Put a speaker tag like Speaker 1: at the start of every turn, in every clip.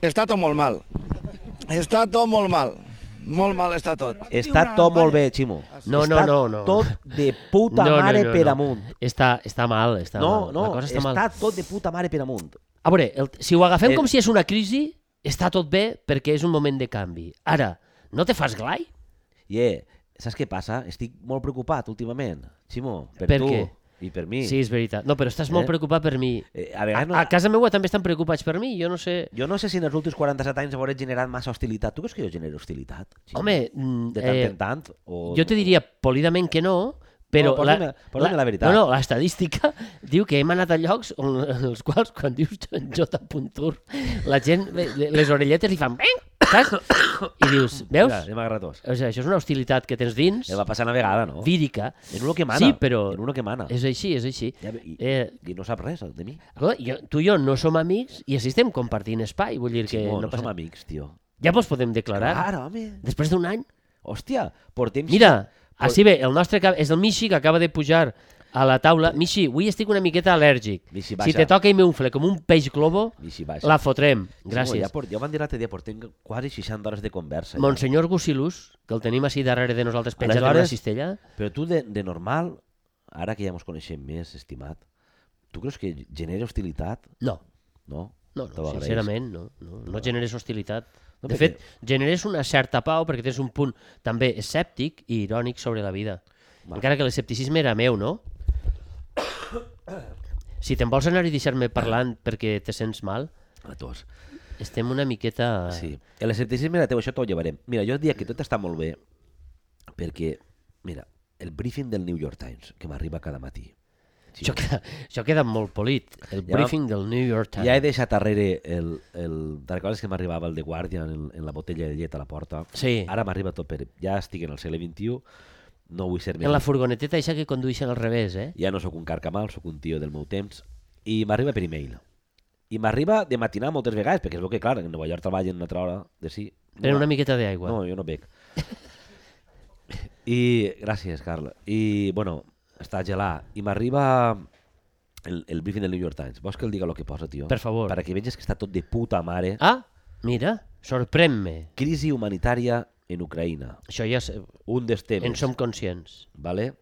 Speaker 1: Està tot molt mal. Està tot molt mal. Molt mal està tot.
Speaker 2: Està tot molt bé, Ximo.
Speaker 3: No, no,
Speaker 2: Està
Speaker 3: no, no.
Speaker 2: tot de puta mare per amunt.
Speaker 3: Està, està mal, està
Speaker 2: No,
Speaker 3: mal.
Speaker 2: no,
Speaker 3: la cosa
Speaker 2: està,
Speaker 3: està, mal.
Speaker 2: tot de puta mare per amunt.
Speaker 3: A veure, el, si ho agafem
Speaker 2: Eh,
Speaker 3: com si és una crisi, està tot bé perquè és un moment de canvi. Ara, no te fas glai?
Speaker 2: Yeah. Saps què passa? Estic molt preocupat últimament, Ximo, per,
Speaker 3: Per
Speaker 2: tu
Speaker 3: què?
Speaker 2: i per mi.
Speaker 3: Sí, és veritat. No, però estàs molt
Speaker 2: Eh?
Speaker 3: preocupat per mi.
Speaker 2: Eh, a
Speaker 3: A,
Speaker 2: vegades...
Speaker 3: a
Speaker 2: No,
Speaker 3: casa meua també estan preocupats per mi, jo no sé...
Speaker 2: Jo no sé si en els últims 47 anys hauré generat massa hostilitat. Tu creus que jo genero hostilitat? Ximo?
Speaker 3: Home, mm,
Speaker 2: De tant
Speaker 3: eh,
Speaker 2: en tant? O...
Speaker 3: Jo te diria polidament que no, però...
Speaker 2: No, posa-me- posa-me la veritat.
Speaker 3: No, no, l'estadística diu que hem anat a llocs on, en els quals, quan dius J. Puntur, la gent, le- le- les orelletes li fan... "Bing", Saps? I dius, veus?
Speaker 2: Mira, anem a gratós.
Speaker 3: O sigui, això és una hostilitat que tens dins,
Speaker 2: Eh, va passar una vegada, no?
Speaker 3: vírica.
Speaker 2: En uno que mana.
Speaker 3: Sí, però-
Speaker 2: En uno que mana.
Speaker 3: És així, és així.
Speaker 2: Ja, i,
Speaker 3: Eh,
Speaker 2: I no sap res de mi.
Speaker 3: escolta, jo, tu i jo no som amics i així estem compartint espai, vull dir que
Speaker 2: Ximo, no,
Speaker 3: no
Speaker 2: som
Speaker 3: passa...
Speaker 2: amics, tio.
Speaker 3: Ja vos podem declarar.
Speaker 2: Clar, home.
Speaker 3: Després d'un any,
Speaker 2: Hòstia, portem...
Speaker 3: Mira, així bé, el nostre cap, és el Michi que acaba de pujar a la taula. Michi, avui estic una miqueta al·lèrgic.
Speaker 2: Michi,
Speaker 3: si
Speaker 2: baixa.
Speaker 3: te toca i m'unfle com un peix globo,
Speaker 2: I si baixa.
Speaker 3: la fotrem.
Speaker 2: Ximo,
Speaker 3: Gràcies.
Speaker 2: Ja, port, ja van dir l'altre dia, portem quasi 60 hores de conversa. ja.
Speaker 3: Monsenyor Gusilus, que el tenim així darrere de nosaltres penjat en una
Speaker 2: Aleshores-
Speaker 3: cistella,
Speaker 2: Però tu, de, de normal, ara que ja ens coneixem més, estimat, tu creus que genera hostilitat?
Speaker 3: no.
Speaker 2: No?
Speaker 3: No,
Speaker 2: Te
Speaker 3: no
Speaker 2: ho agraeixo.
Speaker 3: sincerament, no, no, no generes hostilitat.
Speaker 2: No,
Speaker 3: De
Speaker 2: perquè-
Speaker 3: fet, generes una certa pau perquè tens un punt també escèptic i irònic sobre la vida.
Speaker 2: Va.
Speaker 3: Encara que l'escepticisme era meu, no? Si te'n vols anar i deixar-me parlant perquè te sents mal,
Speaker 2: A tots.
Speaker 3: Estem una miqueta...
Speaker 2: Sí. L'escepticisme era teu, això t'ho llevarem. Mira, jo diria que tot està molt bé perquè, mira, el briefing del New York Times, que m'arriba cada matí. Sí.
Speaker 3: Això, queda, això queda molt polit. El
Speaker 2: Ja-
Speaker 3: briefing del New York Times.
Speaker 2: Ja he deixat darrere el... el Te'n recordes que m'arribava el de Guardian en, en la botella de llet a la porta?
Speaker 3: Sí.
Speaker 2: Ara m'arriba tot per... Ja estic en el segle XXI, no vull ser més...
Speaker 3: En la furgoneteta això que condueixen al revés, eh?
Speaker 2: Ja no sóc un carcamal, sóc un tio del meu temps. I m'arriba per e-mail. I m'arriba de matinar moltes vegades, perquè és veu que, clar, en Nova York treballen una altra hora de sí.
Speaker 3: Pren una miqueta d'aigua.
Speaker 2: No, jo no bec. I gràcies, Carla. I, bueno, està gelat. I m'arriba el, el briefing del New York Times. Vols que el diga el que posa, tio?
Speaker 3: Per favor.
Speaker 2: Para que veges que està tot de puta mare. Ah.
Speaker 3: Ah, mira, sorprèn-me.
Speaker 2: Crisi humanitària en Ucraïna.
Speaker 3: Això ja se-
Speaker 2: Un dels temes.
Speaker 3: en som conscients.
Speaker 2: Vale?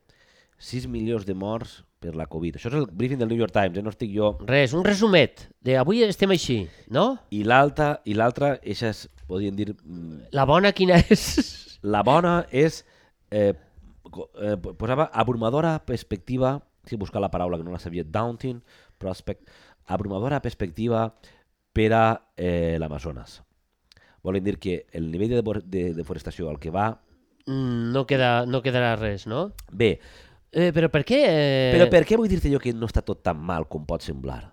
Speaker 2: 6 milions de morts per la Covid. Això és el briefing del New York Times, eh? no estic jo.
Speaker 3: Res, un resumet. De avui estem així, no?
Speaker 2: I l'altra, i l'altra, eixes, podríem dir, mm,
Speaker 3: La bona quina és?
Speaker 2: la bona és, eh, co- eh, po- posava abrumadora perspectiva, si buscar la paraula que no la sabia, daunting, prospect, abrumadora perspectiva per a eh, l'Amazones. Volen dir que el nivell de, devor- de deforestació al que va,
Speaker 3: Mm, No, queda, no quedarà res, no?
Speaker 2: bé,
Speaker 3: Eh, però per què... Eh...
Speaker 2: però per què vull dir-te jo que no està tot tan mal com pot semblar?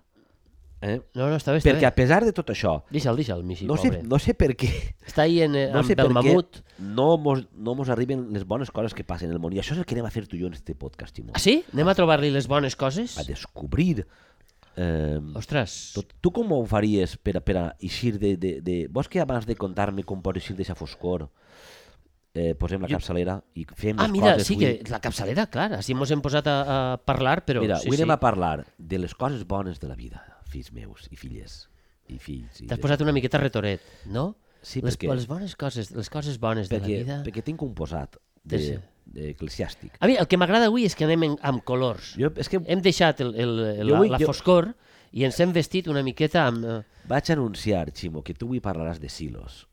Speaker 2: Eh?
Speaker 3: No, no, està bé, està
Speaker 2: Perquè a
Speaker 3: bé.
Speaker 2: pesar de tot això,
Speaker 3: Deixa'l, deixa'l, Michi,
Speaker 2: no sé,
Speaker 3: pobre.
Speaker 2: no sé per què
Speaker 3: Està ahí en, eh,
Speaker 2: no
Speaker 3: amb
Speaker 2: sé per
Speaker 3: el mamut.
Speaker 2: què no mos, no mos arriben les bones coses que passen en el món. I això és el que anem a fer tu i jo en este podcast, Timó.
Speaker 3: Ah, sí? Anem a trobar-li les bones coses?
Speaker 2: A descobrir... Eh,
Speaker 3: Ostres.
Speaker 2: tot, tu com ho faries per, a- per a eixir de, de, de... Vols que abans de contar-me com pots eixir d'aquesta foscor eh, posem la capçalera i fem
Speaker 3: Ah,
Speaker 2: les
Speaker 3: mira,
Speaker 2: coses...
Speaker 3: sí que la capçalera, clar, així mos hem posat a, a parlar, però...
Speaker 2: Mira,
Speaker 3: sí,
Speaker 2: avui
Speaker 3: sí.
Speaker 2: anem a parlar de les coses bones de la vida, fills meus i filles i fills. I
Speaker 3: T'has posat una miqueta retoret, no?
Speaker 2: Sí,
Speaker 3: les,
Speaker 2: perquè-
Speaker 3: les bones coses, les coses bones de
Speaker 2: perquè,
Speaker 3: la vida...
Speaker 2: perquè tinc un posat de,
Speaker 3: Sí.
Speaker 2: de eclesiàstic.
Speaker 3: A mi el que m'agrada avui és que anem en, amb colors.
Speaker 2: Jo, és que
Speaker 3: Hem deixat el, el, el,
Speaker 2: Jo
Speaker 3: la,
Speaker 2: vull-
Speaker 3: la
Speaker 2: jo-
Speaker 3: foscor i ens hem vestit una miqueta amb, eh,
Speaker 2: Vaig anunciar, Ximo, que tu avui parlaràs de silos.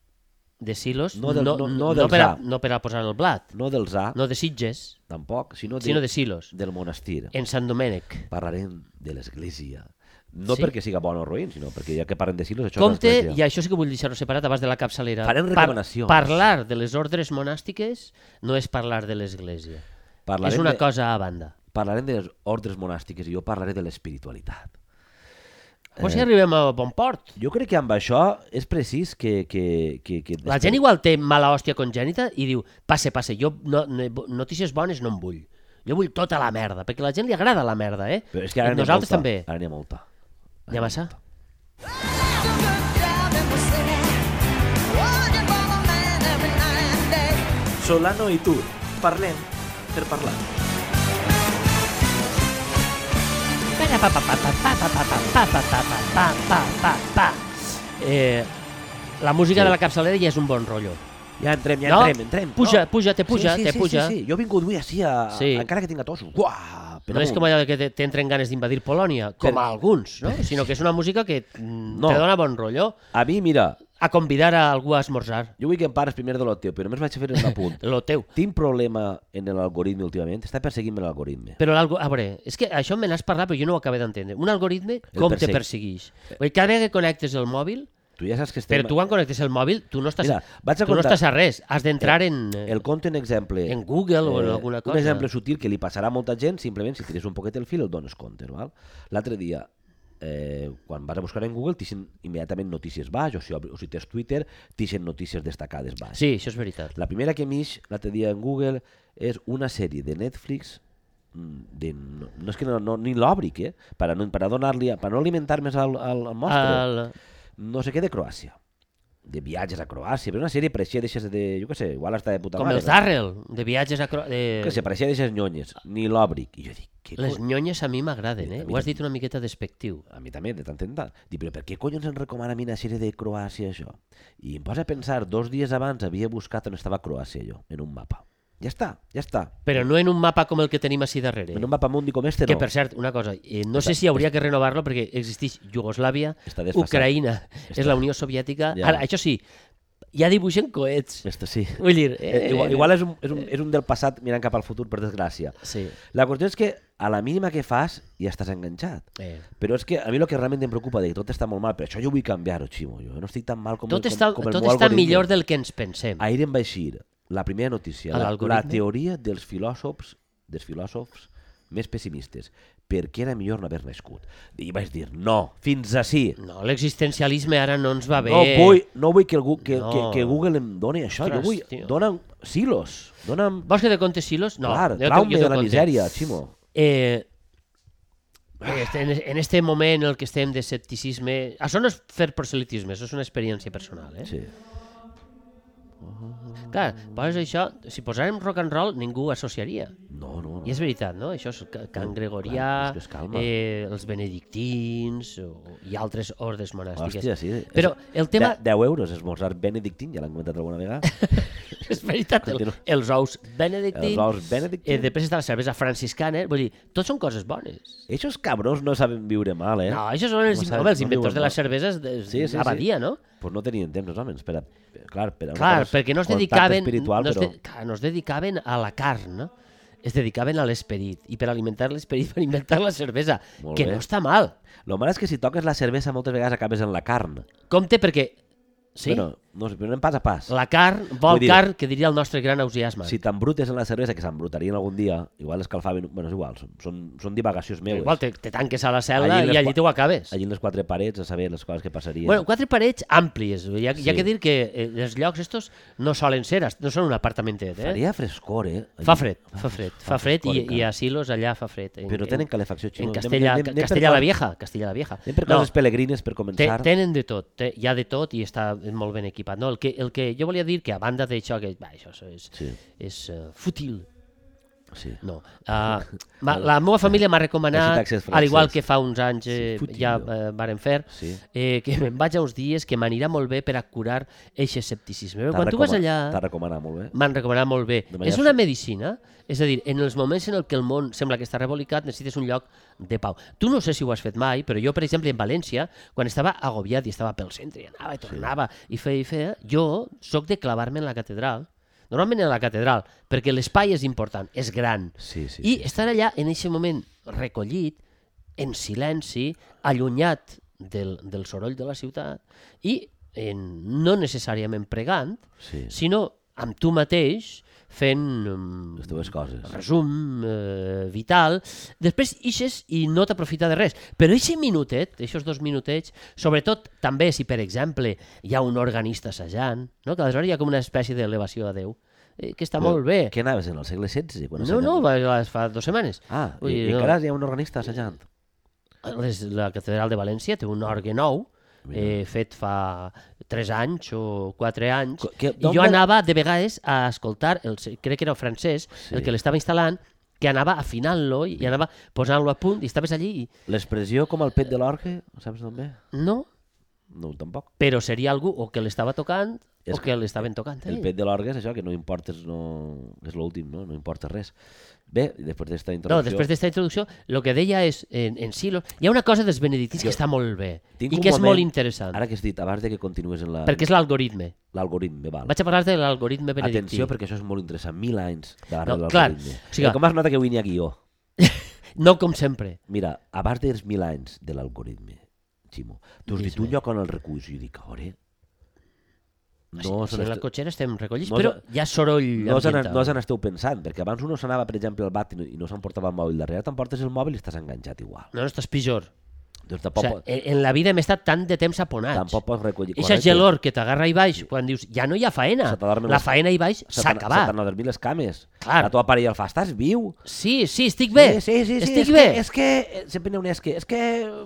Speaker 3: de silos,
Speaker 2: No del- no- no
Speaker 3: no,
Speaker 2: dels
Speaker 3: per a,
Speaker 2: A.
Speaker 3: no per a posar el blat,
Speaker 2: No dels A, no.
Speaker 3: no de sitges,
Speaker 2: tampoc, sinó, de,
Speaker 3: sinó de silos,
Speaker 2: del monestir.
Speaker 3: en Sant Domènec.
Speaker 2: Parlarem de l'església. No sí?
Speaker 3: Sí?
Speaker 2: perquè siga bon o roïn, sinó perquè ja que parlem de silos, això
Speaker 3: Compte,
Speaker 2: és l'església.
Speaker 3: i això sí que vull deixar-ho separat abans de la capçalera.
Speaker 2: Farem recomanacions.
Speaker 3: parlar de les ordres monàstiques no és parlar de l'església. És
Speaker 2: Parlarem
Speaker 3: una
Speaker 2: de-
Speaker 3: cosa a banda.
Speaker 2: Parlarem de les ordres monàstiques i jo parlaré de l'espiritualitat.
Speaker 3: O
Speaker 2: Eh.
Speaker 3: si arribem a bon port.
Speaker 2: Jo crec que amb això és precís que... que, que, que
Speaker 3: La gent igual té mala hòstia congènita i diu, passe, passe, jo no, no, notícies bones no en vull. Jo vull tota la merda, perquè a la gent li agrada la merda, eh?
Speaker 2: Però és que ara n'hi ha
Speaker 3: Nosaltres
Speaker 2: molta.
Speaker 3: també.
Speaker 2: Ara n'hi ha molta.
Speaker 3: Hi ha massa?
Speaker 4: Solano i tu, parlem per parlar.
Speaker 3: Eh, La música
Speaker 2: Sí.
Speaker 3: de la capçalera ja és un bon rotllo.
Speaker 2: Ja entrem, ja
Speaker 3: No?
Speaker 2: entrem, entrem.
Speaker 3: Puja,
Speaker 2: no?
Speaker 3: puja, te puja,
Speaker 2: sí, sí,
Speaker 3: te
Speaker 2: sí,
Speaker 3: puja.
Speaker 2: Sí, sí, Jo he vingut avui així, a...
Speaker 3: Sí.
Speaker 2: encara que tinga tossos. Uah,
Speaker 3: No és com allò de que te- t'entren ganes d'invadir Polònia, com
Speaker 2: Però-
Speaker 3: a alguns, no? sinó que és una música que no.
Speaker 2: No.
Speaker 3: te dona bon rotllo
Speaker 2: A mi, mira,
Speaker 3: a convidar a algú a esmorzar.
Speaker 2: jo vull que em pares primer de lo teu, però només vaig fer un apunt.
Speaker 3: Lo teu.
Speaker 2: Tinc problema en l'algoritme últimament, està perseguint-me l'algoritme.
Speaker 3: Però l'algo... A veure, és que això me n'has parlat però jo no ho acabé d'entendre. Un algoritme com te
Speaker 2: persegueix.
Speaker 3: persegueix? Vull dir, Cada vegada que connectes el mòbil,
Speaker 2: Tu ja saps que estem...
Speaker 3: però tu quan connectes el mòbil tu no estàs,
Speaker 2: Mira, vaig a
Speaker 3: tu no
Speaker 2: contar- Eh,
Speaker 3: estàs a res, has d'entrar en... eh,
Speaker 2: El conto un exemple... eh,
Speaker 3: En Google o en alguna cosa.
Speaker 2: Un exemple sutil que li passarà a molta gent, simplement si tires un poquet el fil el dones compte. val? L'altre dia, eh, quan vas a buscar en Google, t'ixen immediatament notícies baix, o si, obri- o si tens Twitter, t'ixen notícies destacades baix.
Speaker 3: Sí, això és veritat.
Speaker 2: La primera que m'ix l'altre dia en Google és una sèrie de Netflix mm, de, no, no és que no, no ni l'òbric, eh? Per a no, per a donar-li, per a no alimentar més al, al, al mostre.
Speaker 3: El...
Speaker 2: No sé què de Croàcia. De viatges a Croàcia, però una sèrie pareixia d'aixes de... Jo què sé, igual està de puta
Speaker 3: Com
Speaker 2: mare.
Speaker 3: el Darrell, de viatges a... Cro... De...
Speaker 2: Que se pareixia d'aixes nyonyes, ni l'òbric. I jo dic, què
Speaker 3: Les
Speaker 2: cony...
Speaker 3: nyonyes a mi m'agraden, eh?
Speaker 2: A mi
Speaker 3: Ho has
Speaker 2: també.
Speaker 3: dit una miqueta despectiu.
Speaker 2: A mi també, de tant en tant. Dic, però per què collons em recomana a mi una sèrie de Croàcia, això? I em posa a pensar, dos dies abans havia buscat on estava Croàcia, jo, en un mapa. Ja està, ja està.
Speaker 3: Però no en un mapa com el que tenim així darrere.
Speaker 2: En un mapa mundi com este,
Speaker 3: Que,
Speaker 2: no.
Speaker 3: per cert, una cosa, eh, no sé
Speaker 2: Està-
Speaker 3: si hauria que renovar-lo perquè existeix Iugoslàvia,
Speaker 2: Està desfasat.
Speaker 3: Ucraïna, és
Speaker 2: Està-
Speaker 3: la Unió Soviètica...
Speaker 2: Ja.
Speaker 3: Ara, això sí, ja dibuixen coets.
Speaker 2: Este sí.
Speaker 3: Vull dir...
Speaker 2: Eh, igual, igual és, un, és, un, és un del passat mirant cap al futur, per desgràcia.
Speaker 3: Sí.
Speaker 2: La qüestió és que a la mínima que fas ja estàs enganxat.
Speaker 3: Eh.
Speaker 2: Però és que a mi el que realment em preocupa de que tot està molt mal, però això jo vull canviar-ho, Ximo. Jo no estic tan mal com
Speaker 3: Tot
Speaker 2: el, com,
Speaker 3: està,
Speaker 2: com el
Speaker 3: tot
Speaker 2: meu
Speaker 3: està
Speaker 2: algoritme.
Speaker 3: millor del que ens pensem.
Speaker 2: Ahir em va eixir la primera notícia,
Speaker 3: A
Speaker 2: la, la
Speaker 3: l'algoritme?
Speaker 2: teoria dels filòsofs, dels filòsofs més pessimistes. Per què era millor no haver nascut? I vaig dir, no, fins així.
Speaker 3: No, l'existencialisme ara no ens va Ah, bé.
Speaker 2: No vull, no vull que, el, Gu- que,
Speaker 3: No.
Speaker 2: no. que, que Google em doni això.
Speaker 3: Ostres,
Speaker 2: jo vull...
Speaker 3: tio.
Speaker 2: Dona'm silos. Dona'm...
Speaker 3: Vols que te contes silos? No,
Speaker 2: Clar,
Speaker 3: jo te-
Speaker 2: traume
Speaker 3: jo te
Speaker 2: de la
Speaker 3: conte.
Speaker 2: misèria, Ximo.
Speaker 3: Eh, bé, este- en, en este moment en el que estem de escepticisme... Això no és fer proselitisme, això és una experiència personal. Eh?
Speaker 2: Sí.
Speaker 3: Clar, poses això... Si posàrem rock and roll, ningú associaria.
Speaker 2: No, no, no.
Speaker 3: I és veritat, no? Això és ca- Can
Speaker 2: No,
Speaker 3: Gregorià,
Speaker 2: Mm, clar, és que es calma.
Speaker 3: eh, els benedictins o, i altres ordes monàstiques.
Speaker 2: Hòstia, sí.
Speaker 3: Però el tema...
Speaker 2: De, 10 euros esmorzar benedictín, ja l'han comentat alguna vegada.
Speaker 3: És veritat, el,
Speaker 2: Continua.
Speaker 3: els ous benedictins...
Speaker 2: Els ous
Speaker 3: Eh,
Speaker 2: benedictín.
Speaker 3: després està la cervesa franciscana, eh? vull dir, tot són coses bones.
Speaker 2: Eixos cabrons no saben viure mal, eh?
Speaker 3: No, això són els,
Speaker 2: No
Speaker 3: no
Speaker 2: saben-
Speaker 3: home, els
Speaker 2: no
Speaker 3: inventors
Speaker 2: diuen
Speaker 3: de les
Speaker 2: no.
Speaker 3: cerveses de sí,
Speaker 2: Sí, sí, sí.
Speaker 3: abadia, no?
Speaker 2: Pues no tenien temps, els homes. Per a, clar, per a una
Speaker 3: Clar,
Speaker 2: cosa és
Speaker 3: perquè no es
Speaker 2: contacte
Speaker 3: dedicaven,
Speaker 2: Espiritual,
Speaker 3: no, es
Speaker 2: però...
Speaker 3: de, clar, no es dedicaven a la carn, no? es dedicaven a l'esperit. I per alimentar l'esperit van inventar la cervesa,
Speaker 2: Molt
Speaker 3: que
Speaker 2: bé.
Speaker 3: no està mal.
Speaker 2: Lo mal és que si toques la cervesa moltes vegades acabes en la carn.
Speaker 3: Compte perquè... Sí?
Speaker 2: Bueno, no sé, però anem pas a pas.
Speaker 3: La carn vol
Speaker 2: Vull dir-
Speaker 3: carn, que diria el nostre gran ausiasme.
Speaker 2: Si t'embrutes en la cervesa, que s'embrutarien algun dia, igual escalfaven... Bueno, és igual, són, són, són divagacions meues.
Speaker 3: Igual te, te tanques a la cel·la
Speaker 2: Allí les
Speaker 3: i allí
Speaker 2: pa-
Speaker 3: t'ho acabes.
Speaker 2: Allí en les quatre parets, a saber les coses que passarien.
Speaker 3: Bueno, quatre parets àmplies. Hi ha, hi ha
Speaker 2: Sí.
Speaker 3: que dir que eh, els llocs estos no solen ser, no són un apartamentet. Eh?
Speaker 2: Faria frescor, eh? Allí-
Speaker 3: Fa fred, fa fred, fa fred i,
Speaker 2: frescor,
Speaker 3: i
Speaker 2: encara.
Speaker 3: a Silos allà fa fred. En,
Speaker 2: Però tenen calefacció
Speaker 3: en,
Speaker 2: xino.
Speaker 3: en Castella,
Speaker 2: anem, anem, anem per
Speaker 3: Castella la
Speaker 2: cos-
Speaker 3: Vieja, Castella la Vieja.
Speaker 2: Anem per
Speaker 3: No,
Speaker 2: coses pelegrines per
Speaker 3: te,
Speaker 2: començar.
Speaker 3: tenen de tot, te, hi ha de tot i està molt ben equipat. No, el, que, el que jo volia dir que a banda d'això, que va, això és,
Speaker 2: Sí,
Speaker 3: és uh, fútil,
Speaker 2: sí.
Speaker 3: no. Uh, ma, la meva família m'ha recomanat,
Speaker 2: taxes
Speaker 3: al igual
Speaker 2: francès.
Speaker 3: que fa uns anys eh,
Speaker 2: fútil,
Speaker 3: ja
Speaker 2: no?
Speaker 3: eh, varen fer,
Speaker 2: sí.
Speaker 3: eh, que me'n vaig a uns dies que m'anirà molt bé per a curar eixe escepticisme. Però
Speaker 2: T'ha
Speaker 3: Quan tu vas
Speaker 2: recoma-
Speaker 3: allà...
Speaker 2: T'ha recomanat molt eh? bé.
Speaker 3: M'han recomanat molt bé.
Speaker 2: De
Speaker 3: És
Speaker 2: manera
Speaker 3: una medicina, és a dir, en els moments en el que el món sembla que està rebolicat, necessites un lloc de pau. Tu no sé si ho has fet mai, però jo, per exemple, en València, quan estava agobiat i estava pel centre, i anava i tornava, i feia i feia, jo sóc de clavar-me en la catedral, normalment en la catedral, perquè l'espai és important, és gran.
Speaker 2: Sí, sí.
Speaker 3: I estar allà, en aquest moment, recollit, en silenci, allunyat del, del soroll de la ciutat, i en, no necessàriament pregant,
Speaker 2: sí. sí.
Speaker 3: sinó amb tu mateix fent um,
Speaker 2: Les dues coses.
Speaker 3: resum eh, vital, després ixes i no t'aprofita de res. Però eixe minutet, aquests dos minutets, sobretot també si, per exemple, hi ha un organista assajant, no? que aleshores hi ha com una espècie d'elevació a Déu, eh, que està
Speaker 2: Però
Speaker 3: molt bé.
Speaker 2: Què anaves en el segle XVI? Quan
Speaker 3: No, no,
Speaker 2: assajaven?
Speaker 3: va, va- fa dues setmanes.
Speaker 2: Ah,
Speaker 3: Vull
Speaker 2: i,
Speaker 3: dir,
Speaker 2: i
Speaker 3: no.
Speaker 2: encara hi ha un organista assajant.
Speaker 3: Les, la catedral de València té un orgue nou, eh, fet fa 3 anys o 4 anys,
Speaker 2: Co- que-
Speaker 3: i
Speaker 2: d'on
Speaker 3: jo
Speaker 2: va-
Speaker 3: anava de vegades a escoltar, el, se- crec que era el francès, sí. el
Speaker 2: Sí.
Speaker 3: que l'estava instal·lant, que anava afinant-lo i, i anava posant-lo a punt i estaves allí i
Speaker 2: L'expressió com el pet de l'orca, ho saps d'on ve?
Speaker 3: no,
Speaker 2: no tampoc.
Speaker 3: Però seria algú o que l'estava tocant
Speaker 2: És
Speaker 3: o que l'estaven tocant.
Speaker 2: El
Speaker 3: Eh?
Speaker 2: pet de l'orgue és això, que no importes, no... és l'últim, no? no importa res. Bé, i després d'esta
Speaker 3: No,
Speaker 2: introducció...
Speaker 3: després d'esta introducció, el que deia és, en, en Silos, hi ha una cosa dels benedictins
Speaker 2: Jo-
Speaker 3: que està molt bé i
Speaker 2: Tinc un
Speaker 3: que és molt
Speaker 2: moment-
Speaker 3: interessant,
Speaker 2: Ara que has dit, abans de que continues en la-
Speaker 3: perquè és l'algoritme.
Speaker 2: l'algoritme, val.
Speaker 3: Vaig a parlar de l'algoritme benedictí.
Speaker 2: Atenció, perquè això és molt interessant. Mil anys darrere
Speaker 3: No,
Speaker 2: no,
Speaker 3: clar,
Speaker 2: l'algoritme.
Speaker 3: o sigui,
Speaker 2: Eh, Com has notat que avui n'hi ha guió?
Speaker 3: No com sempre.
Speaker 2: Mira, abans dels mil anys de l'algoritme, Ximo, tu has dit
Speaker 3: Dis-me.
Speaker 2: un lloc on el reculls, i jo dic, a veure...
Speaker 3: No,
Speaker 2: se
Speaker 3: si, si en la
Speaker 2: n'est-
Speaker 3: cotxera estem recollits,
Speaker 2: no
Speaker 3: no, però
Speaker 2: se-
Speaker 3: hi ha soroll
Speaker 2: no se n'est-
Speaker 3: ambiental.
Speaker 2: no se n'esteu pensant, perquè abans uno s'anava, per exemple, al bat i no, i no s'emportava el mòbil darrere, t'emportes el mòbil i estàs enganxat igual.
Speaker 3: no, no, estàs pitjor.
Speaker 2: Doncs
Speaker 3: O
Speaker 2: tampoc,
Speaker 3: sigui,
Speaker 2: o
Speaker 3: en, en la vida hem estat tant de temps aponats.
Speaker 2: tampoc pots recollir...
Speaker 3: Eixa
Speaker 2: correcte.
Speaker 3: gelor que t'agarra i baix, quan dius, ja no hi ha faena,
Speaker 2: Se t'adormen
Speaker 3: la
Speaker 2: les-
Speaker 3: faena i baix
Speaker 2: Se
Speaker 3: s'ha
Speaker 2: t'han- Se
Speaker 3: acabat.
Speaker 2: t'han adormit les cames.
Speaker 3: Clar.
Speaker 2: La teva parella el fa, estàs viu?
Speaker 3: Sí, sí, estic bé,
Speaker 2: Sí, sí, sí, sí
Speaker 3: estic
Speaker 2: és
Speaker 3: bé.
Speaker 2: Que, és que... eh, Sempre n'hi ha un és que... És que...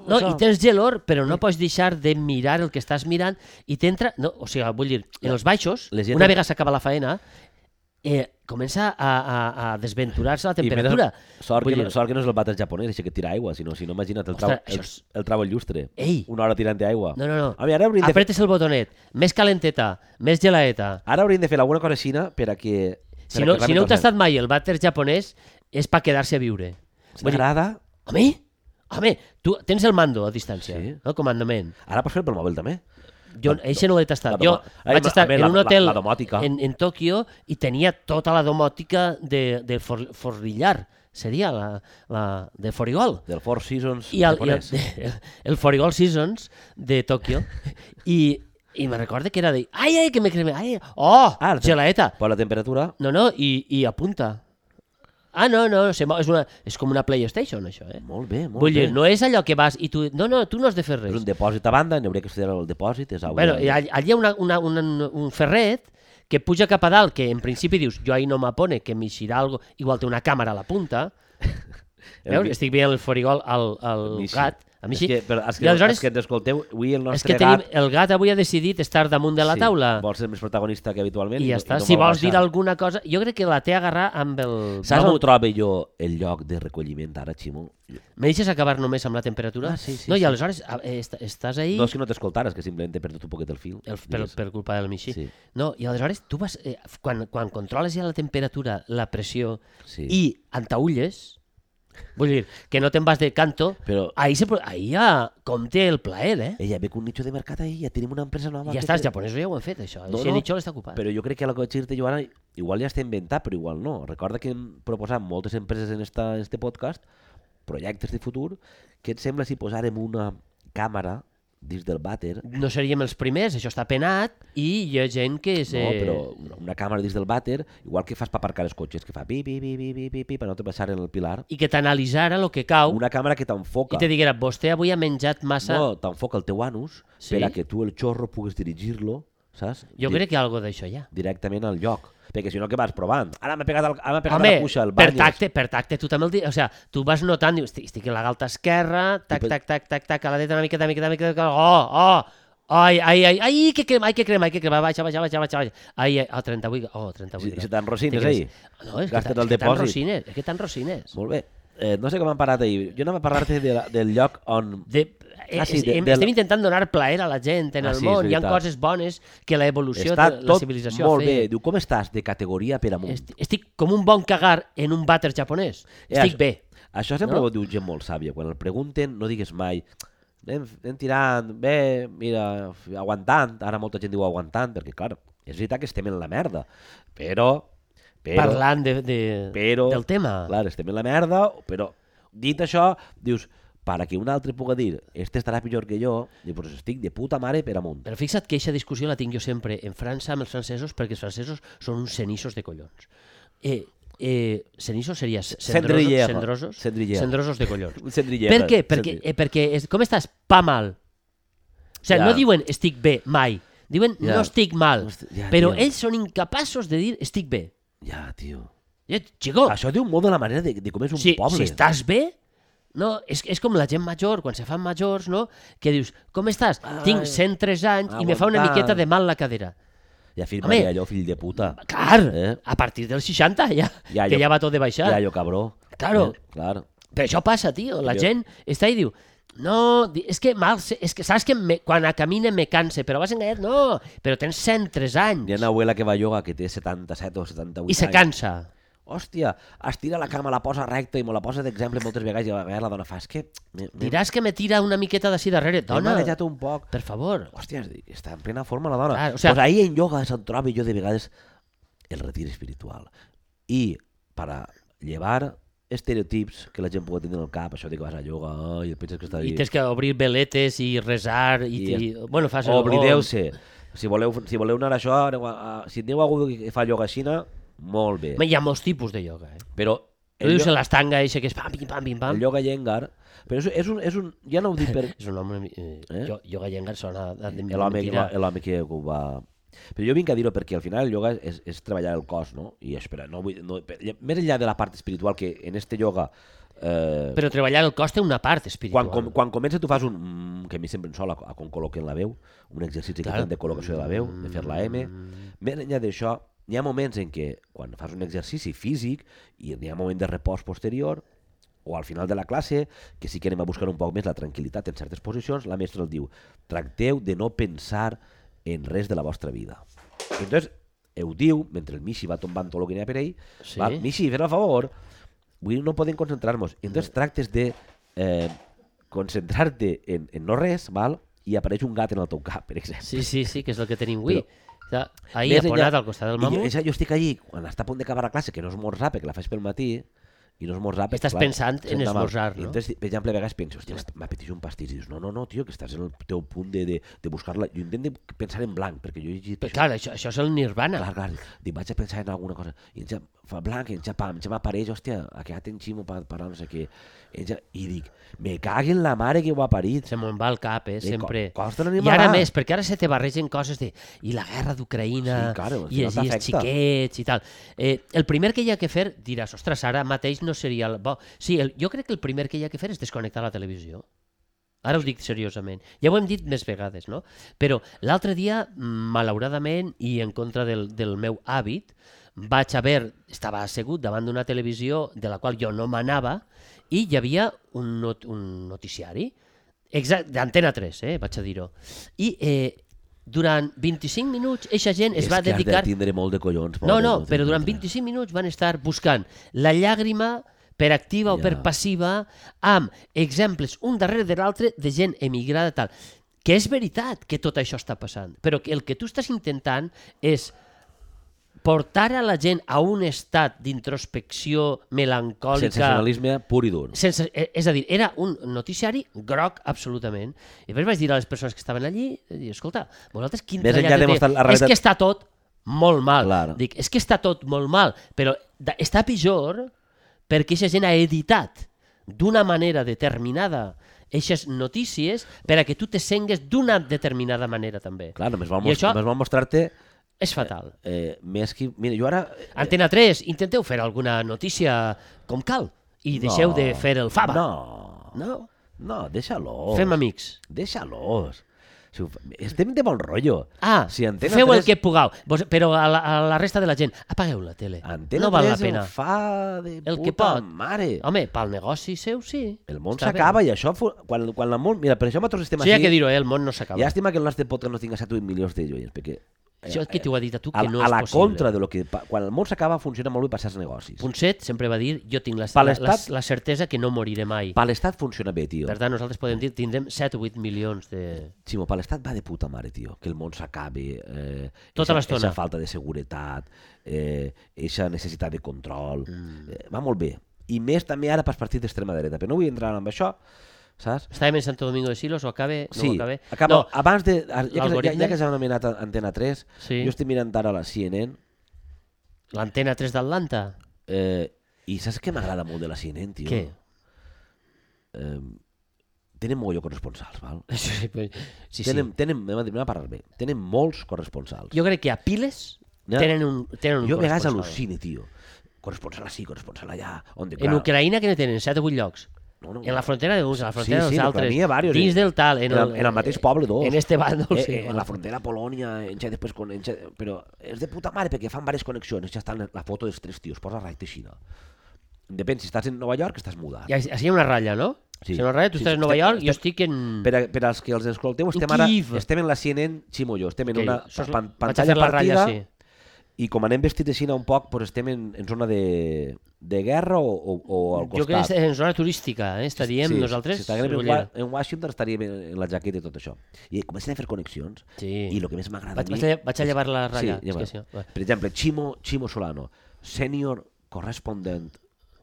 Speaker 3: No,
Speaker 2: això.
Speaker 3: i tens gelor, però no pots deixar de mirar el que estàs mirant i t'entra... No, o sigui, vull dir, en els baixos,
Speaker 2: Les gent-
Speaker 3: una vegada s'acaba la faena, eh, comença a, a, a desventurar-se la
Speaker 2: I mira,
Speaker 3: temperatura.
Speaker 2: Sort que,
Speaker 3: Vull
Speaker 2: no,
Speaker 3: dir-
Speaker 2: sort que no és el vàter japonès, això que tira aigua, sinó, si no, imagina't, el trau,
Speaker 3: Ostres, això
Speaker 2: el,
Speaker 3: és-
Speaker 2: el trau el llustre.
Speaker 3: Ei!
Speaker 2: Una hora tirant d'aigua.
Speaker 3: No, no, no.
Speaker 2: A mi, ara hauríem, de fer,
Speaker 3: Apretes el botonet, més calenteta, més gelaeta.
Speaker 2: ara hauríem de fer alguna cosa així per a que...
Speaker 3: Si no, si no heu tastat mai el vàter japonès, és per quedar-se a viure. Vull dir,
Speaker 2: M'agrada.
Speaker 3: home, home, tu tens el mando a distància,
Speaker 2: Sí.
Speaker 3: el comandament.
Speaker 2: Ara pots fer pel mòbil, també.
Speaker 3: Jo eixe no l'he
Speaker 2: La
Speaker 3: tastat. Jo
Speaker 2: domo- a
Speaker 3: vaig
Speaker 2: mi-
Speaker 3: estar
Speaker 2: a mi
Speaker 3: en
Speaker 2: la-
Speaker 3: un
Speaker 2: la-
Speaker 3: hotel
Speaker 2: la domòtica.
Speaker 3: en, en Tòquio i tenia tota la domòtica de, de for, forrillar, seria la, la de forigol.
Speaker 2: Del Four Seasons
Speaker 3: I el, i
Speaker 2: japonès.
Speaker 3: el, el Forigol Seasons de Tòquio. I, i me recorda que era de... Ai, ai, que me creme... Ai,
Speaker 2: Ah,
Speaker 3: oh, ah,
Speaker 2: el te-
Speaker 3: gelaeta.
Speaker 2: Però la temperatura...
Speaker 3: No, no, i, i apunta. Ah, no, no, se mo- és, una, és com una PlayStation, això, eh?
Speaker 2: Molt bé, molt
Speaker 3: Vull
Speaker 2: bé.
Speaker 3: dir, no és allò que vas i tu... No, no, tu no has de fer
Speaker 2: És un
Speaker 3: res.
Speaker 2: depòsit a banda, n'hauria que estudiar el depòsit. És
Speaker 3: Bueno, i all- allí hi ha una, una, una, un ferret que puja cap a dalt, que en principi dius, jo ahí no m'apone, que m'eixirà algo... Igual té una càmera a la punta. Veus? Estic veient el forigol al, al gat. A mi sí.
Speaker 2: És que, però, és que,
Speaker 3: I aleshores-
Speaker 2: és que ens escolteu, avui el
Speaker 3: És
Speaker 2: nostre
Speaker 3: que
Speaker 2: gat...
Speaker 3: tenim, el gat avui ha decidit estar damunt de la
Speaker 2: sí,
Speaker 3: taula
Speaker 2: Vol ser més protagonista que habitualment.
Speaker 3: i ja
Speaker 2: no-
Speaker 3: està.
Speaker 2: no
Speaker 3: Si
Speaker 2: vol
Speaker 3: vols dir
Speaker 2: baixar.
Speaker 3: alguna cosa... Jo crec que la té a agarrar amb el...
Speaker 2: Saps on
Speaker 3: mamut.
Speaker 2: trobo jo el lloc de recolliment ara, Ximo?
Speaker 3: Me deixes acabar només amb la temperatura?
Speaker 2: Ah, sí, sí,
Speaker 3: no,
Speaker 2: sí.
Speaker 3: i aleshores a- eh, est estàs ahí
Speaker 2: No és que no t'escoltares, que simplement he perdut un poquet el fil.
Speaker 3: el, per,
Speaker 2: digues.
Speaker 3: per culpa del Michi.
Speaker 2: Sí.
Speaker 3: No, i aleshores tu vas... Eh, quan, quan controles ja la temperatura, la pressió
Speaker 2: Sí.
Speaker 3: i entaulles, vull dir, que no te'n vas de canto,
Speaker 2: Però-
Speaker 3: ahí, se, pro- ahí ja compte el plaer, eh?
Speaker 2: Ella ve con un nicho de mercat ahí, ja tenim una empresa nova.
Speaker 3: I
Speaker 2: que-
Speaker 3: ja està, els japonesos ja ho han fet, això.
Speaker 2: No,
Speaker 3: No, si
Speaker 2: no,
Speaker 3: no, està ocupat.
Speaker 2: Però jo crec que la Cochirte jo ara igual ja està inventat, però igual no. Recorda que hem proposat moltes empreses en, esta, en este podcast projectes de futur. Què et sembla si posàrem una càmera dins del vàter
Speaker 3: no seríem els primers, això està penat, i hi ha gent que és...
Speaker 2: No,
Speaker 3: eh,
Speaker 2: però una- una càmera dins del vàter, igual que fas per aparcar els cotxes, que fa pi, pi, pi, pi, pi, pi, pi per no travessar en el pilar.
Speaker 3: I que t'analitzara el que cau una...
Speaker 2: Una càmera que t'enfoca.
Speaker 3: i te diguera, vostè avui ha menjat massa... No.
Speaker 2: No, t'enfoca el teu anus
Speaker 3: Sí?
Speaker 2: per a que tu el xorro puguis dirigir-lo, saps?
Speaker 3: Jo
Speaker 2: Di-
Speaker 3: crec que algo d'això hi ha.
Speaker 2: Directament al lloc. Perquè si no, què vas provant? Ara m'ha pegat, el, ara m'ha pegat
Speaker 3: Home,
Speaker 2: la cuixa, el
Speaker 3: per
Speaker 2: banyes.
Speaker 3: tacte, per tacte, tu també el dius. O sigui, tu vas notant, dius, "Hosti, estic en la galta esquerra, tac,
Speaker 2: I pe-
Speaker 3: tac, tac, tac, tac, a la dreta una miqueta, una miqueta, una miqueta, oh, oh, ai, ai, ai, ai, que crema, ai, que crema, ai, que crema, baixa, baixa, baixa, baixa, baixa. Ai, ai, oh, 38, oh, 38.
Speaker 2: Si, si
Speaker 3: graus.
Speaker 2: t'enrocines
Speaker 3: Te
Speaker 2: ahir.
Speaker 3: creus- No, és que,
Speaker 2: Gastes
Speaker 3: tan-
Speaker 2: el
Speaker 3: és que tan
Speaker 2: depòsit.
Speaker 3: rosines, és que tan rosines.
Speaker 2: Molt bé. Eh, no sé com han parat ahir. Jo anava a parlar-te de la, del lloc on...
Speaker 3: De, ah,
Speaker 2: sí,
Speaker 3: sí,
Speaker 2: de-
Speaker 3: de, hem,
Speaker 2: del-
Speaker 3: Estem intentant donar plaer a la gent en
Speaker 2: Ah,
Speaker 3: el
Speaker 2: sí, és
Speaker 3: món. Hi ha
Speaker 2: veritat.
Speaker 3: coses bones que la evolució
Speaker 2: Està
Speaker 3: de la
Speaker 2: tot
Speaker 3: civilització
Speaker 2: molt
Speaker 3: ha fet.
Speaker 2: bé. Diu, com estàs de categoria per amunt?
Speaker 3: Estic, estic com un bon cagar en un vàter japonès.
Speaker 2: Eh,
Speaker 3: Estic
Speaker 2: això-
Speaker 3: bé.
Speaker 2: Això sempre
Speaker 3: No?
Speaker 2: ho diu gent molt sàvia. Quan el pregunten, no digues mai anem, anem tirant, bé, mira, f- aguantant. Ara molta gent diu aguantant, perquè, clar, és veritat que estem en la merda. Però, però,
Speaker 3: Parlant de, de,
Speaker 2: però
Speaker 3: del tema.
Speaker 2: clar, estem en la merda, però dit això, dius, para que un altre puga dir, este estarà millor que jo, diu, pues estic de puta mare per amunt.
Speaker 3: Però fixa't que aquesta discussió la tinc jo sempre en França amb els francesos perquè els francesos són uns cenissos de collons. Eh, eh, cenissos seria cendrosos,
Speaker 2: Cendrillero.
Speaker 3: cendrosos,
Speaker 2: Cendrillero.
Speaker 3: cendrosos de collons.
Speaker 2: Un cendriller.
Speaker 3: Per què? Perquè, eh, perquè és, com estàs? Pa mal. O sigui,
Speaker 2: Ja.
Speaker 3: no diuen estic bé mai. Diuen
Speaker 2: Ja.
Speaker 3: no estic mal.
Speaker 2: Hosti- ja,
Speaker 3: però
Speaker 2: tio.
Speaker 3: ells són incapaços de dir estic bé.
Speaker 2: Ja, tio.
Speaker 3: Eh, Xicó,
Speaker 2: Això diu molt de la manera de, de com és un
Speaker 3: si,
Speaker 2: poble.
Speaker 3: si estàs bé, no, és, és com la gent major, quan se fan majors, no? que dius, com estàs? Tinc 103 anys i me fa una
Speaker 2: aguantant.
Speaker 3: miqueta de mal la cadera.
Speaker 2: I
Speaker 3: Home.
Speaker 2: afirmaria allò, fill de puta.
Speaker 3: Clar, eh?
Speaker 2: Eh?
Speaker 3: a partir dels 60 ja,
Speaker 2: Ja,
Speaker 3: ja que
Speaker 2: jo-
Speaker 3: ja va tot de baixar.
Speaker 2: Ja, jo, cabró.
Speaker 3: Claro.
Speaker 2: Eh, clar.
Speaker 3: Però això passa, tio. La
Speaker 2: Jo-
Speaker 3: gent està i diu, No, di- és que, mal, és que saps que me, quan a camine me canse, però vas enganyat, no, però tens 103 anys
Speaker 2: Hi ha una abuela que va a yoga que té 77 o 78
Speaker 3: i se
Speaker 2: anys.
Speaker 3: cansa.
Speaker 2: Hòstia, estira la cama, la posa recta i me la posa d'exemple moltes vegades i a vegades la dona fa, és que... m'he- m'he-
Speaker 3: Diràs que me tira una miqueta d'ací darrere,
Speaker 2: m'he
Speaker 3: dona,
Speaker 2: marejat un poc.
Speaker 3: per favor.
Speaker 2: Hòstia, està en plena forma la dona.
Speaker 3: Clar, o
Speaker 2: o sea...
Speaker 3: sea-
Speaker 2: pues ahir en yoga se'n troba jo de vegades el retir espiritual. I per a llevar estereotips que la gent pugui tindre al cap, això de que vas a yoga oh, i penses que està
Speaker 3: I tens que obrir veletes i resar i...
Speaker 2: I-
Speaker 3: i bueno, fas... el-
Speaker 2: Oblideu-se. Si voleu, si voleu anar a això, aneu a, a, si aneu a algú que fa yoga a Xina, molt bé.
Speaker 3: Home, Hi ha molts tipos de yoga, eh?
Speaker 2: Però
Speaker 3: Tu
Speaker 2: el,
Speaker 3: dius
Speaker 2: yo-
Speaker 3: en l'estanga eixa que és pam, pim, pam, pim, pam.
Speaker 2: el yoga yengar... Però és, és, un, és un... Ja no ho dic per...
Speaker 3: És un home... Eh, eh?
Speaker 2: Eh?
Speaker 3: Jo, yoga Yengar sona de, de, de
Speaker 2: l'home que,
Speaker 3: mentida.
Speaker 2: va- l'home que ho va... Però jo vinc a dir-ho perquè al final el yoga és, és treballar el cos, no? I espera, no vull... No, per- més enllà de la part espiritual, que en este yoga... Eh,
Speaker 3: Però treballar el cos té una part espiritual.
Speaker 2: quan, com, quan comença tu fas un... mm, que a mi sempre em sola a com col·loquen la veu, un exercici
Speaker 3: Clar.
Speaker 2: que fan de col·locació de la veu, de fer la M. Més enllà d'això, hi ha moments en què quan fas un exercici físic i hi ha un moment de repòs posterior o al final de la classe, que sí que anem a buscar un poc més la tranquil·litat en certes posicions, la mestra el diu, tracteu de no pensar en res de la vostra vida. Entonces, ho diu, mentre el Michi va tombant tot el que n'hi ha per ell,
Speaker 3: Sí.
Speaker 2: sí. va, Michi, fes el favor, Vull dir, no podem concentrar-nos. Entonces tractes de eh, concentrar-te en, en no res, val? i apareix un gat en el teu cap, per exemple.
Speaker 3: Sí, sí, sí, que és el que tenim avui.
Speaker 2: Però-
Speaker 3: Però... Ahir
Speaker 2: Més
Speaker 3: ha
Speaker 2: enllà-
Speaker 3: ponat al costat del
Speaker 2: I Jo,
Speaker 3: mamut.
Speaker 2: és- jo estic allí, quan està a punt d'acabar la classe, que no esmorzar, perquè la faig pel matí, i no esmorzar... perquè,
Speaker 3: Estàs
Speaker 2: clar,
Speaker 3: pensant en
Speaker 2: senta mal.
Speaker 3: esmorzar, no?
Speaker 2: I entonces, per exemple, a vegades penso, hòstia, m'est- m'apeteix un pastís, i dius, no, no, no, tio, que estàs en el teu punt de, de, de buscar-la. Jo intento pensar en blanc, perquè jo he llegit...
Speaker 3: Però, clar, això, això és el nirvana.
Speaker 2: Clar, clar, dic, vaig a pensar en alguna cosa. I em ja fa blanc, em ja pam, em ja m'apareix, hòstia, ha quedat en Ximo per, per no sé què. Em ja, I dic, me caguen la mare que ho ha parit.
Speaker 3: Se me'n va al cap, eh,
Speaker 2: Sí, co-
Speaker 3: sempre.
Speaker 2: costa una
Speaker 3: I ara
Speaker 2: animalada.
Speaker 3: més, perquè ara se te barregen coses de... I la guerra d'Ucraïna,
Speaker 2: Sí, claro, al
Speaker 3: i, els,
Speaker 2: final
Speaker 3: i els
Speaker 2: t'afecta.
Speaker 3: xiquets, i tal. Eh, el primer que hi ha que fer, diràs, ostres, ara mateix no seria el bo. Sí, el, jo crec que el primer que hi ha que fer és desconnectar la televisió. Ara ho dic seriosament. Ja ho hem dit més vegades, no? Però l'altre dia, malauradament, i en contra del, del meu hàbit, vaig haver, estava assegut davant d'una televisió de la qual jo no m'anava i hi havia un, not, un noticiari exacte, d'Antena 3, eh, vaig a dir-ho. I eh, durant 25 minuts, eixa gent es va
Speaker 2: que has
Speaker 3: dedicar...
Speaker 2: de tindre molt de collons.
Speaker 3: No,
Speaker 2: pobre,
Speaker 3: no,
Speaker 2: te
Speaker 3: però durant
Speaker 2: encuentres.
Speaker 3: 25 minuts van estar buscant la llàgrima per activa o
Speaker 2: Ja.
Speaker 3: per passiva amb exemples un darrere de l'altre de gent emigrada tal. Que és veritat que tot això està passant, però que el que tu estàs intentant és portar a la gent a un estat d'introspecció melancòlica,
Speaker 2: Sensacionalisme pur i dur.
Speaker 3: sense, eh, és a dir, era un noticiari groc absolutament. I després vaig dir a les persones que estaven allí, eh, dir, escolta, vosaltres quin
Speaker 2: Més enllà
Speaker 3: trellat
Speaker 2: de
Speaker 3: té?
Speaker 2: mostrar la
Speaker 3: És
Speaker 2: realitat-
Speaker 3: que està tot molt mal.
Speaker 2: Claro.
Speaker 3: Dic, és que està tot molt mal, però da- està pitjor perquè aquesta gent ha editat d'una manera determinada aquestes notícies per a que tu te sengues d'una determinada manera també.
Speaker 2: Clar, només
Speaker 3: I
Speaker 2: vol, mos
Speaker 3: això-
Speaker 2: només vol mostrar-te
Speaker 3: És fatal.
Speaker 2: eh, més que... Mira, jo ara... eh,
Speaker 3: Antena 3, intenteu fer alguna notícia com cal i deixeu
Speaker 2: no.
Speaker 3: de fer el fava.
Speaker 2: No,
Speaker 3: no?
Speaker 2: no, deixa-los.
Speaker 3: Fem amics.
Speaker 2: Deixa-los. Si ho fa- Estem de bon rotllo.
Speaker 3: Ah,
Speaker 2: si Antena
Speaker 3: feu
Speaker 2: 3...
Speaker 3: el que pugueu, vos, però a la, a la resta de la gent, apagueu la tele.
Speaker 2: Antena
Speaker 3: no val
Speaker 2: 3
Speaker 3: la pena.
Speaker 2: Em fa de
Speaker 3: El
Speaker 2: puta
Speaker 3: que pot.
Speaker 2: mare.
Speaker 3: Home, pel negoci seu sí.
Speaker 2: El món
Speaker 3: Està bé.
Speaker 2: s'acaba i això, fu- quan, quan el món... Mira, per això nosaltres estem
Speaker 3: Això ja
Speaker 2: així.
Speaker 3: que dir-ho, eh? el món no s'acaba. Ja
Speaker 2: Llàstima que el nostre podcast no tinga 7 o 8 milions de joies, perquè... eh,
Speaker 3: Això que t'ho ha dit a tu, que
Speaker 2: a,
Speaker 3: no
Speaker 2: a
Speaker 3: és
Speaker 2: la
Speaker 3: possible.
Speaker 2: contra de lo que... pa- Quan el món s'acaba funciona molt bé per certs negocis.
Speaker 3: Ponset sempre va dir, jo tinc la,
Speaker 2: Per
Speaker 3: la, la,
Speaker 2: l'estat-
Speaker 3: la certesa que no moriré mai.
Speaker 2: Per l'estat funciona bé, tio.
Speaker 3: Per tant, nosaltres podem dir, tindrem 7 o 8 milions de...
Speaker 2: Ximo, per l'estat va de puta mare, tio, que el món s'acabi. Eh,
Speaker 3: Tota
Speaker 2: eixa-
Speaker 3: l'estona.
Speaker 2: eixa falta de seguretat, eh, eixa necessitat de control. Mm. Eh, va molt bé. I més també ara pels partits d'extrema dreta. Però no vull entrar en això, saps?
Speaker 3: Estàvem en Santo Domingo de Silos, o acabe? No
Speaker 2: sí,
Speaker 3: ho acabe?
Speaker 2: acaba,
Speaker 3: No,
Speaker 2: abans de... ara, Ja que, ja,
Speaker 3: l'algoritme?
Speaker 2: ja que s'ha anomenat Antena 3,
Speaker 3: Sí.
Speaker 2: jo estic mirant ara la CNN
Speaker 3: l'antena 3 d'Atlanta.
Speaker 2: eh, i saps què m'agrada molt de la CNN, tio?
Speaker 3: Què?
Speaker 2: Eh, tenen molt de corresponsals, val?
Speaker 3: Sí, pues, sí, sí.
Speaker 2: tenen, tenen, anem a dir- anem a parlar bé, tenen molts corresponsals.
Speaker 3: Jo crec que a piles
Speaker 2: Ja.
Speaker 3: tenen un, tenen un
Speaker 2: Jo a vegades
Speaker 3: corresponsal.
Speaker 2: al·lucine, tio. Corresponsal ací, corresponsal allà. On de,
Speaker 3: En Ucraïna que ne tenen 7 o 8 llocs.
Speaker 2: No, no,
Speaker 3: en la frontera de uns, en la
Speaker 2: Sí,
Speaker 3: frontera
Speaker 2: sí,
Speaker 3: dels
Speaker 2: en
Speaker 3: eh, altres,
Speaker 2: Ucraïna hi ha varios,
Speaker 3: dins
Speaker 2: eh?
Speaker 3: del tal, en
Speaker 2: en,
Speaker 3: el,
Speaker 2: el, en el mateix poble, dos.
Speaker 3: en este bàndol,
Speaker 2: Eh,
Speaker 3: sí,
Speaker 2: eh, en
Speaker 3: bueno.
Speaker 2: la frontera Polònia, en ja després... Con, en ja, però és de puta mare perquè fan diverses connexions. Ja està la foto dels tres tios, posa recte així. no? Depèn, si estàs en Nova York, estàs mudat.
Speaker 3: I així hi ha una ratlla, no?
Speaker 2: Sí.
Speaker 3: Senyor Raya, tu
Speaker 2: Sí,
Speaker 3: estàs
Speaker 2: sí,
Speaker 3: a Nova
Speaker 2: estem-
Speaker 3: York, jo
Speaker 2: estem-
Speaker 3: estic en...
Speaker 2: Mm. Per, a, per als que els escolteu, estem ara
Speaker 3: Kiev.
Speaker 2: estem en la CNN Ximo i jo. Estem en
Speaker 3: Ok,
Speaker 2: una
Speaker 3: això és-
Speaker 2: pan,
Speaker 3: vaig a
Speaker 2: pantalla
Speaker 3: fer la
Speaker 2: partida
Speaker 3: ratlla,
Speaker 2: ratlla, i com anem vestits de Xina un poc, doncs estem en, en zona de, de guerra o, o, o al
Speaker 3: Jo crec
Speaker 2: costat.
Speaker 3: que és en zona turística, eh? està dient sí, nosaltres.
Speaker 2: Si estàvem en,
Speaker 3: Rivera.
Speaker 2: Wa- en Washington estaríem en, en la jaqueta i tot això. I comencen a fer connexions
Speaker 3: Sí.
Speaker 2: i el que més m'agrada a
Speaker 3: Vaig-
Speaker 2: mi...
Speaker 3: vaig a lle- vaig a
Speaker 2: és-
Speaker 3: llevar la ratlla, és
Speaker 2: Sí, lleva.
Speaker 3: que sí, va.
Speaker 2: Per exemple, Chimo, Chimo Solano, senior correspondent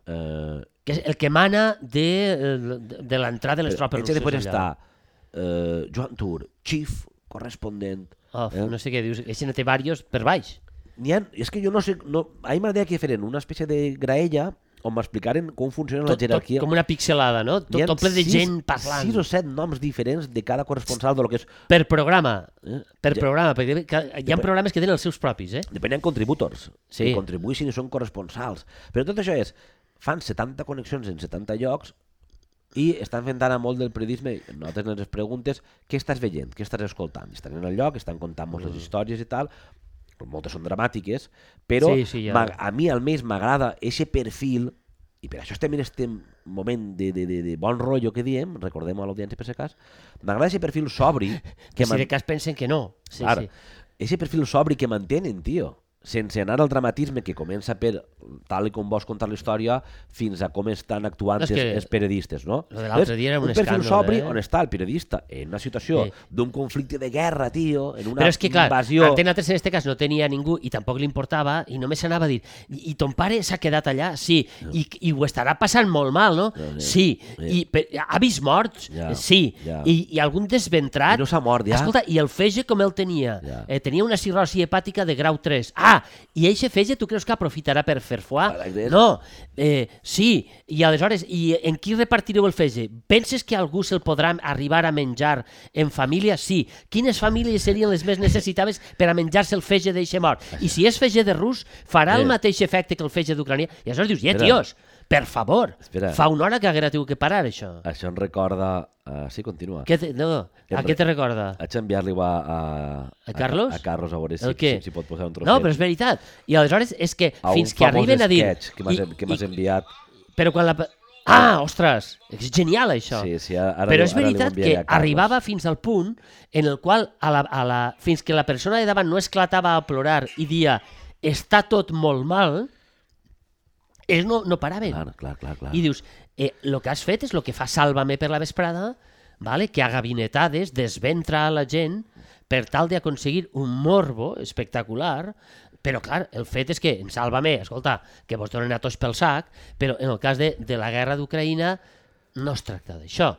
Speaker 2: eh,
Speaker 3: que és el que mana de, eh, de, de l'entrada de les tropes
Speaker 2: Veig que
Speaker 3: russes.
Speaker 2: després
Speaker 3: allà.
Speaker 2: està eh, Joan Tur, chief correspondent.
Speaker 3: Of,
Speaker 2: eh?
Speaker 3: No sé què dius, aquest no té varios per baix.
Speaker 2: N'hi Ha, és que jo no sé... No, a mi m'agradaria que feren una espècie de graella on m'explicaren com funciona la
Speaker 3: Tot, tot,
Speaker 2: jerarquia.
Speaker 3: com una pixelada, no? Tot,
Speaker 2: N'hi ha
Speaker 3: tot ple de
Speaker 2: sis-
Speaker 3: gent parlant.
Speaker 2: Sis o set noms diferents de cada corresponsal de lo que és...
Speaker 3: Per programa,
Speaker 2: Eh?
Speaker 3: per
Speaker 2: Ja-
Speaker 3: programa, perquè ca- hi ha programes que tenen els seus propis, eh?
Speaker 2: Depenen contributors,
Speaker 3: Sí.
Speaker 2: sí. que contribuïssin i són corresponsals. Però tot això és, fan 70 connexions en 70 llocs i estan fent ara molt del periodisme, notes les preguntes, què estàs veient, què estàs escoltant? Estan en el lloc, estan contant moltes mm. històries i tal, moltes són dramàtiques, però
Speaker 3: Sí, sí, ja.
Speaker 2: m'ag- a mi almenys m'agrada aquest perfil i per això estem en este moment de, de, de, de bon rotllo que diem, recordem a l'audiència per si cas, m'agrada aquest perfil sobri
Speaker 3: Que
Speaker 2: que,
Speaker 3: si
Speaker 2: man-
Speaker 3: de cas pensen que no. Sí,
Speaker 2: Clar,
Speaker 3: sí.
Speaker 2: Ese perfil sobri que mantenen, tio. Sense anar al dramatisme que comença per tal i com vols contar la història fins a com estan actuant
Speaker 3: És
Speaker 2: els,
Speaker 3: que
Speaker 2: els periodistes, no?
Speaker 3: lo de l'altre
Speaker 2: Ves?
Speaker 3: dia era un
Speaker 2: perfil
Speaker 3: escàndol,
Speaker 2: sobri
Speaker 3: eh?
Speaker 2: on està el periodista en una situació
Speaker 3: Sí.
Speaker 2: d'un conflicte de guerra, tio, en una
Speaker 3: Però és que, clar,
Speaker 2: invasió...
Speaker 3: Antena 3 en este cas no tenia ningú i tampoc li importava i només s'anava a dir i, i ton pare s'ha quedat allà? Sí. I, I ho estarà passant molt mal, no?
Speaker 2: Ja, ja.
Speaker 3: Sí.
Speaker 2: Ja.
Speaker 3: I per, avis morts?
Speaker 2: Ja,
Speaker 3: Sí.
Speaker 2: ja.
Speaker 3: I, I algun desventrat?
Speaker 2: I no s'ha mort, ja.
Speaker 3: Escolta, i el fege com el tenia?
Speaker 2: Ja.
Speaker 3: Eh, tenia una cirrosi hepàtica de grau 3. Ah, i eixe fege tu creus que aprofitarà per fer foie?
Speaker 2: Correcte.
Speaker 3: No. Eh, sí. I aleshores, i en qui repartireu el fege? Penses que algú se'l podrà arribar a menjar en família? Sí. Quines famílies serien les més necessitades per a menjar-se el fege d'eixe mort? I si és fege de rus, farà
Speaker 2: Eh.
Speaker 3: el mateix efecte que el fege d'Ucrania? I aleshores dius, ja,
Speaker 2: Espera.
Speaker 3: tios, per favor,
Speaker 2: Espera. Ah.
Speaker 3: fa una hora que haguera tingut que parar, això.
Speaker 2: Això em recorda... Uh, sí, continua.
Speaker 3: Què te, no, a
Speaker 2: Em
Speaker 3: què
Speaker 2: re-
Speaker 3: te recorda?
Speaker 2: Haig d'enviar-li a, a,
Speaker 3: A Carlos?
Speaker 2: A, Carlos a veure si,
Speaker 3: El què?
Speaker 2: si, si pot posar un trosset.
Speaker 3: No, però és veritat. I aleshores és que
Speaker 2: A un
Speaker 3: fins que
Speaker 2: famós
Speaker 3: arriben a dir...
Speaker 2: sketch que m'has
Speaker 3: I-
Speaker 2: en- que m'has
Speaker 3: i-
Speaker 2: enviat.
Speaker 3: Però quan la... pa- Ah, ostres! És genial, això.
Speaker 2: Sí, sí, ara, ara
Speaker 3: però
Speaker 2: li-
Speaker 3: és
Speaker 2: ara li ho
Speaker 3: veritat
Speaker 2: enviaré
Speaker 3: que
Speaker 2: a Carlos.
Speaker 3: arribava fins al punt en el qual a la, a la, fins que la persona de davant no esclatava a plorar i dia està tot molt mal, ells no, no paraven.
Speaker 2: Clar, clar, clar. clar.
Speaker 3: I dius, eh, lo que has fet és lo que fa Sálvame per la vesprada, vale? que a gabinetades desventra a la gent per tal d'aconseguir un morbo espectacular, però clar, el fet és que en Sálvame, escolta, que vos donen a tots pel sac, però en el cas de, de la guerra d'Ucraïna no es tracta d'això.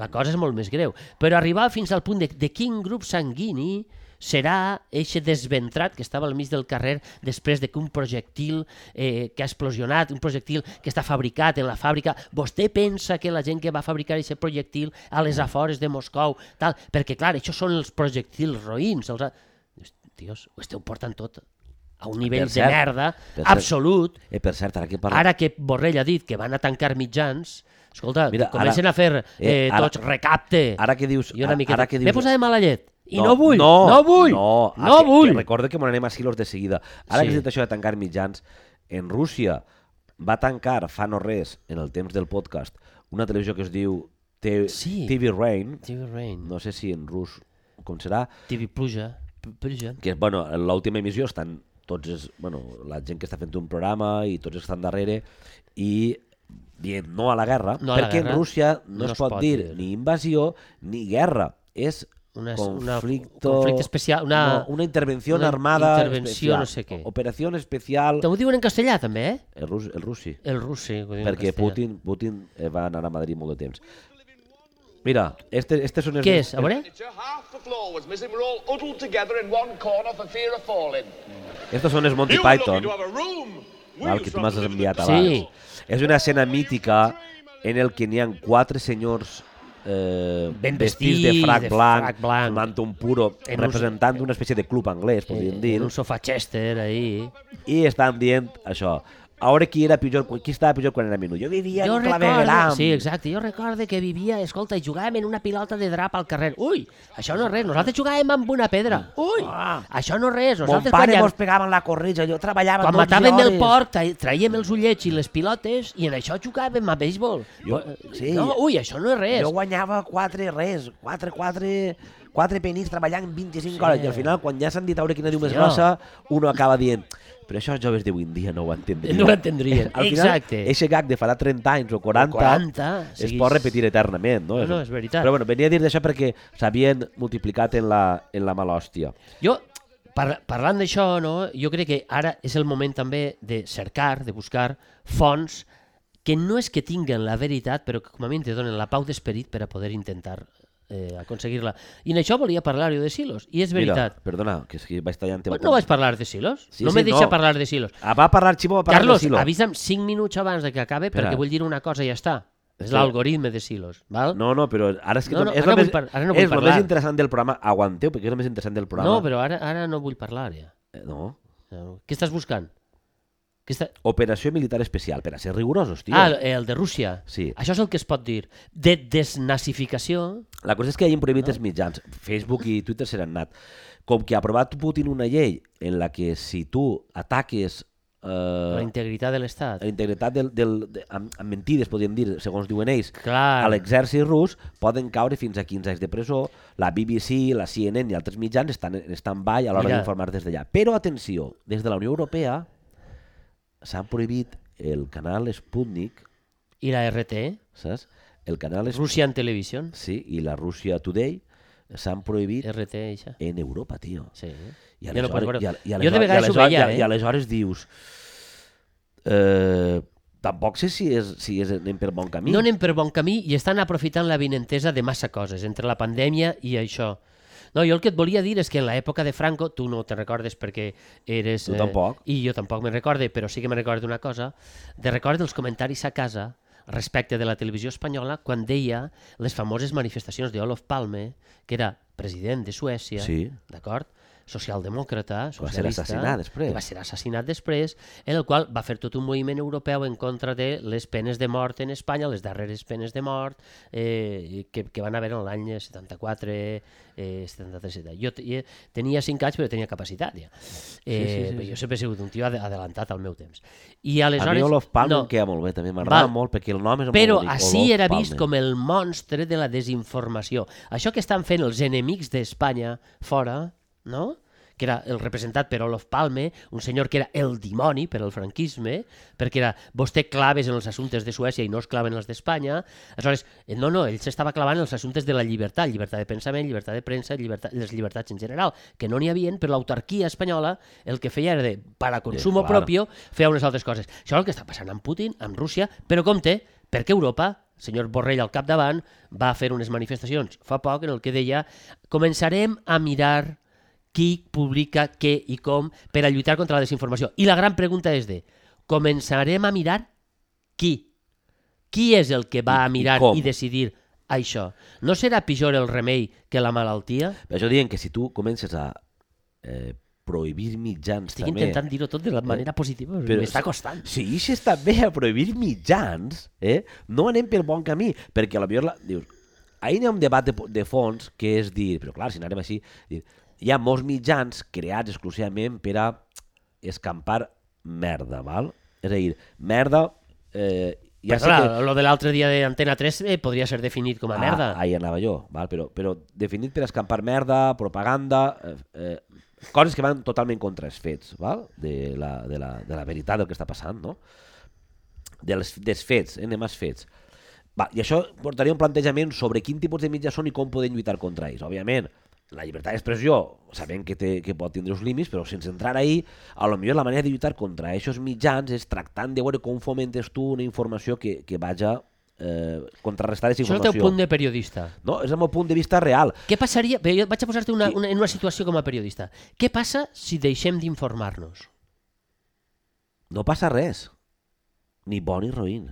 Speaker 3: La cosa és molt més greu. Però arribar fins al punt de, de quin grup sanguini serà eixe desventrat que estava al mig del carrer després de que un projectil eh, que ha explosionat, un projectil que està fabricat en la fàbrica, vostè pensa que la gent que va fabricar aquest projectil a les afores de Moscou, tal, perquè clar, això són els projectils roïns, els... ha- Dius, Tios, ho esteu portant tot a un nivell
Speaker 2: Ah, cert,
Speaker 3: de merda
Speaker 2: per cert.
Speaker 3: absolut
Speaker 2: Eh, per cert, ara que parla...
Speaker 3: Ara que Borrell ha dit que van a tancar mitjans, escolta,
Speaker 2: Mira,
Speaker 3: Mira, comencen
Speaker 2: ara-
Speaker 3: ara, a fer eh,
Speaker 2: eh, ara-
Speaker 3: tots recapte.
Speaker 2: Ara que dius...
Speaker 3: I una
Speaker 2: a-
Speaker 3: miqueta.
Speaker 2: Ara que dius...
Speaker 3: M'he posat de mala llet. I no, vull, no, vull,
Speaker 2: No,
Speaker 3: no
Speaker 2: ah, que-
Speaker 3: vull.
Speaker 2: Que recorda que m'on anem a silos de seguida. Ara
Speaker 3: Sí.
Speaker 2: que has dit això de tancar mitjans, en Rússia va tancar fa no res, en el temps del podcast, una televisió que es diu T
Speaker 3: Sí.
Speaker 2: TV Rain,
Speaker 3: TV Rain,
Speaker 2: no sé si en rus com serà,
Speaker 3: TV Pluja, P- Pluja.
Speaker 2: que bueno, en l'última emissió estan tots els, bueno, la gent que està fent un programa i tots els que estan darrere i dient no a la guerra,
Speaker 3: No a la
Speaker 2: perquè
Speaker 3: guerra.
Speaker 2: en Rússia no, es pot, dir, ni invasió ni guerra, és
Speaker 3: Una- una-
Speaker 2: conflicte,
Speaker 3: conflicte especial, una-
Speaker 2: no, una intervenció
Speaker 3: una
Speaker 2: armada
Speaker 3: intervenció
Speaker 2: especial,
Speaker 3: no sé què.
Speaker 2: operació especial,
Speaker 3: Te ho diuen en castellà, també, eh?
Speaker 2: el, rus, el russi,
Speaker 3: El russi. Ho diuen en
Speaker 2: perquè
Speaker 3: castellà.
Speaker 2: Putin, Putin eh, va anar a Madrid molt de temps. Mira, este, este són els...
Speaker 3: Què és, a veure?
Speaker 5: Furniture, half the floor was missing. We're all huddled together in one corner for fear of falling.
Speaker 2: Estos són els Monty
Speaker 5: You were lucky
Speaker 2: Python.
Speaker 5: to have a room. We
Speaker 2: Val, que
Speaker 5: used
Speaker 2: tu
Speaker 5: to
Speaker 2: m'has
Speaker 5: have to live in
Speaker 2: enviat
Speaker 5: the
Speaker 3: Sí.
Speaker 2: abans. Sí. És una escena mítica en el que n'hi ha quatre senyors eh,
Speaker 3: Ben
Speaker 2: vestits de
Speaker 3: vestits,
Speaker 2: frac
Speaker 3: de
Speaker 2: blanc,
Speaker 3: frac blanc.
Speaker 2: fumant un puro,
Speaker 3: En un-
Speaker 2: representant una espècie de club anglès, podríem
Speaker 3: Eh,
Speaker 2: dir,
Speaker 3: en un sofà Chester, ahir.
Speaker 2: i estan dient això, ahora qui era pitjor, quan- qui estava pitjor quan era menut? Jo vivia
Speaker 3: Jo
Speaker 2: en Clavegueram.
Speaker 3: recordo, sí, exacte, jo recordo que vivia, escolta, i jugàvem en una pilota de drap al carrer. Ui, això no és res, nosaltres jugàvem amb una pedra. Ui,
Speaker 2: Ah.
Speaker 3: això no és res,
Speaker 2: Mon
Speaker 3: nosaltres
Speaker 2: pare
Speaker 3: quan,
Speaker 2: mos pegava en la corretja, jo treballava
Speaker 3: quan
Speaker 2: 12
Speaker 3: matàvem el
Speaker 2: hores.
Speaker 3: porc, tra- traíem els ullets i les pilotes i en això jugàvem a béisbol.
Speaker 2: Jo-
Speaker 3: Bo-
Speaker 2: sí.
Speaker 3: No, ui, això no és res.
Speaker 2: Jo guanyava 4 res, 4, 4, 4 penís treballant 25 sí. hores i al final quan ja s'han dit a veure quina diu més
Speaker 3: Senyor.
Speaker 2: grossa, uno acaba dient però això els joves d'avui en dia no ho entendrien.
Speaker 3: No ho entendrien,
Speaker 2: Al final,
Speaker 3: exacte.
Speaker 2: Eixe gag de farà 30 anys o 40,
Speaker 3: O 40,
Speaker 2: es
Speaker 3: siguis-
Speaker 2: pot repetir eternament. No?
Speaker 3: No, no, és veritat.
Speaker 2: Però bueno, venia a dir això perquè s'havien multiplicat en la, en la mala hòstia.
Speaker 3: Jo, par parlant d'això, no, jo crec que ara és el moment també de cercar, de buscar fonts que no és que tinguen la veritat, però que com a mínim te donen la pau d'esperit per a poder intentar eh, aconseguir-la. I en això volia parlar jo de Silos, i és veritat.
Speaker 2: Mira, perdona, que és que vaig tallant...
Speaker 3: Mira, no vaig parlar de Silos?
Speaker 2: Sí,
Speaker 3: no
Speaker 2: sí,
Speaker 3: me deixa
Speaker 2: no.
Speaker 3: parlar de Silos.
Speaker 2: Ah, va parlar Ximo, va parlar
Speaker 3: Carlos,
Speaker 2: de Silo.
Speaker 3: avisa'm 5 minuts abans de que acabe
Speaker 2: Espera.
Speaker 3: perquè vull dir una cosa i ja està. És
Speaker 2: Espera.
Speaker 3: l'algoritme de Silos, val?
Speaker 2: No, no, però ara és que
Speaker 3: No, no,
Speaker 2: és
Speaker 3: ara
Speaker 2: el
Speaker 3: vull
Speaker 2: més,
Speaker 3: par- ara no vull
Speaker 2: és el
Speaker 3: parlar.
Speaker 2: més interessant del programa. Aguanteu, perquè és el més interessant del programa.
Speaker 3: no però ara, ara no vull parlar, ja.
Speaker 2: Eh, No.
Speaker 3: No. Què estàs buscant? Què està...
Speaker 2: Operació militar especial, per a ser rigorosos, tio.
Speaker 3: Ah, el, el de Rússia.
Speaker 2: Sí.
Speaker 3: Això és el que es pot dir. De desnazificació.
Speaker 2: La cosa és que hagin prohibit els mitjans. Facebook i Twitter se n'han anat. Com que ha aprovat Putin una llei en la que si tu ataques eh,
Speaker 3: La integritat de l'Estat.
Speaker 2: la integritat del, del, de, amb, amb mentides, podríem dir, segons diuen ells,
Speaker 3: Clar.
Speaker 2: a l'exèrcit rus poden caure fins a 15 anys de presó. La BBC, la CNN i altres mitjans estan en stand-by a l'hora
Speaker 3: Mira.
Speaker 2: d'informar des d'allà. Però, atenció, des de la Unió Europea s'han prohibit el canal Sputnik,
Speaker 3: I la eh? RT,
Speaker 2: saps? El canal Sputnik,
Speaker 3: Russian Television.
Speaker 2: sí, i la Rússia Today s'han prohibit
Speaker 3: RT, això.
Speaker 2: en Europa, tio.
Speaker 3: Sí.
Speaker 2: I
Speaker 3: Jo Er- no
Speaker 2: aleshores-
Speaker 3: puc veure-ho.
Speaker 2: i al- i
Speaker 3: Jo de
Speaker 2: aleshores-
Speaker 3: vegades
Speaker 2: i
Speaker 3: ho veia,
Speaker 2: aleshores- I,
Speaker 3: eh?
Speaker 2: aleshores dius... Eh, tampoc sé si, és, si és, anem pel bon camí.
Speaker 3: No anem per bon camí i estan aprofitant la vinentesa de massa coses, entre la pandèmia i això. No, jo el que et volia dir és que en l'època de Franco, tu no te recordes perquè eres... eh,
Speaker 2: Tu tampoc.
Speaker 3: I jo tampoc me'n recorde, però sí que me'n recordo una cosa. De record dels comentaris a casa respecte de la televisió espanyola quan deia les famoses manifestacions d'Olof Palme, que era president de Suècia,
Speaker 2: Sí.
Speaker 3: d'acord? socialdemòcrata,
Speaker 2: ser
Speaker 3: socialista,
Speaker 2: assassinat després.
Speaker 3: que va ser assassinat després, en el qual va fer tot un moviment europeu en contra de les penes de mort en Espanya, les darreres penes de mort, eh, que, que van haver en l'any 74, eh, 73, 70. Jo te- eh, tenia 5 anys, però tenia capacitat, ja. Eh, sí, sí, sí, jo sempre he sigut un tio ade- adelantat al meu temps. I
Speaker 2: A
Speaker 3: aleshores...
Speaker 2: mi Olof Palme no.
Speaker 3: no,
Speaker 2: em queda molt bé, també m'agrada
Speaker 3: Val.
Speaker 2: molt perquè el nom és molt
Speaker 3: però
Speaker 2: bonic,
Speaker 3: així
Speaker 2: Olof
Speaker 3: era vist
Speaker 2: Palme.
Speaker 3: com el monstre de la desinformació. Això que estan fent els enemics d'Espanya fora, no? que era el representat per Olof Palme, un senyor que era el dimoni per al franquisme, perquè era, vostè claves en els assumptes de Suècia i no es claven els d'Espanya, aleshores, eh, no, no, ell s'estava clavant en els assumptes de la llibertat, llibertat de pensament, llibertat de premsa, llibertat, les llibertats en general, que no n'hi havien, però l'autarquia espanyola el que feia era de, para consumo
Speaker 2: Eh, clar.
Speaker 3: propio, feia unes altres coses. Això és el que està passant amb Putin, amb Rússia, però compte, perquè Europa, senyor Borrell al capdavant, va fer unes manifestacions fa poc en el que deia començarem a mirar qui publica què i com per a lluitar contra la desinformació. I la gran pregunta és de començarem a mirar qui? Qui és el que va
Speaker 2: I-
Speaker 3: a
Speaker 2: i
Speaker 3: mirar
Speaker 2: com?
Speaker 3: i decidir això? No serà pitjor el remei que la malaltia?
Speaker 2: Això diuen que si tu comences a eh, prohibir mitjans
Speaker 3: Estic
Speaker 2: també... Eh,
Speaker 3: intentant dir-ho tot de la manera positiva, però,
Speaker 2: Però-
Speaker 3: m'està costant.
Speaker 2: Si ixes també a prohibir mitjans, eh, no anem pel bon camí, perquè a la millor... La... Dius, ahir hi ha un debat de, po- de fons que és dir, però clar, si anem així, dir, hi ha molts mitjans creats exclusivament per a escampar merda, val? És a dir, merda... Eh, ja
Speaker 3: Ja però,
Speaker 2: sé que...
Speaker 3: clar, que... lo de l'altre dia d'Antena 3 eh, podria ser definit com a merda.
Speaker 2: Ah, ahí anava jo, val? Però, però definit per escampar merda, propaganda, eh, eh, coses que van totalment contra els fets, val? De, la, de, la, de la veritat del que està passant, no? Dels, dels fets, eh? anem als fets. Va, I això portaria un plantejament sobre quin tipus de mitjans són i com podem lluitar contra ells. Òbviament, la llibertat d'expressió, sabem que, té, que pot tindre uns límits, però sense entrar ahí, a lo millor la manera de lluitar contra aquests mitjans és tractant de veure com fomentes tu una informació que, que vaja eh, contrarrestar aquesta
Speaker 3: Això és el
Speaker 2: informació.
Speaker 3: teu punt de periodista.
Speaker 2: No, és el meu punt de vista real.
Speaker 3: Què passaria... Bé, jo vaig a posar-te una,
Speaker 2: Sí.
Speaker 3: una, en una situació com a periodista. Què passa si deixem d'informar-nos?
Speaker 2: No passa res, ni bon ni roïn.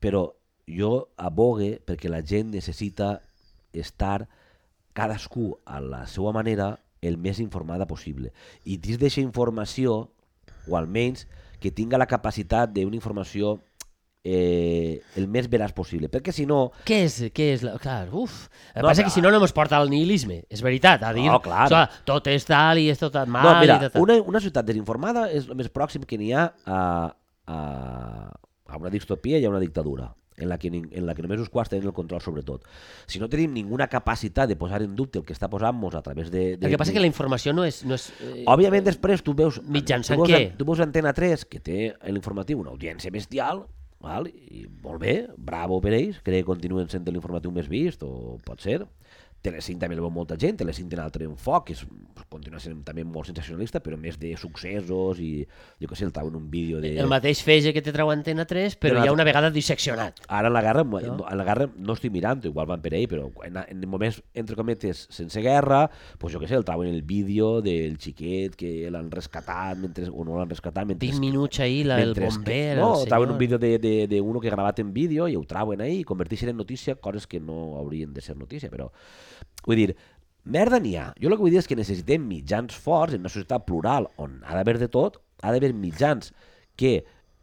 Speaker 2: Però jo abogue perquè la gent necessita estar cadascú a la seva manera el més informada possible. I dins d'aquesta informació, o almenys, que tinga la capacitat d'una informació eh, el més veraç possible. Perquè si no,
Speaker 3: Què és, què és la... Clar, uf.
Speaker 2: No,
Speaker 3: El no, passa
Speaker 2: clar.
Speaker 3: que si no, no ens porta al nihilisme. És veritat, a dir...
Speaker 2: No, clar.
Speaker 3: "Escolta, tot és tal i és tot mal.
Speaker 2: no, mira,
Speaker 3: i tot tal".
Speaker 2: una, una ciutat desinformada és el més pròxim que n'hi ha a, a, a una distopia i a una dictadura en la, que, nin- en la que només uns quarts tenen el control sobre tot. Si no tenim ninguna capacitat de posar en dubte el que està posant-nos a través de... de
Speaker 3: El que passa que la informació no és... No és eh,
Speaker 2: Òbviament després tu veus...
Speaker 3: Mitjançant
Speaker 2: tu veus,
Speaker 3: què?
Speaker 2: Tu veus Antena 3, que té en l'informatiu una audiència bestial, val? i molt bé, bravo per ells, crec que continuen sent l'informatiu més vist, o pot ser. Telecinc també el veu molta gent, Telecinc té un altre enfoc, que és, continua sent també molt sensacionalista, però més de successos i jo què sé, el trauen un vídeo de...
Speaker 3: el mateix feixe que te trau Antena 3, però
Speaker 2: Però
Speaker 3: ja
Speaker 2: la-
Speaker 3: una vegada disseccionat.
Speaker 2: Ara en la guerra, no? en la guerra no estic mirant, igual van per ell, però en, en moments, entre cometes, sense guerra, pues jo què sé, el trauen el vídeo del xiquet que l'han rescatat mentre, o no l'han rescatat mentre...
Speaker 3: 20 minuts ahir, la, el
Speaker 2: mentre es-
Speaker 3: bomber,
Speaker 2: no,
Speaker 3: el
Speaker 2: trauen
Speaker 3: senyor...
Speaker 2: un vídeo de, de, de uno que gravat en vídeo i ho trauen ahí i converteixen en notícia coses que no haurien de ser notícia, però... Vull dir, merda n'hi ha. Jo el que vull dir és que necessitem mitjans forts en una societat plural on ha d'haver de tot, ha d'haver mitjans que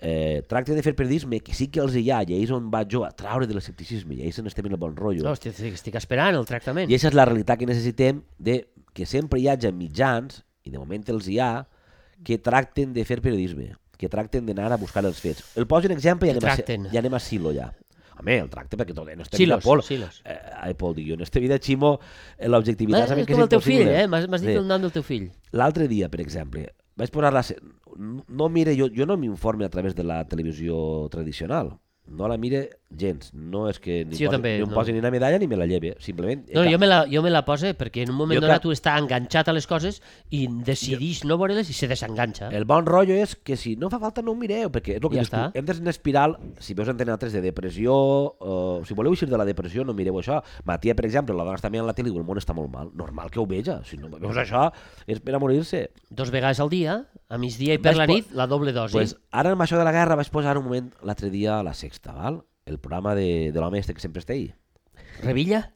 Speaker 2: eh, tracten de fer periodisme, que sí que els hi ha, i ahir és on vaig jo a traure de l'escepticisme, i ahir és on estem en el bon rotllo.
Speaker 3: Hòstia, estic- estic esperant el tractament.
Speaker 2: I aquesta és la realitat que necessitem, de que sempre hi hagi mitjans, i de moment els hi ha, que tracten de fer periodisme, que tracten d'anar a buscar els fets. El poso un exemple i
Speaker 3: Que
Speaker 2: anem,
Speaker 3: tracten.
Speaker 2: a, ja anem a Silo ja. Home, el tracte perquè tot, en esta
Speaker 3: Silos,
Speaker 2: vida, Pol,
Speaker 3: silos.
Speaker 2: eh, ai, Pol, dic jo, en esta vida, Ximo, eh, l'objectivitat...
Speaker 3: Ma-
Speaker 2: sabem
Speaker 3: és
Speaker 2: que
Speaker 3: com el teu fill,
Speaker 2: impossible.
Speaker 3: eh? M'has m'has dit
Speaker 2: Sí.
Speaker 3: el nom del teu fill.
Speaker 2: L'altre dia, per exemple, vaig posar la... se- No mire, jo, jo no m'informe a través de la televisió tradicional. No la mire gens. No és que ni,
Speaker 3: Sí, jo
Speaker 2: posi,
Speaker 3: també,
Speaker 2: ni em
Speaker 3: no.
Speaker 2: posi ni una medalla ni me la lleve. Simplement...
Speaker 3: No, jo me, la, jo me la poso perquè en un moment
Speaker 2: Jo
Speaker 3: donat
Speaker 2: cap-
Speaker 3: tu està enganxat a les coses i decidís no veure-les i se desenganxa.
Speaker 2: El bon rotllo és que si no fa falta no ho mireu, perquè és el que
Speaker 3: Ja
Speaker 2: ja
Speaker 3: està.
Speaker 2: està. entres en una espiral, si veus Antena 3 de depressió, eh, si voleu eixir de la depressió no mireu això. Ma tia, per exemple, la dona està mirant la tele i diu, el món està molt mal, normal que ho veja, si no veus això és per a morir-se.
Speaker 3: Dos vegades al dia, a migdia i per
Speaker 2: Vas
Speaker 3: la
Speaker 2: po-
Speaker 3: nit, la doble dosi.
Speaker 2: pues, ara amb això de la guerra vaig posar un moment l'altre dia a la sexta, val? el programa de, de l'home este que sempre està ahí.
Speaker 3: Revilla?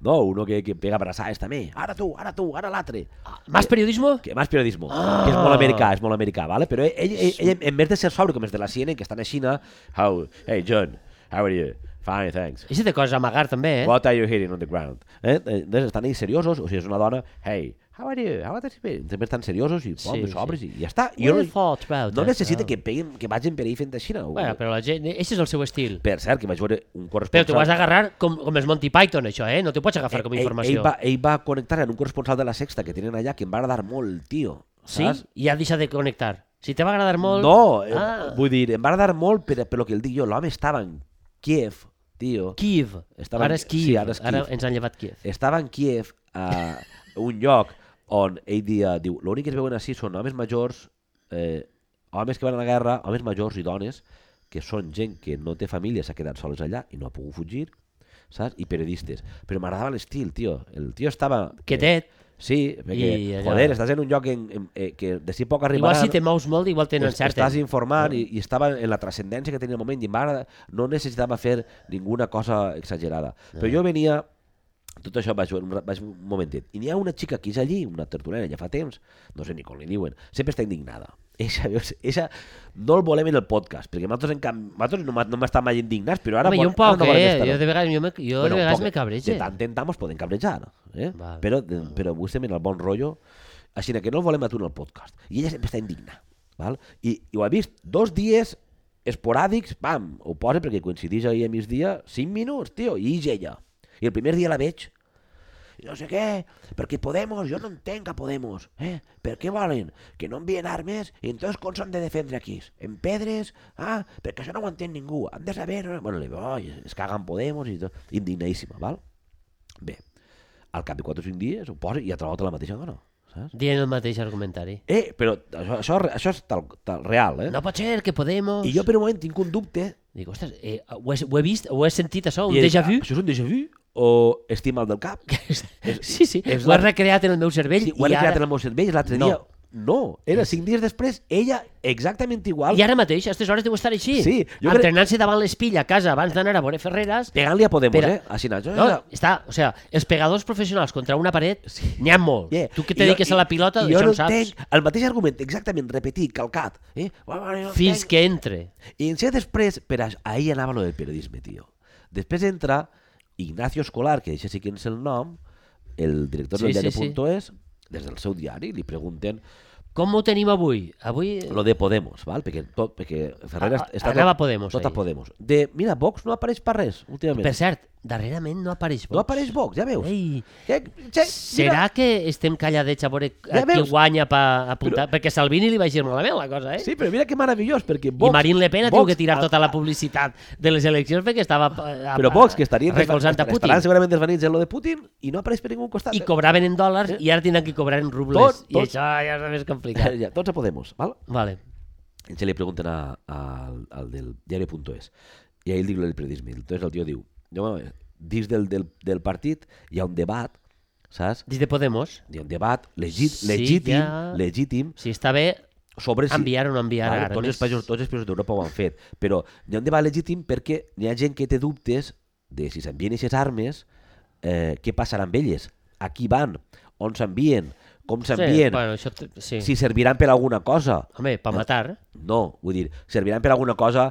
Speaker 2: No, uno que, que pega abraçades també. Ara tu, ara tu, ara l'altre.
Speaker 3: Más periodismo?
Speaker 2: que más periodismo,
Speaker 3: Ah.
Speaker 2: que és molt americà, és molt americà, vale? Però ell, ell, ell, ell en vez de ser sobre com els de la CNN, que estan a Xina, how, hey John, how are you? Fine, thanks.
Speaker 3: Això té coses a amagar també, eh?
Speaker 2: What are you hearing on the ground? Eh? Eh, Entonces estan ahí seriosos, o si és una dona, hey, how are you? How are you? També estan seriosos i pom,
Speaker 3: Sí,
Speaker 2: sí, sobres
Speaker 3: sí.
Speaker 2: i ja està. I
Speaker 3: What
Speaker 2: Jo
Speaker 3: I thought
Speaker 2: no,
Speaker 3: about
Speaker 2: no
Speaker 3: that,
Speaker 2: necessito
Speaker 3: no.
Speaker 2: que, peguin, que vagin per ahí fent a Xina.
Speaker 3: Bueno, però la gent... Això és el seu estil.
Speaker 2: Per cert, que vaig veure un corresponsal...
Speaker 3: Però t'ho has d'agarrar com, com els Monty Python, això, eh? No t'ho pots agafar com a
Speaker 2: Ell-
Speaker 3: informació.
Speaker 2: Ell, va, ell va connectar en un corresponsal de la Sexta que tenen allà, que em va agradar molt, tio.
Speaker 3: Sí?
Speaker 2: Saps?
Speaker 3: I ha deixat de connectar. Si te va agradar molt...
Speaker 2: No, eh,
Speaker 3: Ah.
Speaker 2: vull dir, em va agradar molt per, per lo que el dic jo. L'home estava en Kiev, tio.
Speaker 3: Kiev.
Speaker 2: Estava-
Speaker 3: Ara és
Speaker 2: sí,
Speaker 3: Kiev.
Speaker 2: ara és
Speaker 3: ara
Speaker 2: Kiev. Eh,
Speaker 3: ens han llevat Kiev.
Speaker 2: Estava en Kiev, a un lloc on ell dia, diu, l'únic que es veuen així són homes majors, eh, homes que van a la guerra, homes majors i dones, que són gent que no té família, s'ha quedat sols allà i no ha pogut fugir, saps? I periodistes. Però m'agradava l'estil, tio. El tio estava... eh,
Speaker 3: Quietet.
Speaker 2: Sí, perquè,
Speaker 3: I allà-
Speaker 2: joder, estàs en un lloc en, en, eh, que de si poc
Speaker 3: Igual
Speaker 2: arribarà...
Speaker 3: si te mous molt, igual tenen
Speaker 2: Est-
Speaker 3: cert. eh.
Speaker 2: Estàs informant i, i estava en la transcendència que tenia el moment i mare no necessitava fer ninguna cosa exagerada. Però jo venia tot això vaig, un- vaig un momentet. I n'hi ha una xica que és allí, una tertulera, ja fa temps, no sé ni com li diuen, sempre està indignada. Eixa, veus, eixa no el volem en el podcast, perquè nosaltres, en camp, nosaltres no, ma- no m'estan mai indignats, però ara...
Speaker 3: Home,
Speaker 2: vol-
Speaker 3: jo un
Speaker 2: ara
Speaker 3: poc,
Speaker 2: no volem
Speaker 3: eh?
Speaker 2: estar-ho.
Speaker 3: Jo de vegades, jo me, jo de
Speaker 2: Bueno,
Speaker 3: vegades
Speaker 2: poc-
Speaker 3: me eh, cabrege.
Speaker 2: De tant en tant ens podem cabrejar, eh?
Speaker 3: Val.
Speaker 2: però, de, però avui estem en el bon rotllo, així que no el volem aturar el podcast. I ella sempre està indigna. Val? I, I ho ha vist dos dies esporàdics, pam, ho posa perquè coincideix ahir a migdia, cinc minuts, tio, i és ella. I el primer dia la veig, i no sé què, perquè Podemos, jo no entenc a Podemos, eh? Per què volen? Que no envien armes, i entonces com s'han de defendre aquí? En pedres? Ah, perquè això no ho entén ningú, han de saber... no?" Bueno, li dic, "Ai, es caga en Podemos i tot, indignadíssima, val? Bé, al cap de 4 o 5 dies ho posa i ha trobat la mateixa dona, saps?
Speaker 3: Dient el mateix argumentari.
Speaker 2: Eh, però això, això, això és tal, tal, real, eh?
Speaker 3: No pot ser que Podemos...
Speaker 2: I jo per un moment tinc un dubte
Speaker 3: Dic, ostres, eh, ho, he, ho he vist, ho he sentit això, un
Speaker 2: I he dit,
Speaker 3: déjà vu.
Speaker 2: "Ah, Això és un déjà vu? O estic mal del cap?
Speaker 3: sí, sí,
Speaker 2: és
Speaker 3: ho he
Speaker 2: la-
Speaker 3: recreat en el meu cervell
Speaker 2: Sí, ho he
Speaker 3: i
Speaker 2: creat en
Speaker 3: ara...
Speaker 2: el meu cervell i l'altre
Speaker 3: No.
Speaker 2: dia No, era cinc dies després, ella exactament igual,
Speaker 3: I ara mateix, a aquestes hores deu estar així.
Speaker 2: Sí, jo crec-
Speaker 3: Entrenant-se davant l'espill a casa abans d'anar a veure Ferreras.
Speaker 2: pegant-li a Podemos,
Speaker 3: Espera.
Speaker 2: eh? Així, no,
Speaker 3: No, està, o sea, els pegadors professionals contra una paret sí. n'hi ha molt.
Speaker 2: Yeah.
Speaker 3: Tu que
Speaker 2: Eh, I jo-
Speaker 3: dediques a la
Speaker 2: i-
Speaker 3: pilota,
Speaker 2: i
Speaker 3: això
Speaker 2: jo
Speaker 3: ho
Speaker 2: no
Speaker 3: saps.
Speaker 2: entenc el mateix argument, exactament repetit, calcat, eh? Bueno, bueno, no
Speaker 3: Fins
Speaker 2: entenc.
Speaker 3: que entre.
Speaker 2: I en ser després, per a, ahir anava lo del periodisme, tio. Després entra Ignacio Escolar, que això sí que és el nom, el director
Speaker 3: Sí,
Speaker 2: sí, del
Speaker 3: sí,
Speaker 2: diari.es, sí. des del seu diari, li pregunten
Speaker 3: Com ho tenim avui? Avui...
Speaker 2: lo de Podemos, val? perquè, tot, perquè Ferreras
Speaker 3: Ah, ah, anava Eh. a Podemos,
Speaker 2: tot a
Speaker 3: ahir.
Speaker 2: Podemos. De, mira, Vox no apareix per res, últimament.
Speaker 3: Per cert, darrerament no apareix Vox.
Speaker 2: No apareix Vox, ja veus.
Speaker 3: Ei,
Speaker 2: Que, que,
Speaker 3: Serà que estem calladets a veure
Speaker 2: Ja
Speaker 3: a qui
Speaker 2: veus.
Speaker 3: guanya per apuntar? Perquè Salvini li va gir malament la cosa, eh?
Speaker 2: Sí, però mira que meravellós, perquè
Speaker 3: I
Speaker 2: Vox...
Speaker 3: Marine Le Pen ha tingut que tirar
Speaker 2: a-
Speaker 3: tota la publicitat de les eleccions perquè estava eh, a, a,
Speaker 2: Però Vox, que estaria
Speaker 3: recolzant a Putin.
Speaker 2: Estaran segurament desvanits en lo de Putin i no apareix per ningú costat.
Speaker 3: I cobraven en dòlars i ara tindran que cobrar en rubles.
Speaker 2: Tot,
Speaker 3: I
Speaker 2: tot.
Speaker 3: això ja és més complicat.
Speaker 2: ja, tots a Podemos, val?
Speaker 3: vale.
Speaker 2: I se li pregunten a, a, al, al del diari.es i ahir diu el periodisme. Entonces el tio diu, no, bueno, dins del, del, del partit hi ha un debat, saps?
Speaker 3: Des de Podemos,
Speaker 2: Hi ha un debat legit,
Speaker 3: Sí,
Speaker 2: legítim,
Speaker 3: ja.
Speaker 2: legítim
Speaker 3: si està bé,
Speaker 2: sobre si...
Speaker 3: enviar o no enviar.
Speaker 2: Vale,
Speaker 3: ara
Speaker 2: tots,
Speaker 3: més.
Speaker 2: els països, tots els països d'Europa ho han fet, però hi ha un debat legítim perquè hi ha gent que té dubtes de si s'envien aquestes armes, eh, què passarà amb elles, a qui van, on s'envien, com
Speaker 3: Sí,
Speaker 2: s'envien,
Speaker 3: bueno, això, t- sí.
Speaker 2: si serviran per alguna cosa.
Speaker 3: Home, per matar,
Speaker 2: No, vull dir, serviran per alguna cosa...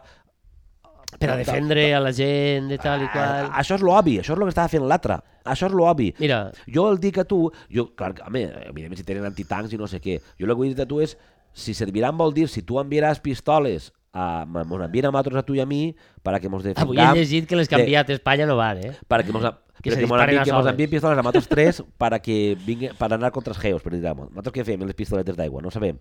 Speaker 3: per a
Speaker 2: Tal-
Speaker 3: defendre a la gent de tal i qual.
Speaker 2: Ah, això és l'obvi, això és el que estava fent l'altre. Això és l'obvi.
Speaker 3: Mira,
Speaker 2: Jo el dic a tu, jo, clar, que, home, evidentment si tenen antitancs i no sé què, jo el que vull dir a tu és, si serviran vol dir, si tu enviaràs pistoles a, mos envien a nosaltres a tu i a mi para que mos
Speaker 3: avui he
Speaker 2: defengam,
Speaker 3: llegit que les que ha enviat a Espanya no van, eh?
Speaker 2: para que mos, a-
Speaker 3: Que
Speaker 2: però
Speaker 3: se
Speaker 2: que mos
Speaker 3: disparen
Speaker 2: envien,
Speaker 3: a
Speaker 2: que mos
Speaker 3: soles.
Speaker 2: envien pistoles a nosaltres tres para que vingue, para anar contra els geos, per dir -ho. Nosaltres què fem amb les pistoletes d'aigua? No ho sabem.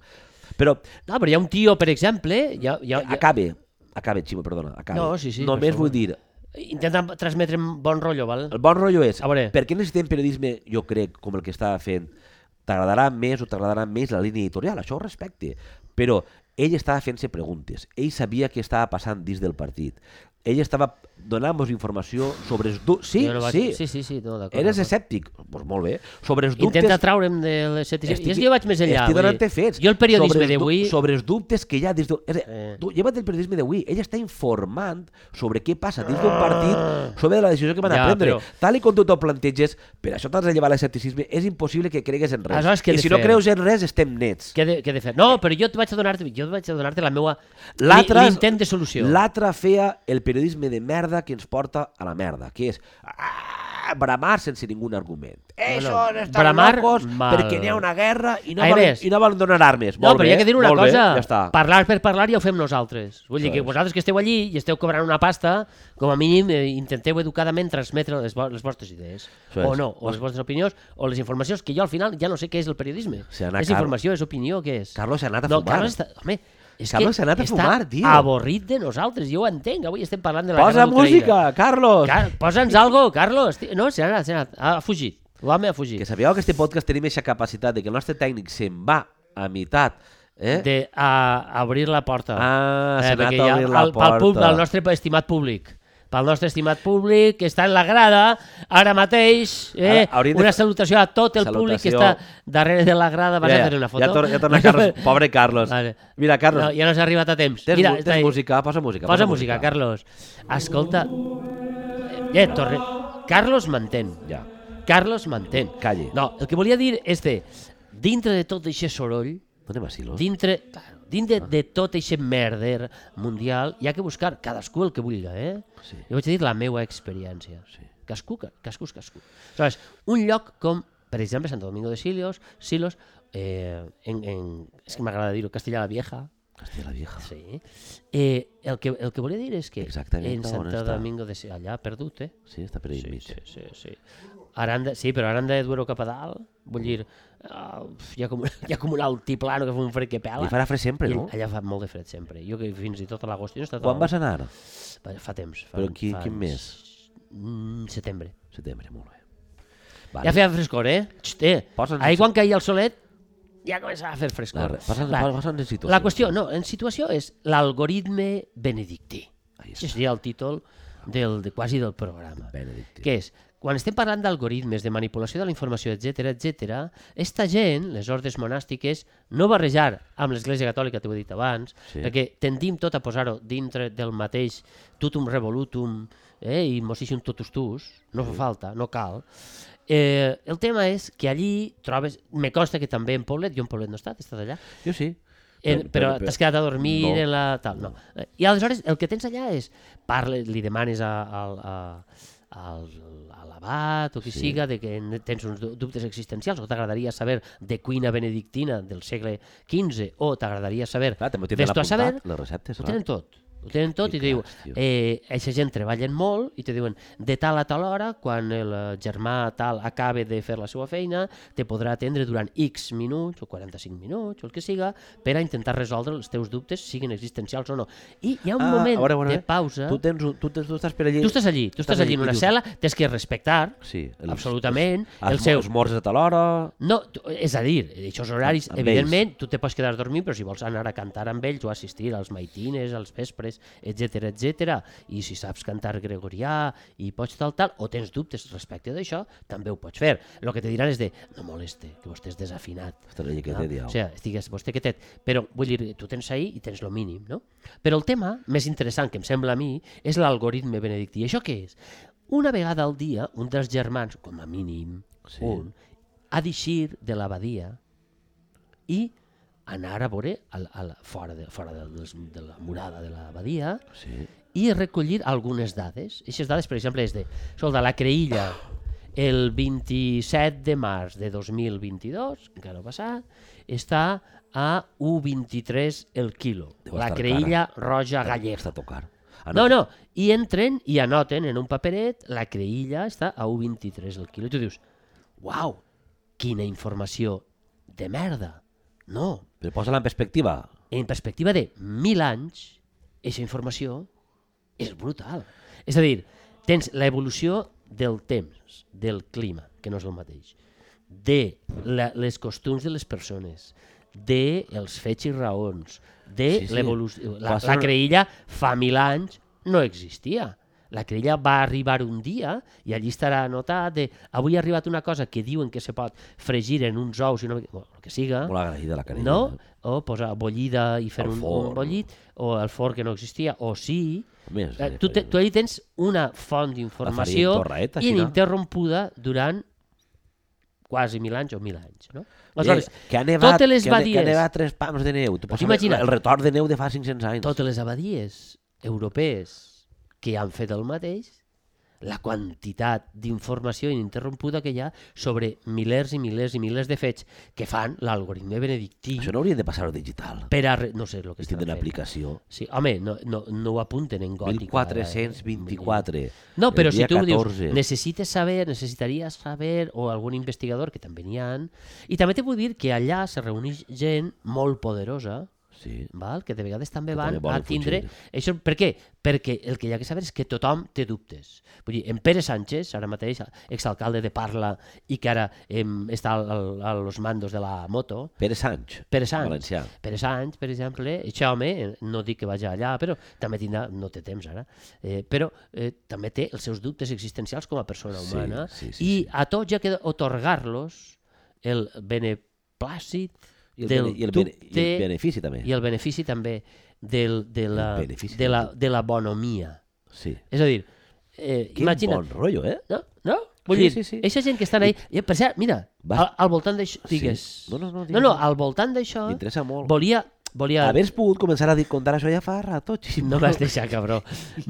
Speaker 2: Però
Speaker 3: No, Ah, però hi ha un tio, per exemple, ja, ja, ja,
Speaker 2: acabe, acabe, Ximo, perdona, acabe.
Speaker 3: No, sí, sí, per
Speaker 2: Només
Speaker 3: favor.
Speaker 2: vull dir,
Speaker 3: intenta transmetre bon rotllo, val?
Speaker 2: El bon rotllo és,
Speaker 3: A veure.
Speaker 2: per què necessitem periodisme, jo crec, com el que estava fent? T'agradarà més o t'agradarà més la línia editorial, això ho respecte. Però ell estava fent-se preguntes, ell sabia què estava passant dins del partit, ell estava donant-nos informació sobre els dubtes... Sí,
Speaker 3: Jo no vaig-
Speaker 2: sí,
Speaker 3: sí, sí, sí, no, d'acord.
Speaker 2: eres
Speaker 3: d'acord.
Speaker 2: escèptic, doncs molt bé. Sobre els dubtes...
Speaker 3: Intenta traure'm de les set... Estic,
Speaker 2: Estic-
Speaker 3: jo vaig més enllà.
Speaker 2: Estic
Speaker 3: vull dir,
Speaker 2: donant-te fets.
Speaker 3: Jo el
Speaker 2: Sobre
Speaker 3: periodisme
Speaker 2: els du-
Speaker 3: d'avui...
Speaker 2: Sobre els dubtes que hi ha dins d'un... És a dir,
Speaker 3: Eh.
Speaker 2: tu lleva't del periodisme d'avui. Ell està informant sobre què passa dins d'un partit, sobre la decisió que van
Speaker 3: Ah. Ja,
Speaker 2: a prendre.
Speaker 3: però-
Speaker 2: Tal i com tu t'ho planteges, per això t'has de llevar l'escepticisme, és impossible que cregues en res.
Speaker 3: Aleshores, què
Speaker 2: I
Speaker 3: he de
Speaker 2: si no
Speaker 3: fer?
Speaker 2: creus en res, estem nets.
Speaker 3: Què he de, què he de fer? No, però jo et vaig a donar-te jo et vaig a donar-te la meva...
Speaker 2: L'altre-
Speaker 3: L'intent de solució.
Speaker 2: L'altre feia el periodisme de merda que ens porta a la merda, que és ah, bramar sense ningun argument. Això no, no. estan
Speaker 3: Bramar
Speaker 2: locos
Speaker 3: mal.
Speaker 2: perquè n'hi ha una guerra i no,
Speaker 3: A
Speaker 2: volen,
Speaker 3: més-
Speaker 2: i no volen donar armes.
Speaker 3: No,
Speaker 2: molt
Speaker 3: però
Speaker 2: bé,
Speaker 3: hi ha que dir una
Speaker 2: molt
Speaker 3: cosa.
Speaker 2: Bé, ja està.
Speaker 3: Parlar per parlar ja ho fem nosaltres. Vull dir
Speaker 2: Això
Speaker 3: que
Speaker 2: és.
Speaker 3: vosaltres que esteu allí i esteu cobrant una pasta, com a mínim eh, intenteu educadament transmetre les, vo les vostres idees.
Speaker 2: Això
Speaker 3: o
Speaker 2: és.
Speaker 3: no, o les vostres opinions, o les informacions, que jo al final ja no sé què és el periodisme.
Speaker 2: Se n'ha
Speaker 3: és
Speaker 2: Car-
Speaker 3: informació, és opinió, què és?
Speaker 2: Carlos s'ha anat a
Speaker 3: no,
Speaker 2: fumar.
Speaker 3: Carlos està... Home, és
Speaker 2: Carlos
Speaker 3: que
Speaker 2: s'ha anat a
Speaker 3: està
Speaker 2: fumar, tio.
Speaker 3: avorrit de nosaltres, jo ho entenc. Avui estem parlant de la
Speaker 2: Posa
Speaker 3: guerra d'Ucraïna.
Speaker 2: música, Carlos!
Speaker 3: Car Posa'ns algo, Carlos. Tio, No, se n'ha anat, se n'ha anat. Ha fugit. L'home ha fugit.
Speaker 2: Que sabíeu que este podcast tenim aquesta capacitat de que el nostre tècnic se'n va a meitat, eh?
Speaker 3: De a, obrir la porta. Eh,
Speaker 2: Ah, s'ha anat
Speaker 3: perquè
Speaker 2: a
Speaker 3: hi ha
Speaker 2: obrir la
Speaker 3: el- Pel, pub,
Speaker 2: porta.
Speaker 3: del nostre estimat públic. Pel nostre estimat públic, que està en la grada, ara mateix, eh,
Speaker 2: Ara, hauríem de-
Speaker 3: una salutació a tot el públic que està
Speaker 2: Salutació.
Speaker 3: darrere de la grada. Vas
Speaker 2: Ja,
Speaker 3: a
Speaker 2: ja,
Speaker 3: fer una foto?
Speaker 2: Ja, tor ja torna Carlos, pobre Carlos.
Speaker 3: Vale.
Speaker 2: Mira, Carlos,
Speaker 3: No, ja no s'ha arribat a temps.
Speaker 2: tens,
Speaker 3: Mira,
Speaker 2: mu-
Speaker 3: està
Speaker 2: tens
Speaker 3: ahí.
Speaker 2: música, posa música.
Speaker 3: Posa música, Carlos. Escolta... Eh, torre... Carlos m'entén.
Speaker 2: Ja.
Speaker 3: Carlos m'entén.
Speaker 2: Calli.
Speaker 3: No, el que volia dir és de... Dintre de tot aquest soroll,
Speaker 2: Dóna'm vacilos.
Speaker 3: dintre, claro, dintre de tot aquest merder mundial, hi ha que buscar cadascú el que vulga, eh?
Speaker 2: Sí.
Speaker 3: Jo vaig a dir la meva experiència.
Speaker 2: Sí.
Speaker 3: Cascú, ca- cascú, és cascú. Aleshores, un lloc com, per exemple, Santo Domingo de Silos, Silos eh, en, en, és que m'agrada dir-ho, Castilla la Vieja,
Speaker 2: Hòstia, la vieja.
Speaker 3: Sí. Eh, el, que, el que volia dir és que
Speaker 2: Exactament,
Speaker 3: en
Speaker 2: on
Speaker 3: Santo
Speaker 2: està?
Speaker 3: Domingo de... Si- Allà, perdut, eh?
Speaker 2: Sí, està per allà
Speaker 3: Sí,
Speaker 2: enmig.
Speaker 3: sí, sí, sí. Ara han de, sí, però ara han de dur-ho cap a dalt. Vull dir, uh, hi, ha com, hi ha com un altiplano que fa un fred que pela.
Speaker 2: Li farà fred sempre,
Speaker 3: I
Speaker 2: no?
Speaker 3: Allà fa molt de fred sempre. Jo que fins i tot a l'agost... Jo no he estat a
Speaker 2: Quan vas
Speaker 3: l'agost.
Speaker 2: anar?
Speaker 3: Va, Fa temps. Fa,
Speaker 2: Però qui-
Speaker 3: fa
Speaker 2: quin
Speaker 3: anys.
Speaker 2: mes?
Speaker 3: Mm, setembre.
Speaker 2: Setembre, molt bé.
Speaker 3: Ja feia frescor, eh? Xt, eh?
Speaker 2: Posa'ns-
Speaker 3: Ahir quan caia el solet ja començava a fer frescor.
Speaker 2: La- posa'ns-
Speaker 3: Va,
Speaker 2: posa'ns en situació.
Speaker 3: La qüestió, no, en situació és l'algoritme benedictí.
Speaker 2: Ahí
Speaker 3: Això seria el títol del, de, quasi del programa.
Speaker 2: Benedictí.
Speaker 3: Que és, quan estem parlant d'algoritmes, de manipulació de la informació, etc etc, esta gent, les ordes monàstiques, no barrejar amb l'Església Catòlica, t'ho he dit abans,
Speaker 2: Sí.
Speaker 3: sí. perquè tendim tot a posar-ho dintre del mateix tutum revolutum eh, i mossíssim totus tus, no fa falta, no cal. Eh, el tema és que allí trobes... Me consta que també en Poblet, jo en Poblet no he estat, he estat allà,
Speaker 2: Jo sí.
Speaker 3: en, Eh, però t'has quedat a dormir
Speaker 2: No.
Speaker 3: no. en la... Tal, no. Eh, I aleshores el que tens allà és parles, li demanes a, al- a, al a l'abat o qui sí. siga de que en- tens uns du- dubtes existencials o t'agradaria saber de cuina benedictina del segle XV o t'agradaria saber
Speaker 2: Clar, també ho tenen
Speaker 3: Ves tu a
Speaker 2: apuntat,
Speaker 3: saber,
Speaker 2: les receptes,
Speaker 3: ho
Speaker 2: clar.
Speaker 3: tenen tot. Ho tenen tot
Speaker 2: Que
Speaker 3: i, diu,
Speaker 2: cracs, tio.
Speaker 3: eh, aquesta gent treballen molt i te diuen de tal a tal hora, quan el eh, germà tal acabe de fer la seva feina, te podrà atendre durant X minuts o 45 minuts o el que siga per a intentar resoldre els teus dubtes, siguin existencials o no. I hi ha un
Speaker 2: Ah,
Speaker 3: moment
Speaker 2: a veure, a veure,
Speaker 3: de pausa...
Speaker 2: Tu, tens, un- tu, tens, tu estàs per allí...
Speaker 3: Tu estàs allí, tu estàs allí en
Speaker 2: i
Speaker 3: una
Speaker 2: dius,
Speaker 3: cel·la, tens que respectar,
Speaker 2: Sí, els-
Speaker 3: absolutament,
Speaker 2: els,
Speaker 3: els seus...
Speaker 2: Els morts a tal hora...
Speaker 3: No, tu- és a dir, aquests horaris,
Speaker 2: Amb- amb
Speaker 3: evidentment, tu te pots quedar a dormir, però si vols anar a cantar amb ells o assistir als maitines, als vespres, etc etc. i si saps cantar gregorià i pots tal, tal, o tens dubtes respecte d'això, també ho pots fer. El que te diran és de, no moleste, que vostè és desafinat.
Speaker 2: Ostres, i aquest
Speaker 3: no?
Speaker 2: diau.
Speaker 3: O sigui, estigues vostè quietet. Però vull dir, tu tens ahir i tens lo mínim, no? Però el tema més interessant que em sembla a mi és l'algoritme benedictí. I això què és? Una vegada al dia, un dels germans, com a mínim,
Speaker 2: Sí.
Speaker 3: sí. un, ha d'eixir de l'abadia i anar a veure al, al, fora, de, fora de, de, de la murada de l'abadia
Speaker 2: Sí.
Speaker 3: i recollir algunes dades. Aquestes dades, per exemple, és de, sol de la Creïlla el 27 de març de 2022, encara no ha passat, està a 1,23 el quilo.
Speaker 2: Deu
Speaker 3: la
Speaker 2: estar
Speaker 3: Creïlla
Speaker 2: Està
Speaker 3: roja
Speaker 2: Ah,
Speaker 3: gallega.
Speaker 2: a tocar.
Speaker 3: No, no, i entren i anoten en un paperet la Creïlla està a 1,23 el quilo. I tu dius, uau, quina informació de merda. No,
Speaker 2: Però posa-la en perspectiva.
Speaker 3: en perspectiva de mil anys, aquesta informació és brutal. És a dir, tens l'evolució del temps, del clima, que no és el mateix, de la, les costums de les persones, de els fets i raons, de
Speaker 2: Sí,
Speaker 3: sí,
Speaker 2: sí.
Speaker 3: sí. l'evolució... La,
Speaker 2: Passa-
Speaker 3: la creïlla fa mil anys no existia. La creïlla va arribar un dia i allí estarà anotat de avui ha arribat una cosa que diuen que se pot fregir en uns ous i una... mica-" Bueno, el que siga.
Speaker 2: Molt agraïda la carilla.
Speaker 3: Ah. No? O posar bollida i fer
Speaker 2: Al
Speaker 3: un,
Speaker 2: forn.
Speaker 3: un bollit, o el forn que no existia, o sí...
Speaker 2: Més,
Speaker 3: Eh,
Speaker 2: eh,
Speaker 3: tu, te, tu allà tens una font d'informació
Speaker 2: en torraeta, així, no?
Speaker 3: ininterrompuda durant quasi mil anys o mil anys. No? Aleshores,
Speaker 2: que ha nevat,
Speaker 3: totes les
Speaker 2: que ha ne- Que ha
Speaker 3: badies-
Speaker 2: nevat tres pams de neu. Tu pots
Speaker 3: Imagina't.
Speaker 2: El retorn de neu de fa 500 anys.
Speaker 3: totes les abadies europees que han fet el mateix, la quantitat d'informació ininterrompuda que hi ha sobre milers i milers i milers de fets que fan l'algoritme benedictí
Speaker 2: Això no hauria de passar-ho digital.
Speaker 3: per a... re- No sé el que
Speaker 2: Que
Speaker 3: estan
Speaker 2: tindrà
Speaker 3: fent.
Speaker 2: aplicació.
Speaker 3: Sí, home, no, no, no ho apunten en gòtic. eh?
Speaker 2: 1424.
Speaker 3: No, però
Speaker 2: el
Speaker 3: si
Speaker 2: dia
Speaker 3: tu
Speaker 2: 14.
Speaker 3: dius, necessites saber, necessitaries saber, o algun investigador, que també n'hi han, i també te vull dir que allà se reuneix gent molt poderosa,
Speaker 2: Sí.
Speaker 3: val? que de vegades també
Speaker 2: Que
Speaker 3: van
Speaker 2: també volen
Speaker 3: a tindre...
Speaker 2: fugir.
Speaker 3: Això, per què? Perquè el que hi ha que saber és que tothom té dubtes. Vull dir, en Pere Sánchez, ara mateix exalcalde de Parla i que ara em, està al, al, a los mandos de la moto,
Speaker 2: Pere Sanch.
Speaker 3: Pere Sanz.
Speaker 2: Valencià.
Speaker 3: Pere Sanz, per exemple, aquest home, eh, no dic que vagi allà, però també tindrà, no té temps ara, eh, però eh, també té els seus dubtes existencials com a persona
Speaker 2: Sí,
Speaker 3: humana
Speaker 2: sí, sí,
Speaker 3: i
Speaker 2: sí.
Speaker 3: a tots ja queda otorgar-los el beneplàcit
Speaker 2: I el,
Speaker 3: del
Speaker 2: bene- i, el bene-
Speaker 3: dubte
Speaker 2: I el benefici també.
Speaker 3: i el benefici també del, de, la,
Speaker 2: El benefici
Speaker 3: de, la,
Speaker 2: del
Speaker 3: de la bonomia.
Speaker 2: Sí.
Speaker 3: És a dir, eh,
Speaker 2: Quin
Speaker 3: imagina't,
Speaker 2: bon rotllo, eh?
Speaker 3: no? no? Vull
Speaker 2: Sí,
Speaker 3: dir,
Speaker 2: sí, sí.
Speaker 3: eixa gent que estan ahí... I, per cert, mira,
Speaker 2: Va.
Speaker 3: al, al voltant d'això...
Speaker 2: Sí.
Speaker 3: Digues...
Speaker 2: No, no, no,
Speaker 3: no,
Speaker 2: digues.
Speaker 3: no, al voltant d'això...
Speaker 2: M'interessa molt.
Speaker 3: Volia... volia...
Speaker 2: Haver pogut començar a dir, contar això ja fa rato, xim.
Speaker 3: No m'has deixat, cabró.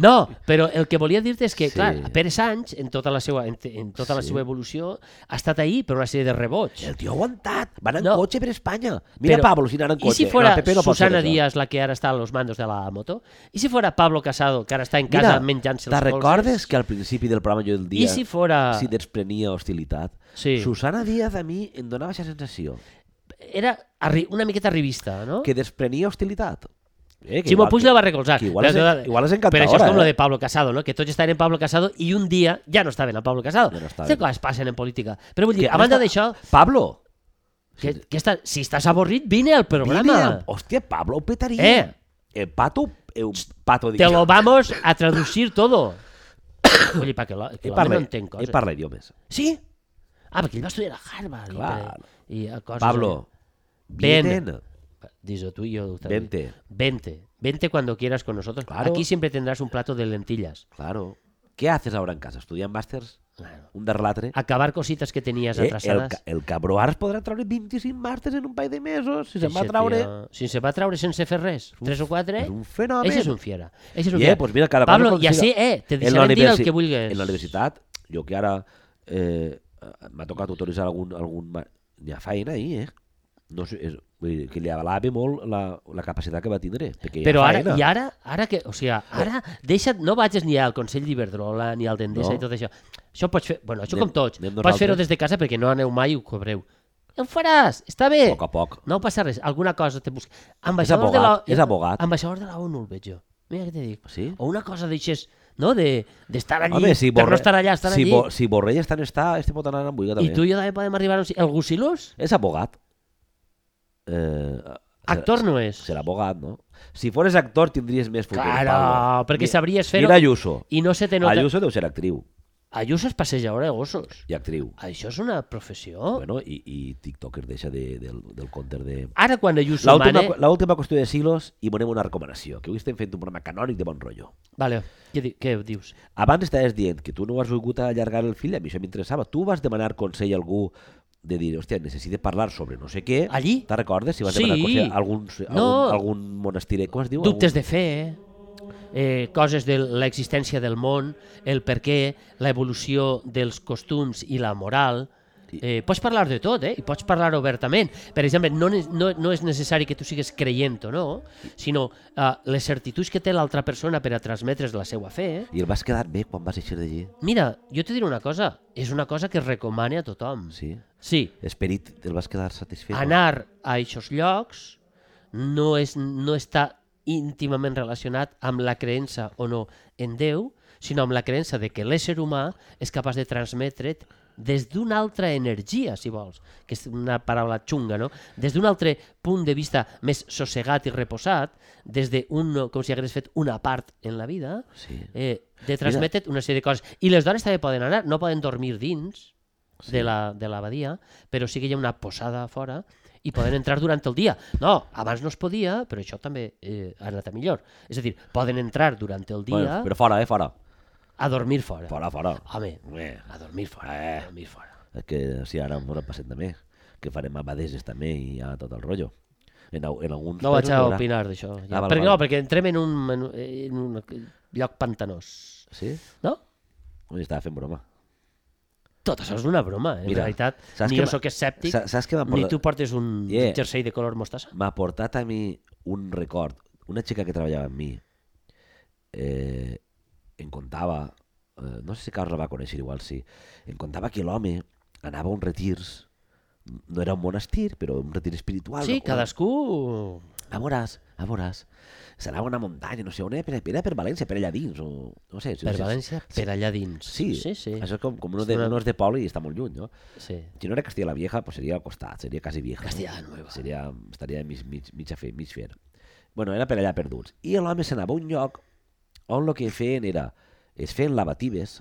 Speaker 3: No, però el que volia dir-te és que,
Speaker 2: Sí.
Speaker 3: clar, Pere Sanz, en tota la seva, en, en tota la
Speaker 2: Sí.
Speaker 3: seva evolució, ha estat ahí per una sèrie de rebots.
Speaker 2: El tio ha aguantat. Va anar en
Speaker 3: No.
Speaker 2: cotxe per Espanya. Mira Pablo si anava en
Speaker 3: I
Speaker 2: cotxe.
Speaker 3: si fora
Speaker 2: no, el PP no pot fer
Speaker 3: Susana
Speaker 2: això.
Speaker 3: Díaz, la que ara està a los mandos de la moto? I si fora Pablo Casado, que ara està en
Speaker 2: Mira,
Speaker 3: casa menjant-se
Speaker 2: te
Speaker 3: els
Speaker 2: recordes que al principi del programa jo del dia
Speaker 3: I si fora...
Speaker 2: si desprenia hostilitat?
Speaker 3: Sí.
Speaker 2: Susana Díaz a mi em donava aquesta sensació
Speaker 3: Era arri- una miqueta revista, no?
Speaker 2: que desprenia hostilitat. Eh, que
Speaker 3: Ximo
Speaker 2: igual-
Speaker 3: Puig la va recolzar.
Speaker 2: que igual és- igual és encantadora,
Speaker 3: Però això és com
Speaker 2: eh?
Speaker 3: lo de Pablo Casado, no? que tots estaven en Pablo Casado i un dia ja no estaven en Pablo Casado.
Speaker 2: Ja no estaven.
Speaker 3: Aquestes coses passen en política. Però vull dir,
Speaker 2: Que
Speaker 3: a banda
Speaker 2: està-
Speaker 3: d'això,
Speaker 2: Pablo!
Speaker 3: que, que està, si estàs avorrit, vine al programa.
Speaker 2: Vine, a- hòstia, Pablo ho petaria.
Speaker 3: Eh.
Speaker 2: El pato... El pato,
Speaker 3: Te
Speaker 2: dic.
Speaker 3: lo vamos a traducir todo. Oye, pa, que la-
Speaker 2: Ell
Speaker 3: que l'home
Speaker 2: Eh, parla,
Speaker 3: no entenc
Speaker 2: ell
Speaker 3: coses.
Speaker 2: parla idiomes.
Speaker 3: Sí? Ah, perquè ell va estudiar a Harvard. i
Speaker 2: Clar.
Speaker 3: per- I, a coses...
Speaker 2: Pablo,
Speaker 3: Ven.
Speaker 2: vienen.
Speaker 3: Diso tú y yo también.
Speaker 2: Vente.
Speaker 3: Vente. Vente cuando quieras con nosotros.
Speaker 2: Claro.
Speaker 3: Aquí siempre tendrás un plato de lentillas.
Speaker 2: Claro. ¿Qué haces ahora en casa? ¿Estudiant màsters?
Speaker 3: Claro. Ah,
Speaker 2: Un derlatre?
Speaker 3: Acabar cositas que tenías
Speaker 2: Eh, el,
Speaker 3: atrasadas.
Speaker 2: ca- el cabró ara es podrà traure 25 màsters en un parell de mesos, si se'n va
Speaker 3: Eixe
Speaker 2: traure...
Speaker 3: tio, Si se va a traure sense fer res, tres o quatre,
Speaker 2: és e- un fenomen.
Speaker 3: ese és ¿Eh? un fiera. Ese és un
Speaker 2: I, eh,
Speaker 3: fiera.
Speaker 2: pues mira, cada
Speaker 3: Pablo,
Speaker 2: cosa com
Speaker 3: ja sé,
Speaker 2: siga.
Speaker 3: eh, te
Speaker 2: En la
Speaker 3: deixarem dir el
Speaker 2: universi-
Speaker 3: que vulguis.
Speaker 2: En la universitat, jo que ara eh, m'ha tocat autoritzar algun... algun ma- N'hi ha feina ahir, eh? No sé, és, vull dir, que li avalava molt la, la capacitat que va tindre. Perquè hi ha
Speaker 3: Però ara,
Speaker 2: feina.
Speaker 3: i ara, ara que, o sigui, ara, deixa't, no vagis ni al Consell d'Iberdrola, ni al
Speaker 2: No.
Speaker 3: d'Endesa i tot això. Això pots fer, bueno, això
Speaker 2: Anem-
Speaker 3: com tots,
Speaker 2: anem
Speaker 3: pots fer-ho
Speaker 2: nosaltres.
Speaker 3: des de casa perquè no aneu mai i ho cobreu. Ja ho faràs, està bé.
Speaker 2: A poc a poc.
Speaker 3: No passa res, alguna cosa te busca. Ambaixador
Speaker 2: abogat,
Speaker 3: de la...
Speaker 2: és abogat.
Speaker 3: Ambaixador de la ONU el veig jo. Mira què te dic.
Speaker 2: Sí?
Speaker 3: O una cosa d'aixes, no?, de- d'estar de, allí,
Speaker 2: Home, si
Speaker 3: per
Speaker 2: Borre-
Speaker 3: no estar allà, estar
Speaker 2: si
Speaker 3: allí.
Speaker 2: Bo, si Borrell està on està, este pot anar amb Buiga
Speaker 3: I
Speaker 2: també.
Speaker 3: tu i jo també podem arribar a un... si- El Gusilús?
Speaker 2: És abogat. Eh,
Speaker 3: Actor no és.
Speaker 2: Serà abogat, no? Si fores actor tindries més futur,
Speaker 3: Claro,
Speaker 2: Pablo.
Speaker 3: perquè
Speaker 2: Mi-
Speaker 3: sabries fer-ho.
Speaker 2: Mira Ayuso.
Speaker 3: I no se te nota... Ayuso,
Speaker 2: Ayuso deu ser actriu
Speaker 3: Ayuso es passeja ara de gossos.
Speaker 2: i actriu.
Speaker 3: Això és una professió?
Speaker 2: Oh. Bueno, i, i TikToker deixa de, del, del compte de...
Speaker 3: Ara quan Ayuso
Speaker 2: L'última
Speaker 3: mane...
Speaker 2: l'última qüestió de Silos i veurem una recomanació, que avui estem fent un programa canònic de bon rotllo.
Speaker 3: Vale, què, di... què dius?
Speaker 2: Abans estaves dient que tu no has volgut allargar el fill, a mi això m'interessava. Tu vas demanar consell a algú de dir, hòstia, necessite parlar sobre no sé què.
Speaker 3: Allí?
Speaker 2: Te'n recordes? Si vas
Speaker 3: Sí.
Speaker 2: demanar consell a algun, a algun,
Speaker 3: No.
Speaker 2: algun monestir, com es diu?
Speaker 3: Dubtes
Speaker 2: algun...
Speaker 3: de fe, eh, coses de l'existència del món, el per què, l'evolució dels costums i la moral... Eh, pots parlar de tot, eh? I pots parlar obertament. Per exemple, no, ne- no, no és necessari que tu sigues creient o no, sinó eh, les certituds que té l'altra persona per a transmetre's la seva fe, eh?
Speaker 2: I el vas quedar bé quan vas eixir d'allí?
Speaker 3: Mira, jo te diré una cosa, és una cosa que recomane a tothom.
Speaker 2: Sí.
Speaker 3: sí
Speaker 2: Esperit, el vas quedar satisfet?
Speaker 3: anar a aquests llocs no, és, no està íntimament relacionat amb la creença o no en Déu, sinó amb la creença de que l'ésser humà és capaç de transmetre't des d'una altra energia, si vols, que és una paraula xunga, no? Des d'un altre punt de vista més sossegat i reposat, des d'un, com si hagués fet una part en la vida,
Speaker 2: Sí.
Speaker 3: eh, de transmetre't una sèrie de coses. I les dones també poden anar, no poden dormir dins sí. de la- de l'abadia, la, però sí que hi ha una posada a fora i poden entrar durant el dia. No, abans no es podia, però això també eh, ha anat a millor. És a dir, poden entrar durant el dia
Speaker 2: Bueno, però fora, eh? Fora.
Speaker 3: a dormir fora.
Speaker 2: Fora, fora.
Speaker 3: Home,
Speaker 2: Bé. Eh.
Speaker 3: a dormir fora, a dormir fora.
Speaker 2: És que si ara ens ho passem també, que farem abadeses també i ja tot el rotllo. En, au- en alguns
Speaker 3: No vaig
Speaker 2: països
Speaker 3: a
Speaker 2: hi haurà.
Speaker 3: opinar d'això. Ja.
Speaker 2: Ah, val,
Speaker 3: perquè,
Speaker 2: val.
Speaker 3: no, perquè entrem en un, en, un- en un lloc pantanós.
Speaker 2: Sí?
Speaker 3: No?
Speaker 2: Ui, estava fent broma.
Speaker 3: Tot això és una broma, eh?
Speaker 2: Mira,
Speaker 3: en realitat.
Speaker 2: saps
Speaker 3: Ni
Speaker 2: que
Speaker 3: jo
Speaker 2: m'ha-
Speaker 3: sóc escèptic,
Speaker 2: sa- saps que m'ha
Speaker 3: ni
Speaker 2: portat-
Speaker 3: tu portes un
Speaker 2: Ah, Yeah.
Speaker 3: jersei de color mostassa.
Speaker 2: M'ha portat a mi un record. Una xica que treballava amb mi eh, em contava, eh, no sé si Carles la va conèixer igual, sí, em contava que l'home anava a uns retirs, no era un monestir, però un retir espiritual.
Speaker 3: Sí,
Speaker 2: una-
Speaker 3: cadascú...
Speaker 2: A veuràs, a veuràs. Serà una muntanya, no sé on, eh? Era per, per València, per allà dins, o... No sé,
Speaker 3: Per
Speaker 2: sí,
Speaker 3: València,
Speaker 2: sí,
Speaker 3: per allà dins.
Speaker 2: Sí,
Speaker 3: sí. sí.
Speaker 2: Això és com, com uno,
Speaker 3: És
Speaker 2: de,
Speaker 3: una-
Speaker 2: uno és de poble i està molt lluny, no?
Speaker 3: sí.
Speaker 2: Si no era Castilla la Vieja, pues seria al costat, seria quasi vieja.
Speaker 3: Castilla la
Speaker 2: no?
Speaker 3: Nueva.
Speaker 2: Seria, estaria mig, mig, mig a fer, mig fer. Bueno, era per allà perduts. I l'home se n'anava a un lloc on el que feien era... Es feien lavatives.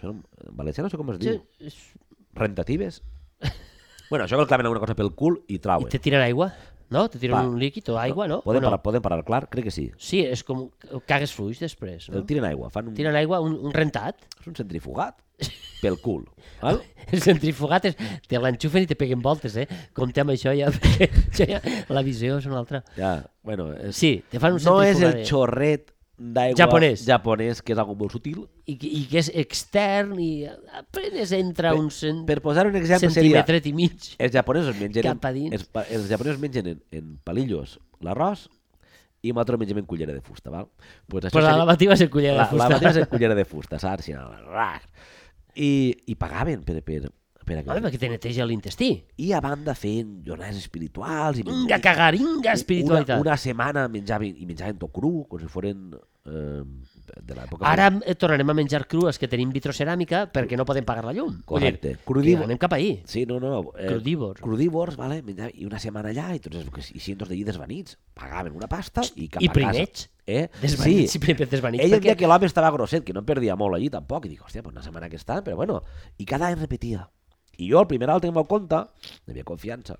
Speaker 2: Són- En valencià no sé com es diu.
Speaker 3: Sí, és-
Speaker 2: Rentatives. bueno, això que el claven alguna cosa pel cul i
Speaker 3: I
Speaker 2: trauen.
Speaker 3: te tiren aigua, no? Te tiren
Speaker 2: Pa.
Speaker 3: un líquid o aigua, no?
Speaker 2: Poden,
Speaker 3: O no?
Speaker 2: parar, poden parar, clar, crec que sí.
Speaker 3: Sí, és com cagues fluix després, no?
Speaker 2: El tiren aigua, fan un,
Speaker 3: Tiren aigua, un, un rentat,
Speaker 2: és un centrifugat pel cul. Val?
Speaker 3: el centrifugat, és, te l'enxufen i te peguen voltes, eh? Compte amb això ja, perquè això ja, la visió és una altra.
Speaker 2: Ja, bueno, és,
Speaker 3: Sí, te fan un
Speaker 2: no és
Speaker 3: centrifugat,
Speaker 2: el
Speaker 3: eh?
Speaker 2: xorret d'aigua
Speaker 3: Japonès.
Speaker 2: japonès, que és algo molt sutil.
Speaker 3: I, que- I que és extern i apenes entra un cent...
Speaker 2: Per posar un exemple seria,
Speaker 3: centimetret i mig.
Speaker 2: els japonesos mengen,
Speaker 3: Cap a dins.
Speaker 2: els, pa- els japonesos mengen en, en palillos l'arròs i nosaltres mengem en cullera de fusta, val? Pues això
Speaker 3: Però la
Speaker 2: seria-
Speaker 3: lavativa és el cullera de
Speaker 2: la, la
Speaker 3: fusta.
Speaker 2: batida és en cullera de fusta, saps? I, rar. I, i pagaven per, per, per
Speaker 3: Home,
Speaker 2: aquell.
Speaker 3: perquè te neteja l'intestí.
Speaker 2: I a banda feien jornades espirituals i
Speaker 3: Vinga, cagar, vinga, espiritualitat.
Speaker 2: Una, una setmana menjaven, i menjaven tot cru, com si foren eh, de l'època.
Speaker 3: Ara eh, tornarem a menjar crues que tenim vitroceràmica perquè no podem pagar la llum.
Speaker 2: Correcte.
Speaker 3: Vull dir,
Speaker 2: Crudívor-
Speaker 3: que anem cap ahir.
Speaker 2: Sí, no, no. eh,
Speaker 3: Crudívors.
Speaker 2: Crudívors, vale? menjar- I una setmana allà, i, tots, els- i cientos de llits desvanits. Pagaven una pasta i cap
Speaker 3: I
Speaker 2: a
Speaker 3: primets.
Speaker 2: casa. Eh?
Speaker 3: Desvanits, sí. sempre desvanits.
Speaker 2: Ell perquè...
Speaker 3: perquè...
Speaker 2: que l'home estava grosset, que no em perdia molt allí tampoc, i dic, hòstia, pues una setmana que està, però bueno, i cada any repetia. I jo, el primer alt que em vau compte, n'havia confiança,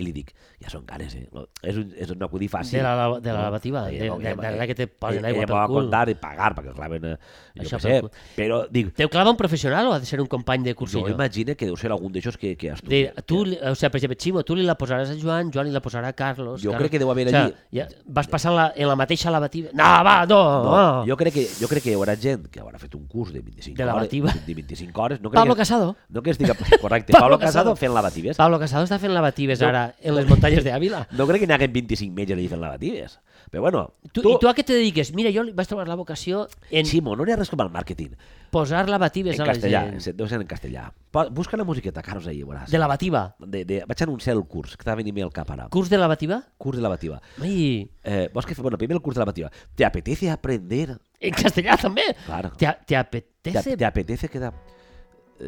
Speaker 2: i li dic, ja són cares, eh? No, és, un, és un acudí fàcil.
Speaker 3: De la- de la lavativa,
Speaker 2: I
Speaker 3: de-
Speaker 2: llavors
Speaker 3: de-
Speaker 2: em va-
Speaker 3: de la que te posen
Speaker 2: ell- ell
Speaker 3: aigua
Speaker 2: em
Speaker 3: pel
Speaker 2: va
Speaker 3: cul.
Speaker 2: contar i pagar, perquè clavaven, eh, jo
Speaker 3: Això
Speaker 2: què
Speaker 3: pel
Speaker 2: sé,
Speaker 3: cul.
Speaker 2: però dic,
Speaker 3: Teu clava un professional o ha de ser un company de
Speaker 2: jo
Speaker 3: cursillo?
Speaker 2: imagine que deu ser algun d'aixòs que, que estudia.
Speaker 3: De, tu, li- o sigui, per exemple, Ximo, tu li la posaràs a Joan, Joan li la posarà a Carlos.
Speaker 2: Jo
Speaker 3: Carlos.
Speaker 2: crec que deu haver allí-
Speaker 3: Ja, vas passant la, en la mateixa lavativa. No, va, no, no.
Speaker 2: No, jo, crec que, jo crec que hi haurà gent que haurà fet un curs de 25
Speaker 3: De
Speaker 2: hores.
Speaker 3: lavativa.
Speaker 2: De 25 hores. No crec
Speaker 3: Pablo
Speaker 2: que-
Speaker 3: Casado.
Speaker 2: No que estigui... Correcte,
Speaker 3: Pablo
Speaker 2: Pablo, Casado
Speaker 3: Casado.
Speaker 2: fent lavatives.
Speaker 3: Pablo Casado està fent lavatives no. ara en les muntanyes d'Àvila.
Speaker 2: No crec que n'hi haguem 25 metges allà fent lavatives. Però bueno,
Speaker 3: Tu, tu, I tu a què te dediques? Mira, jo li- vaig trobar la vocació en sí.
Speaker 2: Ximo, no n'hi ha res com el màrqueting.
Speaker 3: posar lavatives
Speaker 2: En
Speaker 3: a la
Speaker 2: castellà,
Speaker 3: gent.
Speaker 2: se- deu ser en castellà. Po- Busca la musiqueta, Carlos, ahir, veuràs.
Speaker 3: De lavativa.
Speaker 2: De, de, vaig anunciar el curs, que t'ha venit bé al cap ara.
Speaker 3: Curs de lavativa?
Speaker 2: Curs de lavativa.
Speaker 3: Ai,
Speaker 2: Eh, vols que... fa- Bueno, primer el curs de lavativa. ¿Te apetece aprender?
Speaker 3: en castellà també.
Speaker 2: Claro.
Speaker 3: Te, te
Speaker 2: ¿Te,
Speaker 3: apetece
Speaker 2: ap- te apetece quedar...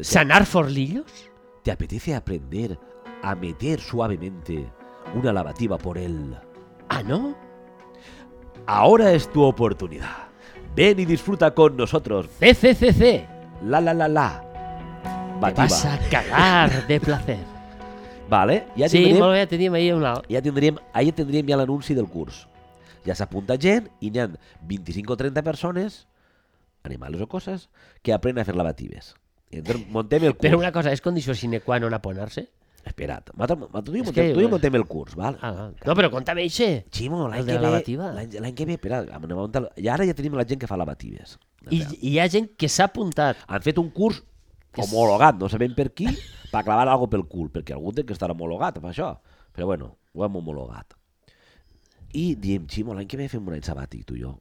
Speaker 3: sanar forlillos?
Speaker 2: ¿Te apetece aprender a meter suavemente una lavativa por él?
Speaker 3: Ah, no?
Speaker 2: Ahora es tu oportunidad. Ven y disfruta con nosotros.
Speaker 3: CCCC.
Speaker 2: La la la la.
Speaker 3: Te
Speaker 2: Bativa.
Speaker 3: vas a cagar de placer.
Speaker 2: Vale, ja
Speaker 3: Sí,
Speaker 2: tindrem,
Speaker 3: molt bé, teníem ahir una...
Speaker 2: ja tindrem, ahir tindríem ja l'anunci del curs. Ja s'apunta gent i n'hi ha 25 o 30 persones, animals o coses, que aprenen a fer lavatives. I Entonces, montem el curs.
Speaker 3: Però una cosa, és condició sine qua non a ponerse?
Speaker 2: Espera't, mata- mata- tu i jo
Speaker 3: És
Speaker 2: montem,
Speaker 3: que-
Speaker 2: tu i jo montem el curs, val?
Speaker 3: Ah, no, però conta'm eixe.
Speaker 2: Ximo, l'any
Speaker 3: El de
Speaker 2: que
Speaker 3: la
Speaker 2: ve...
Speaker 3: lavativa.
Speaker 2: L'any l'any que ve, espera, anem a muntar... I ara ja tenim la gent que fa lavatives.
Speaker 3: I, I hi ha gent que s'ha apuntat.
Speaker 2: Han fet un curs homologat, no sabem per qui, per clavar alguna pel cul, perquè algú té que estar homologat amb això. Però bueno, ho hem homologat. I diem, Ximo, l'any que ve fem un any sabàtic, tu i jo.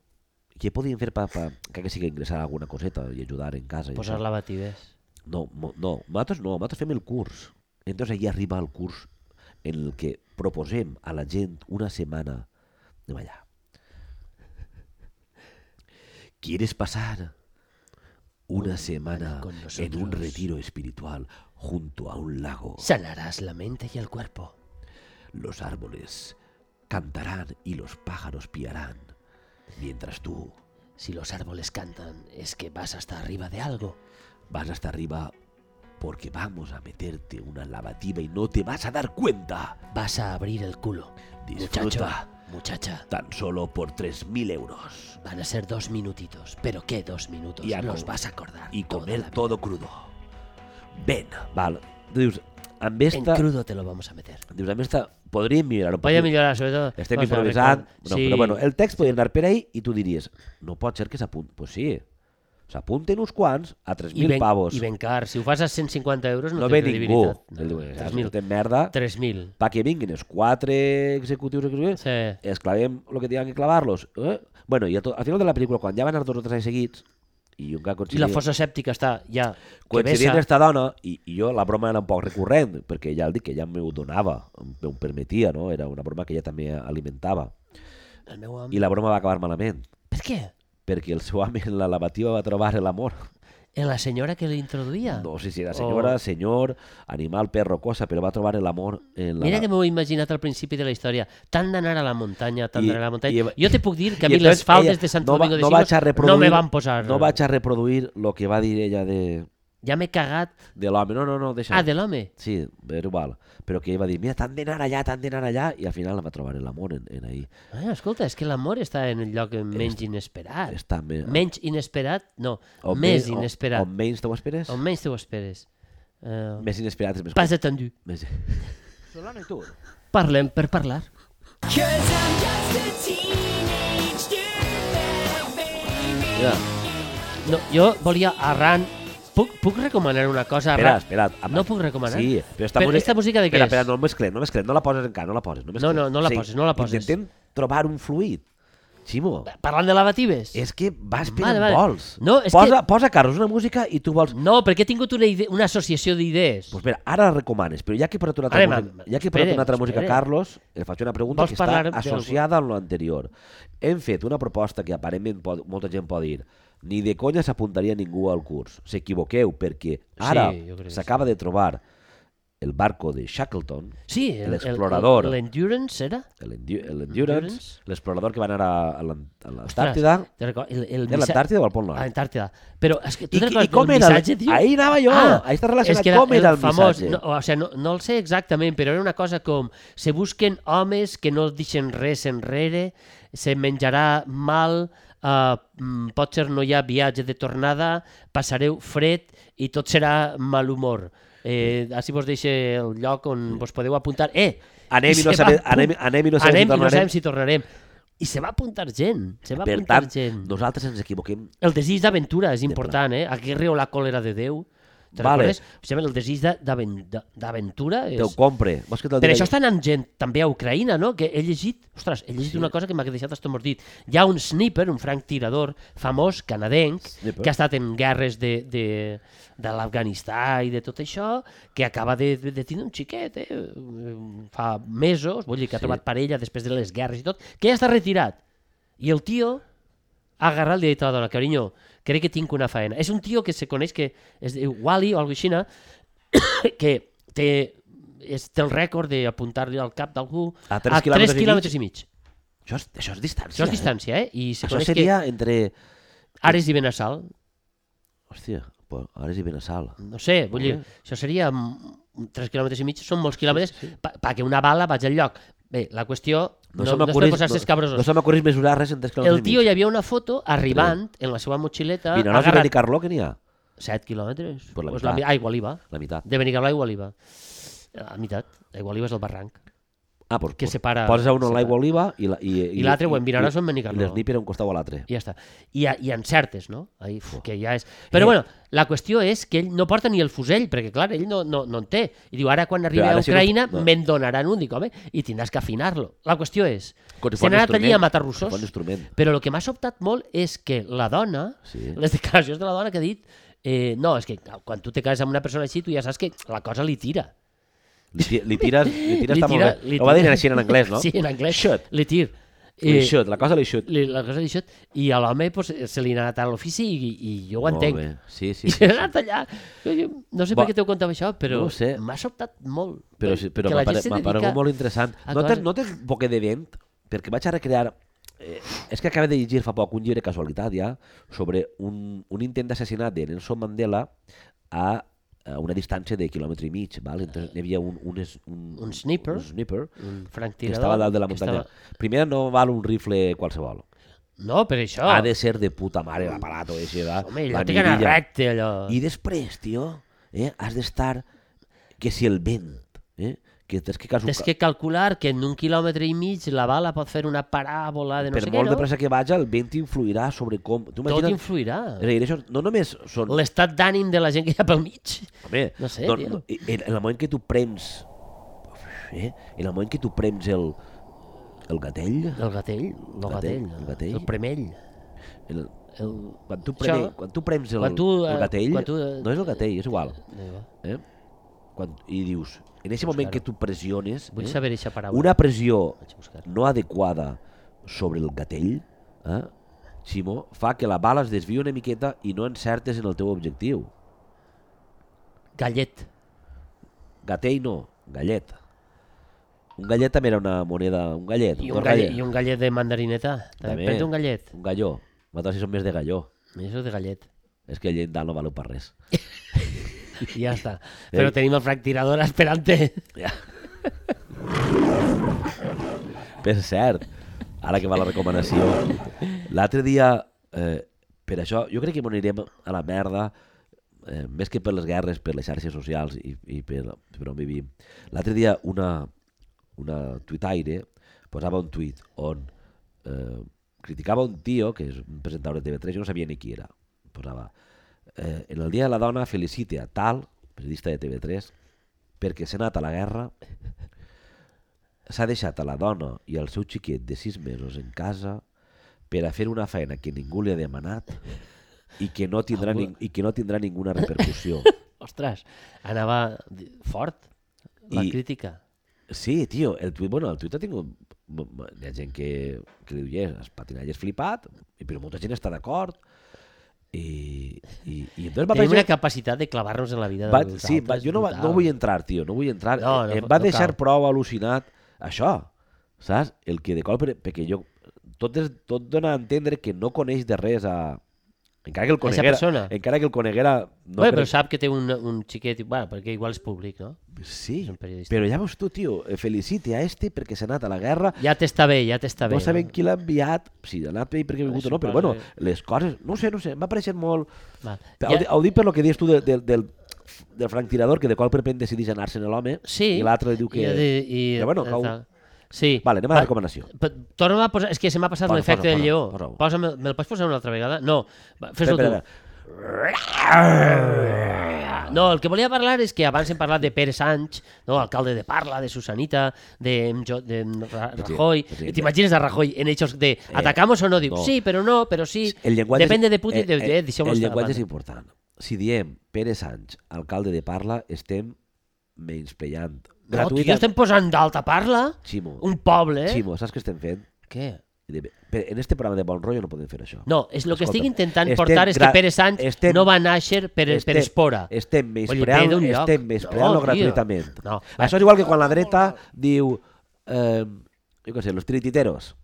Speaker 2: Què podíem fer per, per que que sigui ingressar alguna coseta i ajudar en casa? i
Speaker 3: Posar
Speaker 2: això?
Speaker 3: lavatives.
Speaker 2: No, mo- no, nosaltres no, nosaltres fem el curs. Entonces allí arriba el curs en el que proposem a la gent una setmana de ballar. ¿Quieres pasar una semana
Speaker 3: con
Speaker 2: en un
Speaker 3: nosotros.
Speaker 2: retiro espiritual junto a un lago?
Speaker 3: Sanaràs la mente i el cuerpo.
Speaker 2: Los árboles cantarán y los pájaros piarán, mientras tú
Speaker 3: Si los árboles cantan, es que vas hasta arriba de algo.
Speaker 2: vas hasta arriba porque vamos a meterte una lavativa y no te vas a dar cuenta.
Speaker 3: Vas a abrir el culo.
Speaker 2: Disfruta.
Speaker 3: Muchacho, muchacha,
Speaker 2: tan solo por 3.000 euros
Speaker 3: van a ser dos minutitos. ¿Pero qué dos minutos?
Speaker 2: Y a
Speaker 3: los
Speaker 2: com-
Speaker 3: vas a acordar.
Speaker 2: y
Speaker 3: toda la
Speaker 2: comer
Speaker 3: vida.
Speaker 2: todo crudo. Ven. Val. Dius, amb
Speaker 3: En
Speaker 2: esta...
Speaker 3: crudo te lo vamos a meter.
Speaker 2: Dius, amb esta podríem millorar un
Speaker 3: Vaya
Speaker 2: poquit.
Speaker 3: millorar, sobre todo.
Speaker 2: Estem
Speaker 3: Vamos a ver,
Speaker 2: improvisant.
Speaker 3: con-
Speaker 2: No, Però bueno, el text podria anar per ahí i tu diries, no pot ser que s'apunt... Pues sí, s'apunten uns quants a
Speaker 3: I
Speaker 2: 3.000
Speaker 3: ben,
Speaker 2: pavos.
Speaker 3: I ben car. Si ho fas a 150 euros no,
Speaker 2: no
Speaker 3: té
Speaker 2: ve ningú.
Speaker 3: credibilitat.
Speaker 2: El diu,
Speaker 3: No,
Speaker 2: saps, No,
Speaker 3: 3.000.
Speaker 2: té merda.
Speaker 3: 3.000.
Speaker 2: Pa que vinguin els quatre executius, executius
Speaker 3: Sí.
Speaker 2: es clavem el que tinguem que clavar-los. Eh? Bueno, i a to- al final de la pel·lícula, quan ja van anar dos o tres anys seguits, i un que ha
Speaker 3: I la fossa sèptica està ja... Que
Speaker 2: Coincidint
Speaker 3: vessa.
Speaker 2: aquesta dona, i, i jo la broma era un poc recurrent, perquè ja el dic que ella m'ho donava, em, em permetia, no? Era una broma que ella també alimentava.
Speaker 3: El meu home...
Speaker 2: I la broma va acabar malament,
Speaker 3: Per què?
Speaker 2: perquè el seu home en la lavativa va trobar l'amor.
Speaker 3: En la senyora que l'introduïa?
Speaker 2: No sé si
Speaker 3: O-
Speaker 2: era senyora, senyor, animal, perro, cosa, però va trobar l'amor en la...
Speaker 3: Mira que m'ho he imaginat al principi de la història. Tant d'anar a la muntanya, tant
Speaker 2: I-
Speaker 3: d'anar a la muntanya...
Speaker 2: i-
Speaker 3: Jo te puc dir que a
Speaker 2: I
Speaker 3: mi les
Speaker 2: entonces
Speaker 3: faltes
Speaker 2: ella
Speaker 3: de Sant
Speaker 2: no va-
Speaker 3: Domingo de
Speaker 2: no
Speaker 3: Siglos
Speaker 2: vaig a
Speaker 3: no me
Speaker 2: reproduir-
Speaker 3: van posar...
Speaker 2: No vaig a reproduir el que va dir ella de,
Speaker 3: Ja m'he cagat...
Speaker 2: de l'home. No, no, no, deixa.
Speaker 3: Ah, de l'home.
Speaker 2: Sí, però val. Però que ell va dir, mira, t'han d'anar allà, t'han d'anar allà, i al final la va trobar l'amor en, en ahir.
Speaker 3: Ah, escolta, és que l'amor està en el lloc menys inesperat.
Speaker 2: Està més...
Speaker 3: Menys inesperat? No, més
Speaker 2: O,
Speaker 3: inesperat.
Speaker 2: o menys t'ho esperes?
Speaker 3: O menys te ho esperes. Uh,
Speaker 2: Més inesperat és més...
Speaker 3: pas atendu.
Speaker 2: Més... Solano i tu.
Speaker 3: Parlem per parlar.
Speaker 6: Cause I'm just a teenage dirtbag, baby.
Speaker 2: Ja.
Speaker 3: No, jo volia arran... Puc, puc recomanar una cosa
Speaker 2: Espera,
Speaker 3: arran?
Speaker 2: espera.
Speaker 3: No puc recomanar?
Speaker 2: Sí, però esta,
Speaker 3: Però
Speaker 2: música-
Speaker 3: esta música de què
Speaker 2: espera,
Speaker 3: és?
Speaker 2: Espera, no mesclem, no mesclem, no la poses encara, no la poses. No, mesclem.
Speaker 3: no, no la poses, no la poses.
Speaker 2: Intentem trobar un fluid. Ximo,
Speaker 3: Parlant de lavatives.
Speaker 2: és que vas per
Speaker 3: Vale,
Speaker 2: on
Speaker 3: vale.
Speaker 2: vols.
Speaker 3: No, és
Speaker 2: posa, que... posa Carlos una música i tu vols...
Speaker 3: No, perquè he tingut una, ide una associació d'idees.
Speaker 2: Pues mira, ara la recomanes, però ja que he posat una altra,
Speaker 3: Ara,
Speaker 2: música,
Speaker 3: ma-
Speaker 2: ja que he posat
Speaker 3: espere,
Speaker 2: una altra música a
Speaker 3: espere.
Speaker 2: Carlos, li faig una pregunta
Speaker 3: Vols
Speaker 2: que
Speaker 3: parlar
Speaker 2: està
Speaker 3: d'algú?
Speaker 2: associada amb l'anterior. Hem fet una proposta que aparentment pot, molta gent pot dir ni de conya s'apuntaria ningú al curs. S'equivoqueu, perquè ara
Speaker 3: Sí, jo crec que sí.
Speaker 2: s'acaba de trobar el barco de Shackleton,
Speaker 3: sí, el- el-
Speaker 2: l'explorador.
Speaker 3: L'Endurance era?
Speaker 2: el Endu- el
Speaker 3: Endurance.
Speaker 2: Endurance, l'explorador que va anar a, a l'An- a l'Antàrtida,
Speaker 3: Ostres, te recordo- el, el
Speaker 2: Era
Speaker 3: missa-
Speaker 2: l'Antàrtida o el Pol Nord?
Speaker 3: A l'Antàrtida. Però és que tu
Speaker 2: I-
Speaker 3: te'n
Speaker 2: i
Speaker 3: recordes
Speaker 2: com
Speaker 3: del
Speaker 2: era el-
Speaker 3: missatge, tio? Ah,
Speaker 2: ahí anava jo. Ahí està relacionat.
Speaker 3: és que era
Speaker 2: Com era el
Speaker 3: famós,
Speaker 2: missatge?
Speaker 3: No, o sigui, no, no el sé exactament, però era una cosa com se busquen homes que no deixen res enrere, se menjarà mal, eh, mm, potser no hi ha viatge de tornada, passareu fred i tot serà mal humor. Eh, així vos deixe el lloc on vos podeu apuntar. Eh,
Speaker 2: Anem i no
Speaker 3: se
Speaker 2: sabe-
Speaker 3: va apun-
Speaker 2: anem- anem i no sabem si
Speaker 3: anem i no
Speaker 2: tornarem.
Speaker 3: sabem si tornarem. I se va apuntar gent, se va
Speaker 2: per
Speaker 3: apuntar
Speaker 2: tant,
Speaker 3: gent.
Speaker 2: nosaltres ens equivoquem
Speaker 3: El desig d'aventura és important, eh? Aquí riu la còlera de Déu. Te
Speaker 2: Vale.
Speaker 3: recordes? Em sembla el desig de- d'aven- de- d'aventura és...
Speaker 2: Te ho compre. Vols que te'l
Speaker 3: Per
Speaker 2: digui?
Speaker 3: això està anant gent també a Ucraïna, no? Que he llegit, ostres, he llegit una cosa que m'ha deixat estomordit. Hi ha un sniper, un franc tirador famós canadenc,
Speaker 2: Sniper.
Speaker 3: que ha estat en guerres de, de, de l'Afganistà i de tot això, que acaba de, de, de tenir un xiquet, eh? Fa mesos, vull dir, que ha
Speaker 2: Sí.
Speaker 3: trobat parella després de les guerres i tot, que ja està retirat. I el tio ha agarrat i li ha dit a la dona, carinyo, crec que tinc una faena. És un tio que se coneix que es diu Wally o alguna cosa així, que té, és, té el rècord d'apuntar-li al cap d'algú
Speaker 2: A tres
Speaker 3: a
Speaker 2: quilòmetres
Speaker 3: 3
Speaker 2: i
Speaker 3: quilòmetres i mig.
Speaker 2: Això és, això és distància.
Speaker 3: Això és distància, eh? I se
Speaker 2: Eh? Això
Speaker 3: coneix
Speaker 2: seria entre...
Speaker 3: que Ares i Benassal,
Speaker 2: Hòstia, però ara és i Benassal.
Speaker 3: no sé, vull
Speaker 2: Eh.
Speaker 3: dir, això seria 3 quilòmetres i mig, són molts quilòmetres sí, sí. perquè una bala vagi al lloc. Bé, la qüestió... No, no, no és per posar-se
Speaker 2: no,
Speaker 3: escabrosos.
Speaker 2: no se m'acudeix mesurar res en 3
Speaker 3: el
Speaker 2: quilòmetres
Speaker 3: tio hi
Speaker 2: i mig.
Speaker 3: havia una foto arribant en la seva motxileta,
Speaker 2: Vine, no has de
Speaker 3: agarrat
Speaker 2: venir Carló, que n'hi ha?
Speaker 3: 7 quilòmetres.
Speaker 2: Pues la
Speaker 3: Pues
Speaker 2: meitat.
Speaker 3: mi- ah, Igualiba.
Speaker 2: La meitat.
Speaker 3: De Benicarló a Igualiba. A meitat. A Igualiba és el barranc.
Speaker 2: Ah, doncs,
Speaker 3: Que
Speaker 2: doncs
Speaker 3: separa-
Speaker 2: poses a un a
Speaker 3: separa.
Speaker 2: l'aigua oliva i la- i- i-
Speaker 3: I l'altre ho
Speaker 2: i-
Speaker 3: enviraràs
Speaker 2: i-
Speaker 3: en Benicarló.
Speaker 2: I l'esniper a un costat o a l'altre.
Speaker 3: I ja està. I, a- i encertes, no? Ahí, uf, que ja és... Però bueno, la qüestió és que ell no porta ni el fusell, perquè clar, ell no, no, no en té. I diu, ara quan arribi
Speaker 2: ara
Speaker 3: a
Speaker 2: si no-
Speaker 3: Ucraïna
Speaker 2: no.
Speaker 3: me'n donaran un, dic, home, i tindràs que afinar-lo. La qüestió és,
Speaker 2: Quan es
Speaker 3: se
Speaker 2: pon
Speaker 3: n'ha anat allí
Speaker 2: instrument,
Speaker 3: a matar
Speaker 2: es
Speaker 3: russos,
Speaker 2: pon instrument.
Speaker 3: però el que m'ha sobtat molt és que la dona,
Speaker 2: Sí.
Speaker 3: les declaracions de la dona que ha dit, eh, no, és que clar, quan tu te cases amb una persona així, tu ja saps que la cosa li tira.
Speaker 2: Li, ti- li tires, li tires
Speaker 3: Li
Speaker 2: està
Speaker 3: tira-
Speaker 2: molt
Speaker 3: li
Speaker 2: bé. Ho va dir
Speaker 3: tira-
Speaker 2: així en anglès, no?
Speaker 3: Sí, en anglès.
Speaker 2: Shot.
Speaker 3: Li tir.
Speaker 2: Li
Speaker 3: Eh,
Speaker 2: shot, la cosa li shot.
Speaker 3: Li, la cosa li shot. I a l'home pues, se li ha anat a l'ofici i, i jo ho
Speaker 2: Molt
Speaker 3: entenc.
Speaker 2: bé. Sí, sí,
Speaker 3: I
Speaker 2: sí,
Speaker 3: se
Speaker 2: sí.
Speaker 3: n'ha anat allà. Jo- jo No sé
Speaker 2: Va.
Speaker 3: per què t'heu contat això, però
Speaker 2: No ho sé.
Speaker 3: m'ha sobtat molt.
Speaker 2: però, sí, però
Speaker 3: que la
Speaker 2: m'ha pare-
Speaker 3: gent se
Speaker 2: m'ha
Speaker 3: dedica
Speaker 2: paregut molt interessant.
Speaker 3: a
Speaker 2: No tens,
Speaker 3: coses-
Speaker 2: no tens boca de vent? Perquè vaig a recrear... Eh, és que acaba de llegir fa poc un llibre casualitat ja sobre un, un intent d'assassinat de Nelson Mandela a, a una distància de quilòmetre i mig. Val? Entonces, hi havia un, un, es- un,
Speaker 3: Un sniper.
Speaker 2: un sniper
Speaker 3: Un franc
Speaker 2: que
Speaker 3: tirador.
Speaker 2: estava dalt de la
Speaker 3: que
Speaker 2: muntanya.
Speaker 3: estava-
Speaker 2: Estava... Primer no val un rifle qualsevol.
Speaker 3: No, per això.
Speaker 2: Ha de ser de puta mare l'aparato. Així, va?
Speaker 3: Oh. Home,
Speaker 2: La
Speaker 3: allò té que anar
Speaker 2: mirilla.
Speaker 3: recte, allò.
Speaker 2: I després, tio, eh, has d'estar que si el vent, eh, que tens que cas un
Speaker 3: Tens
Speaker 2: ca-
Speaker 3: que calcular que en un quilòmetre i mig la bala pot fer una paràbola de no
Speaker 2: per
Speaker 3: sé què,
Speaker 2: molt
Speaker 3: no?
Speaker 2: de pressa que vaja, el vent influirà sobre com... Tu
Speaker 3: Tot
Speaker 2: imagina't-
Speaker 3: influirà.
Speaker 2: És a dir, això no només són...
Speaker 3: L'estat d'ànim de la gent que hi ha pel mig.
Speaker 2: Home,
Speaker 3: No sé, tio.
Speaker 2: i- en, en el moment que tu prems... Eh, en el moment que tu prems el, el gatell...
Speaker 3: El gatell,
Speaker 2: Gatell,
Speaker 3: no gatell,
Speaker 2: el
Speaker 3: el,
Speaker 2: gatell.
Speaker 3: el premell.
Speaker 2: El,
Speaker 3: El...
Speaker 2: quan, tu
Speaker 3: Això-
Speaker 2: premes, quan tu prems el,
Speaker 3: quan tu, eh,
Speaker 2: el gatell...
Speaker 3: quan tu, eh,
Speaker 2: no és el gatell, és igual.
Speaker 3: Déu, va.
Speaker 2: Eh? Quan, I dius... En aquest moment que tu pressiones...
Speaker 3: Vull
Speaker 2: eh,
Speaker 3: saber eixa paraula.
Speaker 2: Una pressió
Speaker 3: Vaig a buscar.
Speaker 2: no adequada sobre el gatell, eh, Ximo, fa que la bala es desvia una miqueta i no encertes en el teu objectiu.
Speaker 3: Gallet.
Speaker 2: Gatell no, gallet. Un gallet també era una moneda, un gallet.
Speaker 3: I
Speaker 2: dos
Speaker 3: un, gallet,
Speaker 2: gallets.
Speaker 3: I un gallet de mandarineta. També.
Speaker 2: També.
Speaker 3: Prens un gallet.
Speaker 2: Un galló. Nosaltres sí som més de galló.
Speaker 3: I Això de gallet.
Speaker 2: És que allà no valeu per res.
Speaker 3: I ja està. Però tenim el fractirador esperante.
Speaker 2: Ja. per cert, ara que va la recomanació, l'altre dia, eh, per això, jo crec que m'anirem a la merda eh, més que per les guerres, per les xarxes socials i, i per, per on vivim. L'altre dia una, una tuitaire posava un tuit on eh, criticava un tio, que és un presentador de TV3, jo no sabia ni qui era, posava eh, en el Dia de la Dona felicite a tal, periodista de TV3, perquè s'ha anat a la guerra, s'ha deixat a la dona i al seu xiquet de sis mesos en casa per a fer una feina que ningú li ha demanat i que no tindrà,
Speaker 3: Algú-
Speaker 2: ning- i que no tindrà ninguna repercussió.
Speaker 3: Ostres, anava di- fort la
Speaker 2: I-
Speaker 3: crítica.
Speaker 2: Sí, tio, el tuit, bueno, el tuit ha tingut... m- m- Hi ha gent que, que li diu, yes, el patinatge és flipat, i- però molta gent està d'acord. I, i, i entonces va
Speaker 3: Tenim una
Speaker 2: aparèixer...
Speaker 3: capacitat de clavar-nos en la vida
Speaker 2: Va,
Speaker 3: dels
Speaker 2: sí, va,
Speaker 3: altres
Speaker 2: jo no, va,
Speaker 3: brutal.
Speaker 2: no vull entrar, tio, no vull entrar.
Speaker 3: No,
Speaker 2: No,
Speaker 3: no
Speaker 2: no, em
Speaker 3: fa-
Speaker 2: va
Speaker 3: no
Speaker 2: deixar
Speaker 3: cal.
Speaker 2: prou al·lucinat això, saps? El que de cop, per- perquè jo... Tot, és, tot dona a entendre que no coneix de res a... Encara que el
Speaker 3: A esa
Speaker 2: coneguera...
Speaker 3: persona.
Speaker 2: Encara que el coneguera... No
Speaker 3: Bé,
Speaker 2: crec-
Speaker 3: però sap que té un, un xiquet... i- Bueno, perquè igual és públic, no?
Speaker 2: Sí,
Speaker 3: És un periodista.
Speaker 2: però ja veus tu, tio, eh, feliciti a este perquè s'ha anat a la guerra
Speaker 3: Ja t'està bé, ja t'està bé. eh?
Speaker 2: no sabem qui l'ha enviat, si l'ha anat bé i per què ha vingut o no, però
Speaker 3: Suposo
Speaker 2: bueno, les coses, no ho sé, no ho sé, m'ha pareixer molt...
Speaker 3: Val.
Speaker 2: Ja...
Speaker 3: Ja-
Speaker 2: Ho, di- ho dic per lo que dius tu de, de, del, del franc tirador, que de qual perpent decidís anar-se'n a l'home,
Speaker 3: Sí.
Speaker 2: i l'altre diu que...
Speaker 3: I, i, i
Speaker 2: però bueno, cau...
Speaker 3: Sí.
Speaker 2: Vale, anem a la recomanació.
Speaker 3: Torna'm a posar... És que se m'ha passat
Speaker 2: Posa, posa,
Speaker 3: l'efecte del
Speaker 2: posa,
Speaker 3: lleó.
Speaker 2: posa-ho.
Speaker 3: Posa, me, me'l pots posar una altra vegada? No, va, fes-ho tu.
Speaker 2: Espera,
Speaker 3: No, el que volia parlar és que abans hem parlat de Pere Sanz, no, alcalde de Parla, de Susanita, de, em Jo- de em Ra- Rajoy...
Speaker 2: sí.
Speaker 3: T'imagines a Rajoy en hechos de atacamos o no? Diu,
Speaker 2: Eh, no.
Speaker 3: sí, però no, però sí.
Speaker 2: El llenguatge...
Speaker 3: Depende de Putin. de, eh,
Speaker 2: el
Speaker 3: deixeu-lo estar,
Speaker 2: llenguatge
Speaker 3: va.
Speaker 2: és important. Si diem Pere Sanz, alcalde de Parla, estem menysprellant.
Speaker 3: No, tio, estem posant d'alta Parla,
Speaker 2: Ximo,
Speaker 3: un eh? poble...
Speaker 2: Ximo, saps què estem fent?
Speaker 3: Què?
Speaker 2: De- Però en este programa de Bon Rollo no podem fer això.
Speaker 3: No, és el que estic
Speaker 2: Escolta'm,
Speaker 3: intentant
Speaker 2: estem
Speaker 3: portar és que
Speaker 2: gra-
Speaker 3: Pere Sanz
Speaker 2: estem-
Speaker 3: no va néixer per, per espora.
Speaker 2: Estem
Speaker 3: Oye, ve
Speaker 2: menyspreant
Speaker 3: d'un lloc.
Speaker 2: estem menyspreant-lo
Speaker 3: No, tio.
Speaker 2: gratuïtament.
Speaker 3: No.
Speaker 2: Això és igual que quan la dreta diu... Eh, jo què sé, los tirititeros.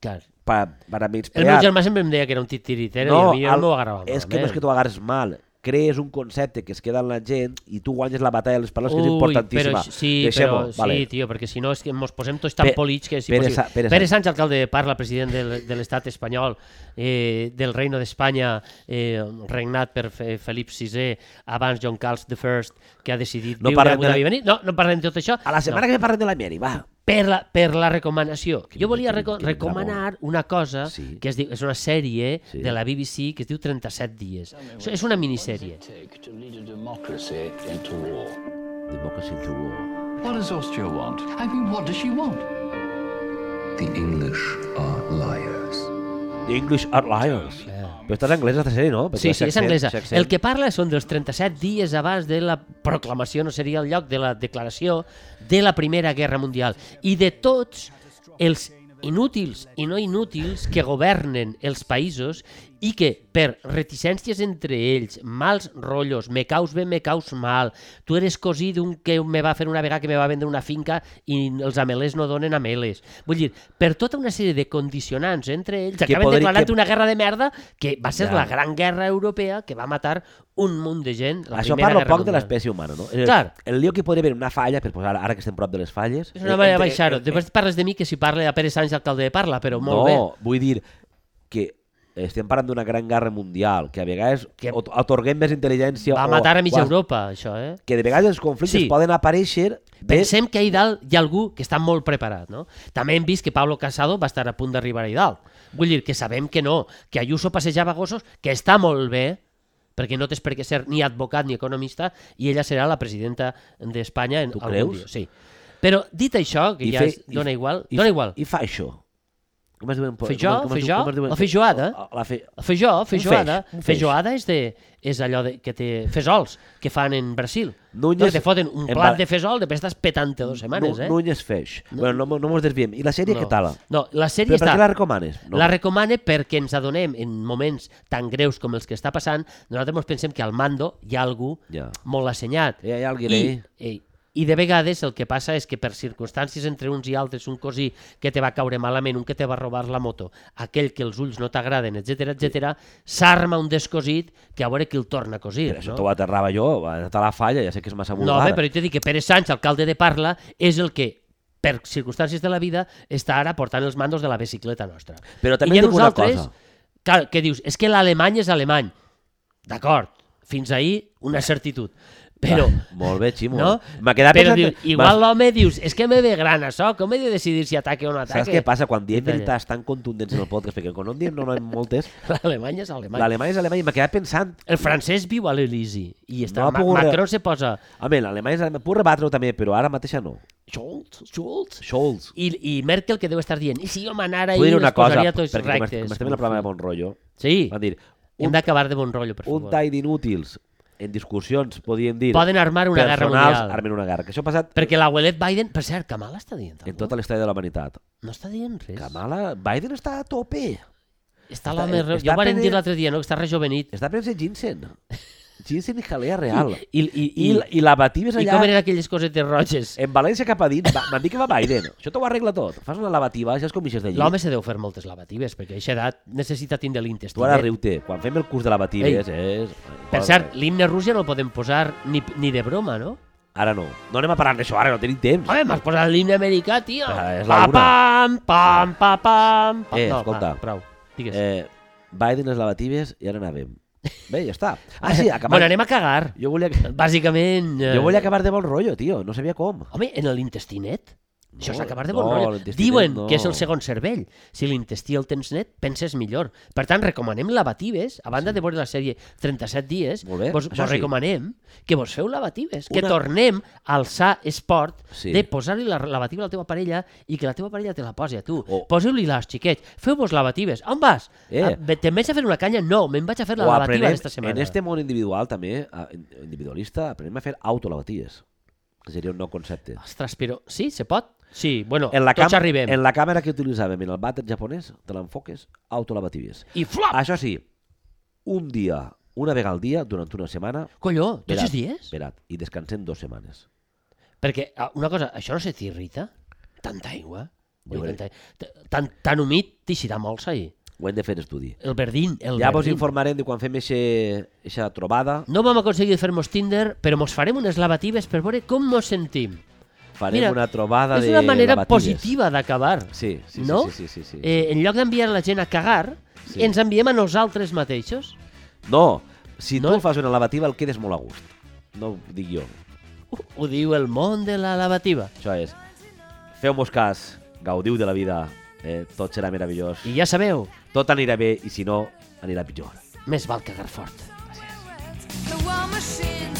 Speaker 3: Clar.
Speaker 2: Pa, para
Speaker 3: El meu
Speaker 2: menysprear...
Speaker 3: germà sempre em deia que era un titiritero i a mi
Speaker 2: al-
Speaker 3: no m'ho agradava
Speaker 2: és que no és que t'ho agarres mal, crees un concepte que es queda en la gent i tu guanyes la batalla de les paraules, que és importantíssima.
Speaker 3: Però, sí,
Speaker 2: Deixem-ho,
Speaker 3: però,
Speaker 2: vale.
Speaker 3: sí, tio, perquè si no és que ens posem tots tan
Speaker 2: Pe-
Speaker 3: polits que és
Speaker 2: Pere
Speaker 3: impossible.
Speaker 2: Sa- Pere
Speaker 3: Pere
Speaker 2: Sánchez.
Speaker 3: Sánchez, alcalde de Parla, president de, de l'estat espanyol, eh, del Reino d'Espanya, eh, regnat per Fe- Felip VI, abans John Carles I, que ha decidit
Speaker 2: No
Speaker 3: viure
Speaker 2: parlem
Speaker 3: amb una
Speaker 2: de-
Speaker 3: vida venir. No, no parlem de tot això.
Speaker 2: A la setmana
Speaker 3: no.
Speaker 2: que ve parlem de la Mieri, va.
Speaker 3: per la, per la recomanació.
Speaker 2: Quin-
Speaker 3: Jo volia
Speaker 2: quin-
Speaker 3: reco
Speaker 2: quin
Speaker 3: recomanar una cosa
Speaker 2: Sí.
Speaker 3: que es diu, és una sèrie
Speaker 2: Sí.
Speaker 3: de la BBC que es diu 37 dies. O sigui, És una minissèrie.
Speaker 7: take to lead a democracy into war?
Speaker 2: Democracy to war.
Speaker 7: What does Austria want? I mean, what does she want? The English are liars.
Speaker 2: The English are liars. Però estàs anglesa, aquesta sèrie, no? Perquè
Speaker 3: Sí, sí, és
Speaker 2: accent-
Speaker 3: anglesa.
Speaker 2: accent-
Speaker 3: El que parla són dels 37 dies abans de la proclamació, no seria el lloc, de la declaració de la Primera Guerra Mundial. I de tots els inútils i no inútils que governen els països i que per reticències entre ells, mals rotllos, me caus bé, me caus mal, tu eres cosí d'un que me va fer una vegada que me va vendre una finca i els amelers no donen ameles. Vull dir, per tota una sèrie de condicionants entre ells, acaben
Speaker 2: podri-
Speaker 3: declarant
Speaker 2: que-
Speaker 3: una guerra de merda que va ser
Speaker 2: Ja.
Speaker 3: la gran guerra europea que va matar un munt de gent. La
Speaker 2: Això
Speaker 3: Primera
Speaker 2: parla
Speaker 3: Guerra
Speaker 2: poc de
Speaker 3: Mundial.
Speaker 2: l'espècie humana, no? El,
Speaker 3: Clar.
Speaker 2: el lío que podria haver una falla, per posar ara que estem prop de les falles...
Speaker 3: És una manera de
Speaker 2: entre-
Speaker 3: baixar-ho.
Speaker 2: eh,
Speaker 3: Després parles de mi que si parla de Pere Sánchez, alcalde de Parla, però molt
Speaker 2: no,
Speaker 3: bé.
Speaker 2: vull dir que estem parlant d'una gran guerra mundial, que a vegades
Speaker 3: Que-
Speaker 2: que atorguem més intel·ligència...
Speaker 3: Va
Speaker 2: o-
Speaker 3: matar a mitja
Speaker 2: o-
Speaker 3: Europa, això, eh?
Speaker 2: Que de vegades els conflictes
Speaker 3: Sí.
Speaker 2: poden aparèixer... De...
Speaker 3: Pensem que ahir dalt hi ha algú que està molt preparat, no? També hem vist que Pablo Casado va estar a punt d'arribar ahir dalt. Vull dir que sabem que no, que Ayuso passejava gossos, que està molt bé, perquè no tens per què ser ni advocat ni economista, i ella serà la presidenta d'Espanya en
Speaker 2: Tu
Speaker 3: algun
Speaker 2: creus?
Speaker 3: dia. Sí. Però dit això, que
Speaker 2: I
Speaker 3: ja
Speaker 2: fe-
Speaker 3: es dona
Speaker 2: i-
Speaker 3: igual,
Speaker 2: i-
Speaker 3: dona igual.
Speaker 2: I fa això. Com es diuen?
Speaker 3: Fer jo,
Speaker 2: com es
Speaker 3: fer
Speaker 2: diu-
Speaker 3: jo,
Speaker 2: com es diuen?
Speaker 3: la feijoada.
Speaker 2: La fe...
Speaker 3: La Feijó,
Speaker 2: feix,
Speaker 3: feijoada,
Speaker 2: un feix.
Speaker 3: feijoada és, de, és allò de, que té fesols que fan en Brasil.
Speaker 2: Núñez-
Speaker 3: Núñez, te foten un
Speaker 2: en
Speaker 3: plat
Speaker 2: Val-
Speaker 3: de fesol, després estàs petant-te dues setmanes, eh?
Speaker 2: Núñez Feix. No. Bueno, no, mo- no mos desviem. I la sèrie
Speaker 3: no.
Speaker 2: què tal?
Speaker 3: No, la sèrie
Speaker 2: Però per
Speaker 3: està...
Speaker 2: què la recomanes? No.
Speaker 3: La recomane perquè ens adonem en moments tan greus com els que està passant, nosaltres ens pensem que al mando hi ha algú
Speaker 2: Ja. Eh,
Speaker 3: molt assenyat.
Speaker 2: Hi ha- hi ha algú
Speaker 3: I,
Speaker 2: ahí.
Speaker 3: i, I de vegades el que passa és que per circumstàncies entre uns i altres, un cosí que te va caure malament, un que te va robar la moto, aquell que els ulls no t'agraden, etc etc, s'arma un descosit que a veure qui el torna a cosir.
Speaker 2: Però això
Speaker 3: no?
Speaker 2: t'ho aterrava jo, va anar a la falla, ja sé que és massa
Speaker 3: No,
Speaker 2: vulgar.
Speaker 3: bé, però jo t'he dit que Pere Sánchez, alcalde de Parla, és el que per circumstàncies de la vida, està ara portant els mandos de la bicicleta nostra.
Speaker 2: Però també
Speaker 3: I hi ha
Speaker 2: et dic una
Speaker 3: nosaltres,
Speaker 2: cosa.
Speaker 3: Clar, què dius? És que l'alemany és alemany. D'acord, fins ahir una certitud. Però,
Speaker 2: Molt bé, Ximo.
Speaker 3: no?
Speaker 2: M'ha quedat
Speaker 3: Però
Speaker 2: pensant...
Speaker 3: dius, igual l'home dius, és que me ve gran això, com he de decidir si ataque o no ataque?
Speaker 2: Saps què passa? Quan diem
Speaker 3: Detalla.
Speaker 2: veritats tan contundents en el podcast, perquè quan no en diem no, no en moltes,
Speaker 3: L'Alemanya és Alemanya.
Speaker 2: l'alemany és alemany i m'ha quedat pensant...
Speaker 3: El francès viu a l'Elisi i està,
Speaker 2: No ha
Speaker 3: Ma
Speaker 2: pogut re-
Speaker 3: Macron se posa
Speaker 2: Home, l'alemany és alemany. Puc rebatre-ho també, però ara mateix no.
Speaker 3: Scholz, Scholz,
Speaker 2: Scholz.
Speaker 3: i, i Merkel que deu estar dient i si jo manara
Speaker 2: Vull
Speaker 3: i
Speaker 2: dir una
Speaker 3: les
Speaker 2: cosa,
Speaker 3: posaria tots
Speaker 2: perquè com est-
Speaker 3: rectes.
Speaker 2: com estem en el programa de Bon Rollo,
Speaker 3: Sí,
Speaker 2: van dir,
Speaker 3: hem
Speaker 2: un,
Speaker 3: d'acabar de bon rotllo, per
Speaker 2: un
Speaker 3: favor.
Speaker 2: tall d'inútils en discussions, podríem dir,
Speaker 3: Poden armar una guerra
Speaker 2: personals,
Speaker 3: mundial.
Speaker 2: armen una guerra. Que això ha passat
Speaker 3: Perquè l'abuelet Biden, per cert, Kamala està dient
Speaker 2: en
Speaker 3: alguna
Speaker 2: tota l'història de la humanitat.
Speaker 3: cosa? No està dient res.
Speaker 2: Kamala, Biden està a tope.
Speaker 3: Està l'home...
Speaker 2: està-
Speaker 3: re-
Speaker 2: està
Speaker 3: Jo ho van
Speaker 2: prenent-
Speaker 3: dir l'altre dia, no? Que està rejovenit.
Speaker 2: Està prenent Jinsen. Jinsen i jalea real.
Speaker 3: I, i,
Speaker 2: I,
Speaker 3: i,
Speaker 2: i la batives
Speaker 3: I
Speaker 2: allà... Eh,
Speaker 3: com eren aquelles cosetes roges?
Speaker 2: En València cap a dins, va- m'han dit que va Biden. Això t'ho arregla tot. Fas una lavativa, ja és com ixes de llit.
Speaker 3: L'home se deu fer moltes lavatives, perquè a aquesta edat necessita tindre l'intestí.
Speaker 2: Tu ara
Speaker 3: net.
Speaker 2: riu-te. Quan fem el curs de lavatives eh, és...
Speaker 3: Per cert, l'himne rus ja no el podem posar ni, ni de broma, no?
Speaker 2: eh, Ara no. No anem a parlar d'això, ara no tenim temps.
Speaker 3: Home, m'has posat l'himne americà, tio!
Speaker 2: Ah, és la
Speaker 3: pa,
Speaker 2: una.
Speaker 3: pam, pam, pa, pam, pam...
Speaker 2: Eh,
Speaker 3: no,
Speaker 2: escolta.
Speaker 3: Va, prou. Digues.
Speaker 2: Eh, Biden les lavatives i ara anàvem. Bé, ja està. Ah, sí, acabant.
Speaker 3: Bueno, anem a cagar.
Speaker 2: Jo volia, que-
Speaker 3: Bàsicament... eh,
Speaker 2: jo volia acabar de bon rotllo, tio. No sabia com.
Speaker 3: Home, en l'intestinet? Això és
Speaker 2: No,
Speaker 3: acabar de
Speaker 2: no,
Speaker 3: bon rotllo.
Speaker 2: l'intestinet
Speaker 3: Diuen
Speaker 2: no.
Speaker 3: que és el segon cervell. Si l'intestí el tens net, penses millor. Per tant, recomanem lavatives, a banda sí. de veure la sèrie 37 dies,
Speaker 2: Molt bé,
Speaker 3: vos,
Speaker 2: això
Speaker 3: vos
Speaker 2: sí.
Speaker 3: recomanem que vos feu lavatives, que
Speaker 2: Una-
Speaker 3: tornem al sa esport
Speaker 2: Sí.
Speaker 3: de posar-li la lavativa a la teva parella i que la teva parella te la posi a tu.
Speaker 2: O-
Speaker 3: Poseu-li les xiquets, feu-vos lavatives. On vas?
Speaker 2: Oh. Eh.
Speaker 3: Ah, ve- Te'n vaig a fer una canya? No, me'n vaig a fer la
Speaker 2: o
Speaker 3: lavativa
Speaker 2: aprenem,
Speaker 3: aquesta setmana.
Speaker 2: en este món individual també, a- individualista, aprenem a fer autolavatives, que seria un nou concepte.
Speaker 3: Ostres, però sí, se pot? Sí, bueno,
Speaker 2: en la
Speaker 3: Ah, tots
Speaker 2: cam-
Speaker 3: arribem.
Speaker 2: En la càmera que utilitzàvem en el vàter japonès, te l'enfoques, autolavatives.
Speaker 3: I flop!
Speaker 2: Això sí, un dia, una vegada al dia, durant una setmana...
Speaker 3: Colló, tots
Speaker 2: verat,
Speaker 3: els dies?
Speaker 2: Verat, i descansem dues setmanes.
Speaker 3: Perquè, ah, una cosa, això no se t'irrita? Tanta aigua? Vull dir,
Speaker 2: Bueno.
Speaker 3: tanta, t- tan, tan humit t'eixirà molsa ahir.
Speaker 2: Ho hem de fer estudi.
Speaker 3: El verdín, el
Speaker 2: Ja vos
Speaker 3: verdín.
Speaker 2: informarem de quan fem aquesta trobada.
Speaker 3: No vam aconseguir fer-nos Tinder, però mos farem unes lavatives per veure com mos sentim.
Speaker 2: Farem
Speaker 3: Mira,
Speaker 2: una trobada
Speaker 3: és
Speaker 2: de
Speaker 3: una manera
Speaker 2: lavatives.
Speaker 3: positiva d'acabar.
Speaker 2: Sí, sí, sí,
Speaker 3: no?
Speaker 2: sí, sí, sí, sí.
Speaker 3: Eh, en lloc d'enviar la gent a cagar,
Speaker 2: Sí.
Speaker 3: sí. ens enviem a nosaltres mateixos.
Speaker 2: No, si no.
Speaker 3: No?
Speaker 2: tu fas una lavativa el quedes molt a gust. No ho dic jo.
Speaker 3: Uh, ho diu el món de la lavativa.
Speaker 2: Això és, feu-vos cas, gaudiu de la vida, eh, tot serà meravellós,
Speaker 3: I ja sabeu,
Speaker 2: tot anirà bé i si no, anirà pitjor.
Speaker 3: més val cagar fort.
Speaker 6: The war machine